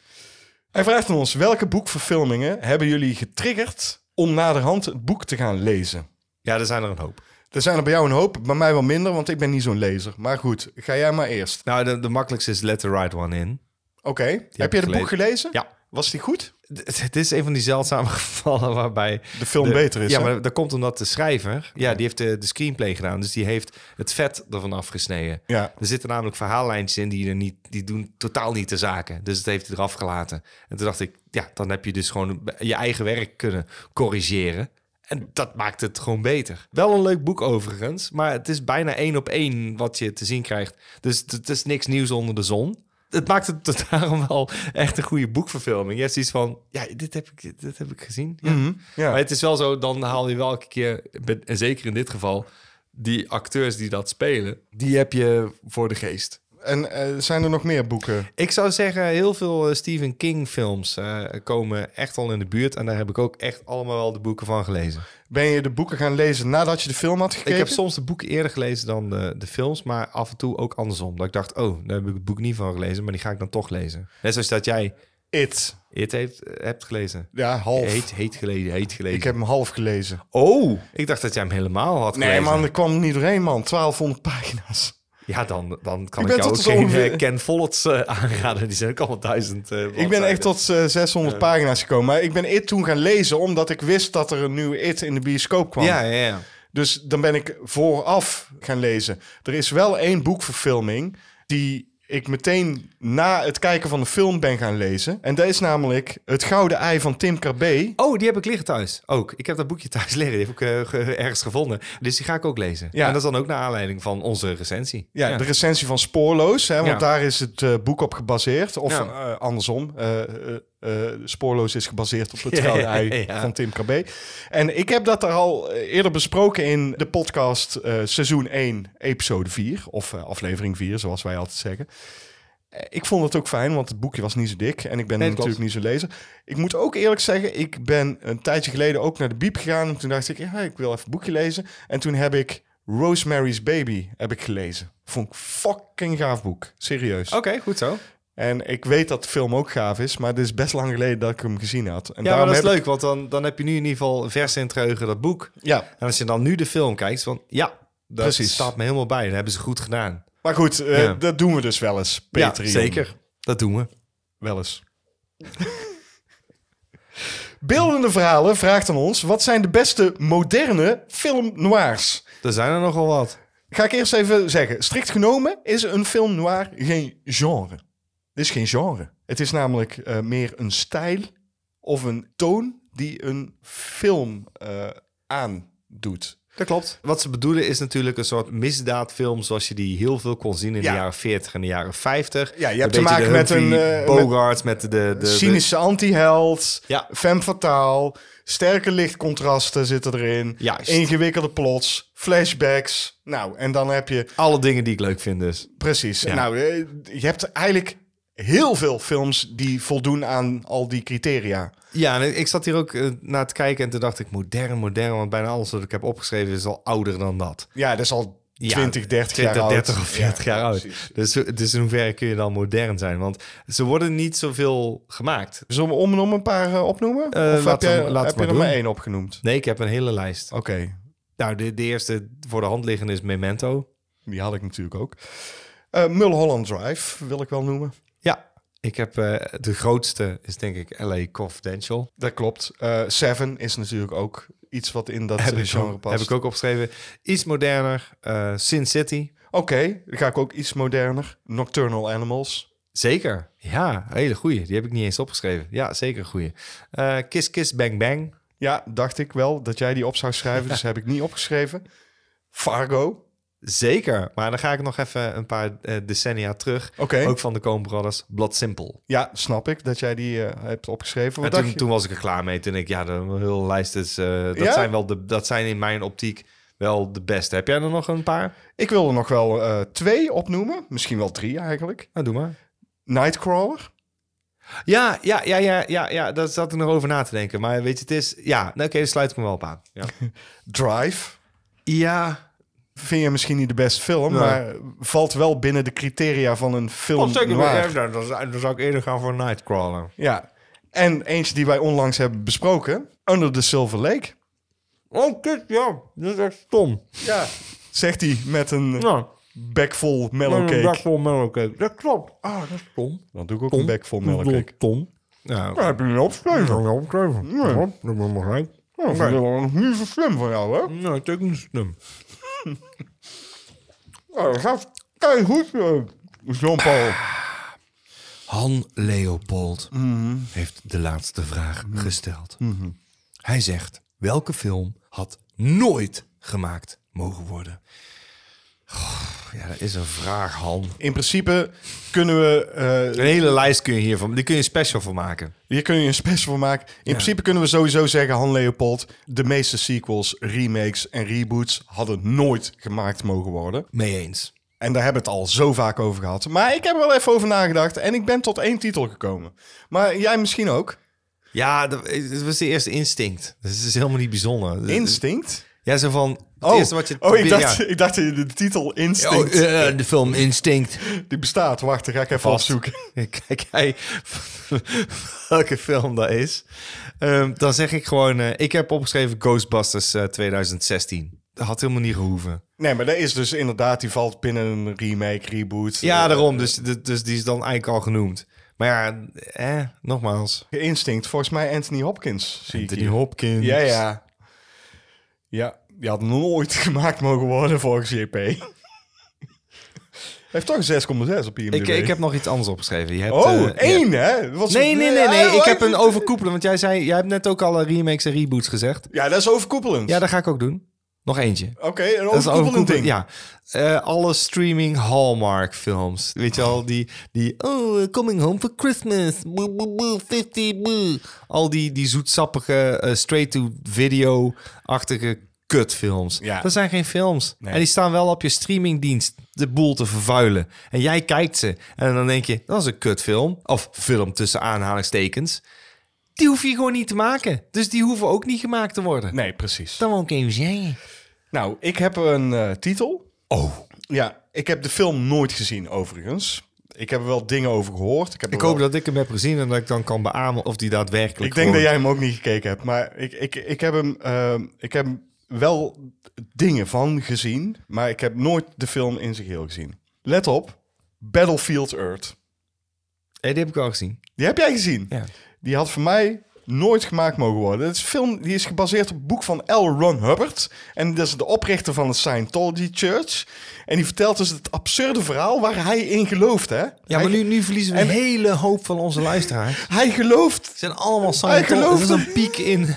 Speaker 1: Hij vraagt aan ons, welke boekverfilmingen hebben jullie getriggerd om naderhand het boek te gaan lezen?
Speaker 2: Ja, er zijn er een hoop.
Speaker 1: Er zijn er bij jou een hoop, bij mij wel minder, want ik ben niet zo'n lezer. Maar goed, ga jij maar eerst.
Speaker 2: Nou, de, de makkelijkste is Let the Right One In.
Speaker 1: Oké, heb je
Speaker 2: ik
Speaker 1: het boek gelezen?
Speaker 2: Ja.
Speaker 1: Was die goed?
Speaker 2: D- Het is een van die zeldzame gevallen waarbij...
Speaker 1: De film beter is,
Speaker 2: Ja,
Speaker 1: hè?
Speaker 2: maar dat komt omdat de schrijver... Ja, die heeft eh, de, de screenplay gedaan. Dus die heeft het vet ervan afgesneden.
Speaker 1: Ja.
Speaker 2: Er zitten namelijk verhaallijntjes in die, er niet, die doen totaal niet de zaken. Dus dat heeft hij eraf gelaten. En toen dacht ik, ja, dan heb je dus gewoon je eigen werk kunnen corrigeren. En dat maakt het gewoon beter. Wel een leuk boek overigens, maar het is bijna één op één wat je te zien krijgt. Dus het- het is niks nieuws onder de zon. Het maakt het tot daarom wel echt een goede boekverfilming. Je hebt iets van, ja, dit heb ik, dit heb ik gezien. Mhm. Ja.
Speaker 1: ja.
Speaker 2: Maar het is wel zo, dan haal je wel elke keer, en zeker in dit geval, die acteurs die dat spelen, die heb je voor de geest.
Speaker 1: En eh, zijn er nog meer boeken?
Speaker 2: Ik zou zeggen, heel veel eh, Stephen King films eh, komen echt al in de buurt. En daar heb ik ook echt allemaal wel de boeken van gelezen.
Speaker 1: Ben je de boeken gaan lezen nadat je de film had gekeken?
Speaker 2: Ik heb soms de boeken eerder gelezen dan de, de films, maar af en toe ook andersom. Dat ik dacht, oh, daar heb ik het boek niet van gelezen, maar die ga ik dan toch lezen. Net zoals dat jij
Speaker 1: It.
Speaker 2: It heeft, eh, hebt gelezen.
Speaker 1: Ja, half.
Speaker 2: Heet, heet gelezen, heet gelezen.
Speaker 1: Ik heb hem half gelezen.
Speaker 2: Oh! Ik dacht dat jij hem helemaal had
Speaker 1: Nee,
Speaker 2: gelezen.
Speaker 1: man, ik kwam er niet doorheen, man. 1200 pagina's.
Speaker 2: Ja, dan, dan kan
Speaker 1: Ik ben
Speaker 2: ik, jou ook
Speaker 1: tot
Speaker 2: geen
Speaker 1: zo'n-
Speaker 2: eh, Ken Follets eh, aanraden. Die zijn ook allemaal duizend eh,
Speaker 1: Ik ben
Speaker 2: bladzijden.
Speaker 1: echt tot eh, 600 pagina's gekomen. Maar ik ben It toen gaan lezen, omdat ik wist dat er een nieuw It in de bioscoop kwam.
Speaker 2: Ja, ja, ja.
Speaker 1: Dus dan ben ik vooraf gaan lezen. Er is wel één boekverfilming die ik meteen na het kijken van de film ben gaan lezen. En dat is namelijk Het Gouden Ei van Tim Carbe.
Speaker 2: Oh, die heb ik liggen thuis. Ook. Ik heb dat boekje thuis liggen. Die heb ik eh, ge- ergens gevonden. Dus die ga ik ook lezen.
Speaker 1: Ja.
Speaker 2: En dat is dan ook naar aanleiding van onze recensie.
Speaker 1: Ja, de recensie van Spoorloos, hè, want
Speaker 2: Ja.
Speaker 1: daar is het eh, boek op gebaseerd. Of
Speaker 2: Ja.
Speaker 1: eh, andersom, eh, eh, eh, Spoorloos is gebaseerd op het
Speaker 2: Ja,
Speaker 1: gouden
Speaker 2: ja,
Speaker 1: ei
Speaker 2: ja.
Speaker 1: van Tim Krabbe. En ik heb dat daar al eh, eerder besproken in de podcast eh, seizoen 1, episode 4. Of eh, aflevering 4, zoals wij altijd zeggen. Eh, Ik vond het ook fijn, want het boekje was niet zo dik. En ik ben
Speaker 2: Nee, dat
Speaker 1: natuurlijk niet zo lezer. Ik moet ook eerlijk zeggen, ik ben een tijdje geleden ook naar de biep gegaan. En toen dacht ik, ja, ik wil even een boekje lezen. En toen heb ik Rosemary's Baby heb ik gelezen. Vond ik fucking gaaf boek. Serieus.
Speaker 2: Oké, goed zo.
Speaker 1: En ik weet dat de film ook gaaf is, maar dit is best lang geleden dat ik hem gezien had. En
Speaker 2: Ja, maar dat is
Speaker 1: heb
Speaker 2: leuk, want dan, dan heb je nu in ieder geval vers in het geheugen dat boek.
Speaker 1: ik- ja,
Speaker 2: En als je dan nu de film kijkt, van ja, dat
Speaker 1: Precies.
Speaker 2: staat me helemaal bij. Dat hebben ze goed gedaan.
Speaker 1: maar goed, eh,
Speaker 2: Ja.
Speaker 1: dat doen we dus wel eens. Patreon.
Speaker 2: Dat doen we.
Speaker 1: Wel eens. Beeldende verhalen vraagt aan ons: wat zijn de beste moderne film noirs?
Speaker 2: Er zijn er nogal wat.
Speaker 1: Ga ik eerst even zeggen: strikt genomen is een film noir geen genre. Het is geen genre. Het is namelijk eh, meer een stijl of een toon die een film eh, aandoet.
Speaker 2: Dat klopt. Wat ze bedoelen is natuurlijk een soort misdaadfilm... zoals je die heel veel kon zien in
Speaker 1: Ja.
Speaker 2: de jaren 40 en de jaren 50.
Speaker 1: Ja, je hebt
Speaker 2: Een
Speaker 1: te
Speaker 2: beetje
Speaker 1: maken met
Speaker 2: de Humphrey
Speaker 1: een, eh,
Speaker 2: Bogart, met de... de, de
Speaker 1: Cynische anti-held,
Speaker 2: Ja.
Speaker 1: femme fatale, sterke lichtcontrasten zitten erin,
Speaker 2: Juist.
Speaker 1: ingewikkelde plots, flashbacks. Nou, en dan heb je
Speaker 2: alle dingen die ik leuk vind dus.
Speaker 1: precies. Nou, eh, je hebt eigenlijk heel veel films die voldoen aan al die criteria.
Speaker 2: Ja, en ik zat hier ook eh, naar te kijken en toen dacht ik... modern, modern, want bijna alles wat ik heb opgeschreven... is al ouder dan dat.
Speaker 1: Ja, dat is al
Speaker 2: Ja,
Speaker 1: 20, 30 jaar
Speaker 2: 20,
Speaker 1: oud.
Speaker 2: 30 of 40 jaar oud. Dus, dus in hoeverre kun je dan modern zijn? Want ze worden niet zoveel gemaakt.
Speaker 1: Zullen we om en om een paar eh, opnoemen?
Speaker 2: Eh,
Speaker 1: of heb
Speaker 2: laten we-
Speaker 1: je,
Speaker 2: laten
Speaker 1: heb
Speaker 2: we
Speaker 1: je er
Speaker 2: doen.
Speaker 1: maar één opgenoemd?
Speaker 2: Nee, ik heb een hele lijst.
Speaker 1: Oké,
Speaker 2: Nou, de, de eerste voor de hand liggende is Memento.
Speaker 1: die had ik natuurlijk ook. Eh Mulholland Drive wil ik wel noemen.
Speaker 2: Ja. Ik heb eh, de grootste is denk ik L.A. Confidential.
Speaker 1: Dat klopt. Eh, Seven is natuurlijk ook iets wat in dat
Speaker 2: Heb
Speaker 1: eh,
Speaker 2: ik,
Speaker 1: genre
Speaker 2: ook,
Speaker 1: past.
Speaker 2: heb ik ook opgeschreven. Iets moderner. eh, Sin City.
Speaker 1: Oké, dan ga ik ook iets moderner. Nocturnal Animals.
Speaker 2: Zeker. Ja, hele goeie. Die heb ik niet eens opgeschreven. Ja, zeker een goeie. Eh, Kiss Kiss Bang Bang.
Speaker 1: Ja, dacht ik wel dat jij die op zou schrijven, dus heb ik niet opgeschreven. Fargo. Oké.
Speaker 2: Zeker. Maar dan ga ik nog even een paar eh, decennia terug. Ook van de Coen Brothers. Blood Simple.
Speaker 1: Ja, snap ik dat jij die eh, hebt opgeschreven.
Speaker 2: En
Speaker 1: Wat dacht
Speaker 2: toen,
Speaker 1: je?
Speaker 2: toen was ik er klaar mee. Toen ik, ja, de hele lijst is... eh, dat,
Speaker 1: Ja?
Speaker 2: zijn wel de, dat zijn in mijn optiek wel de beste. Heb jij er nog een paar?
Speaker 1: Ik wil er nog wel eh, twee opnoemen. Misschien wel drie eigenlijk.
Speaker 2: Nou, doe maar.
Speaker 1: Nightcrawler.
Speaker 2: Ja, ja, ja, ja, ja, ja, daar zat ik nog over na te denken. Maar weet je, het is... Ja, nou, oké, dan sluit ik me wel op aan. Ja,
Speaker 1: Drive.
Speaker 2: ja
Speaker 1: Vind je misschien niet de beste film,
Speaker 2: Nee.
Speaker 1: maar valt wel binnen de criteria van een film noir.
Speaker 2: Dan, zou ik eerder gaan voor Nightcrawler.
Speaker 1: Ja. En eentje die wij onlangs hebben besproken. Under the Silver Lake.
Speaker 2: Oh, kut, ja. Dat is echt stom.
Speaker 1: Ja. Zegt hij met een
Speaker 2: Ja,
Speaker 1: bek vol mellow cake.
Speaker 2: vol mellowcake. Dat klopt. Ah, dat is stom.
Speaker 1: Dan doe ik ook een bek vol mellow cake.
Speaker 2: Tom. Ja, oké.
Speaker 1: heb je niet opgeschreven.
Speaker 2: Ja, opschrijven. Ja, dat ben ik nog gelijk.
Speaker 1: Dat is wel niet zo slim van jou, hè?
Speaker 2: Nou, het is ook niet slim. Oh,
Speaker 1: Ja, dat gaat kei goed, Jean-Paul.
Speaker 2: Han Leopold heeft de laatste vraag gesteld. Hij zegt: welke film had nooit gemaakt mogen worden? Goh, ja, dat is een vraag, Han.
Speaker 1: In principe kunnen we... eh,
Speaker 2: Een hele lijst kun je hiervan, die kun je special van maken.
Speaker 1: hier kun je een special van maken. In principe kunnen we sowieso zeggen, Han Leopold... de meeste sequels, remakes en reboots... hadden nooit gemaakt mogen worden.
Speaker 2: Mee eens.
Speaker 1: En daar hebben we het al zo vaak over gehad. Maar ik heb er wel even over nagedacht... en ik ben tot één titel gekomen. Maar jij misschien ook.
Speaker 2: Ja, dat het was de eerste instinct. Dus het is helemaal niet bijzonder.
Speaker 1: Instinct?
Speaker 2: Ja, zo van. Het eerste wat je.
Speaker 1: oh ik,
Speaker 2: ja.
Speaker 1: dacht, ik dacht dat je de titel Instinct...
Speaker 2: Oh, eh, de film Instinct.
Speaker 1: Die bestaat. Wacht, dan ga ik even
Speaker 2: Vast.
Speaker 1: opzoeken.
Speaker 2: Kijk hij welke film dat is. Ehm, dan zeg ik gewoon, eh, ik heb opgeschreven Ghostbusters eh, 2016. Dat had helemaal niet gehoeven.
Speaker 1: Nee, maar dat is dus inderdaad, die valt binnen een remake, reboot.
Speaker 2: Ja,
Speaker 1: eh,
Speaker 2: daarom. Dus, dus die is dan eigenlijk al genoemd. Maar ja, eh, nogmaals.
Speaker 1: Instinct, volgens mij Anthony Hopkins. Zie ik
Speaker 2: Anthony
Speaker 1: hier.
Speaker 2: Hopkins.
Speaker 1: Ja, ja. Ja, die had nooit gemaakt mogen worden volgens JP. Hij heeft toch een 6,6 op IMDb.
Speaker 2: Ik, ik heb nog iets anders opgeschreven. Je hebt,
Speaker 1: Oh,
Speaker 2: eh, je hebt-
Speaker 1: één hè? Wat is-
Speaker 2: Nee, nee, nee,
Speaker 1: Ja,
Speaker 2: nee.
Speaker 1: oh,
Speaker 2: Ik heb een overkoepelend. Want jij zei, jij hebt net ook al eh, remakes en reboots gezegd.
Speaker 1: Ja, dat is overkoepelend.
Speaker 2: Ja, dat ga ik ook doen. Nog eentje.
Speaker 1: Oké, een
Speaker 2: Dat is
Speaker 1: overkoepelend,
Speaker 2: overkoepelend
Speaker 1: ding.
Speaker 2: Ja. Eh, alle streaming Hallmark films. Weet je al, die, die oh, eh, coming home for Christmas. Boe, boe, boe, 50, boe. Al die, die zoetsappige, eh, straight-to-video-achtige kutfilms.
Speaker 1: Ja.
Speaker 2: Dat zijn geen films.
Speaker 1: Nee.
Speaker 2: En die staan wel op je streamingdienst de boel te vervuilen. En jij kijkt ze. En dan denk je, dat is een kutfilm. Of film tussen aanhalingstekens. Die hoef je gewoon niet te maken. Dus die hoeven ook niet gemaakt te worden.
Speaker 1: Nee, precies.
Speaker 2: Dan wou ik even zeggen.
Speaker 1: Nou, ik heb een eh, titel.
Speaker 2: Oh,
Speaker 1: Ja, ik heb de film nooit gezien overigens. Ik heb er wel dingen over gehoord. Ik, heb er
Speaker 2: Ik hoop
Speaker 1: wel-
Speaker 2: dat ik hem heb gezien en dat ik dan kan beamen of die
Speaker 1: Ik
Speaker 2: daadwerkelijk.
Speaker 1: denk dat
Speaker 2: gewoon-
Speaker 1: jij hem ook niet gekeken hebt, maar ik, ik, ik, heb, hem, ehm, ik heb wel dingen van gezien, maar ik heb nooit de film in zijn geheel gezien. Let op, Battlefield Earth.
Speaker 2: Hey, die heb ik al gezien.
Speaker 1: Die heb jij gezien.
Speaker 2: Ja.
Speaker 1: Die had voor mij nooit gemaakt mogen worden. Het is een film die is gebaseerd op het boek van L. Ron Hubbard. En dat is de oprichter van de Scientology Church. En die vertelt dus het absurde verhaal waar hij in gelooft. Hè?
Speaker 2: Ja, maar
Speaker 1: hij,
Speaker 2: nu, nu verliezen we een hele hoop van onze luisteraars. Ze
Speaker 1: hij gelooft
Speaker 2: zijn allemaal
Speaker 1: gelooft
Speaker 2: Scientology. Er is
Speaker 1: het.
Speaker 2: een piek in.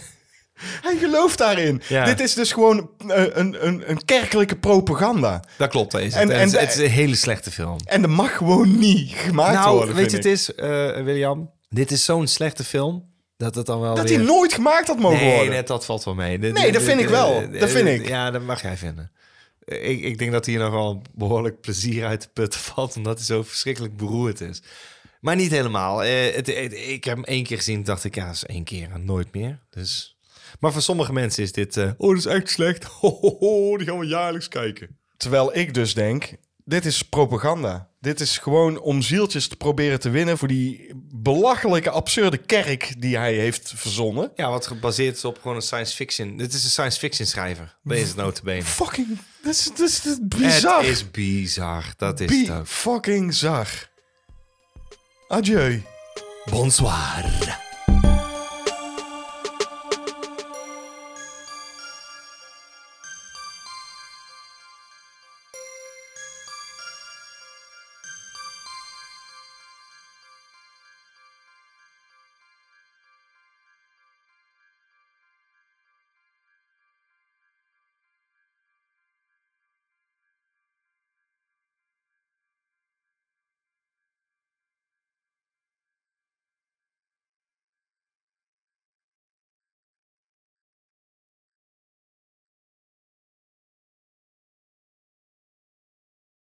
Speaker 1: Hij gelooft daarin.
Speaker 2: Ja.
Speaker 1: Dit is dus gewoon eh, een, een, een kerkelijke propaganda.
Speaker 2: Dat klopt, dat is
Speaker 1: En-
Speaker 2: het.
Speaker 1: en
Speaker 2: het, is-
Speaker 1: de-
Speaker 2: het is een hele slechte film.
Speaker 1: En dat mag gewoon niet gemaakt
Speaker 2: Nou,
Speaker 1: worden.
Speaker 2: weet
Speaker 1: vind
Speaker 2: je, het
Speaker 1: ik.
Speaker 2: is, eh, William, dit is zo'n slechte film dat het dan wel
Speaker 1: Dat
Speaker 2: weer...
Speaker 1: hij nooit gemaakt had mogen
Speaker 2: Nee,
Speaker 1: worden.
Speaker 2: net dat valt wel mee. Dit-
Speaker 1: Nee,
Speaker 2: dit-
Speaker 1: dat vind
Speaker 2: dit-
Speaker 1: ik wel.
Speaker 2: eh,
Speaker 1: Dat vind ik.
Speaker 2: Ja, dat mag jij vinden. Eh, Ik, ik denk dat hier nog wel behoorlijk plezier uit de put valt, omdat hij zo verschrikkelijk beroerd is. Maar niet helemaal. Eh, het, het- ik heb hem één keer gezien, dacht ik, ja, dat is één keer en nooit meer. Dus. Maar voor sommige mensen is dit, eh, oh, dat is echt slecht. Ho, ho, ho, die gaan we jaarlijks kijken.
Speaker 1: Terwijl ik dus denk, dit is propaganda. Dit is gewoon om zieltjes te proberen te winnen voor die belachelijke, absurde kerk die hij heeft verzonnen.
Speaker 2: Ja, wat gebaseerd is op gewoon een science fiction. Dit is een science fiction schrijver. Dat is het notabene.
Speaker 1: Fucking, dit is, dit is, dit is bizar.
Speaker 2: Het is bizar. Dat is het
Speaker 1: Bi-
Speaker 2: ook.
Speaker 1: fucking zar. Adieu.
Speaker 2: Bonsoir.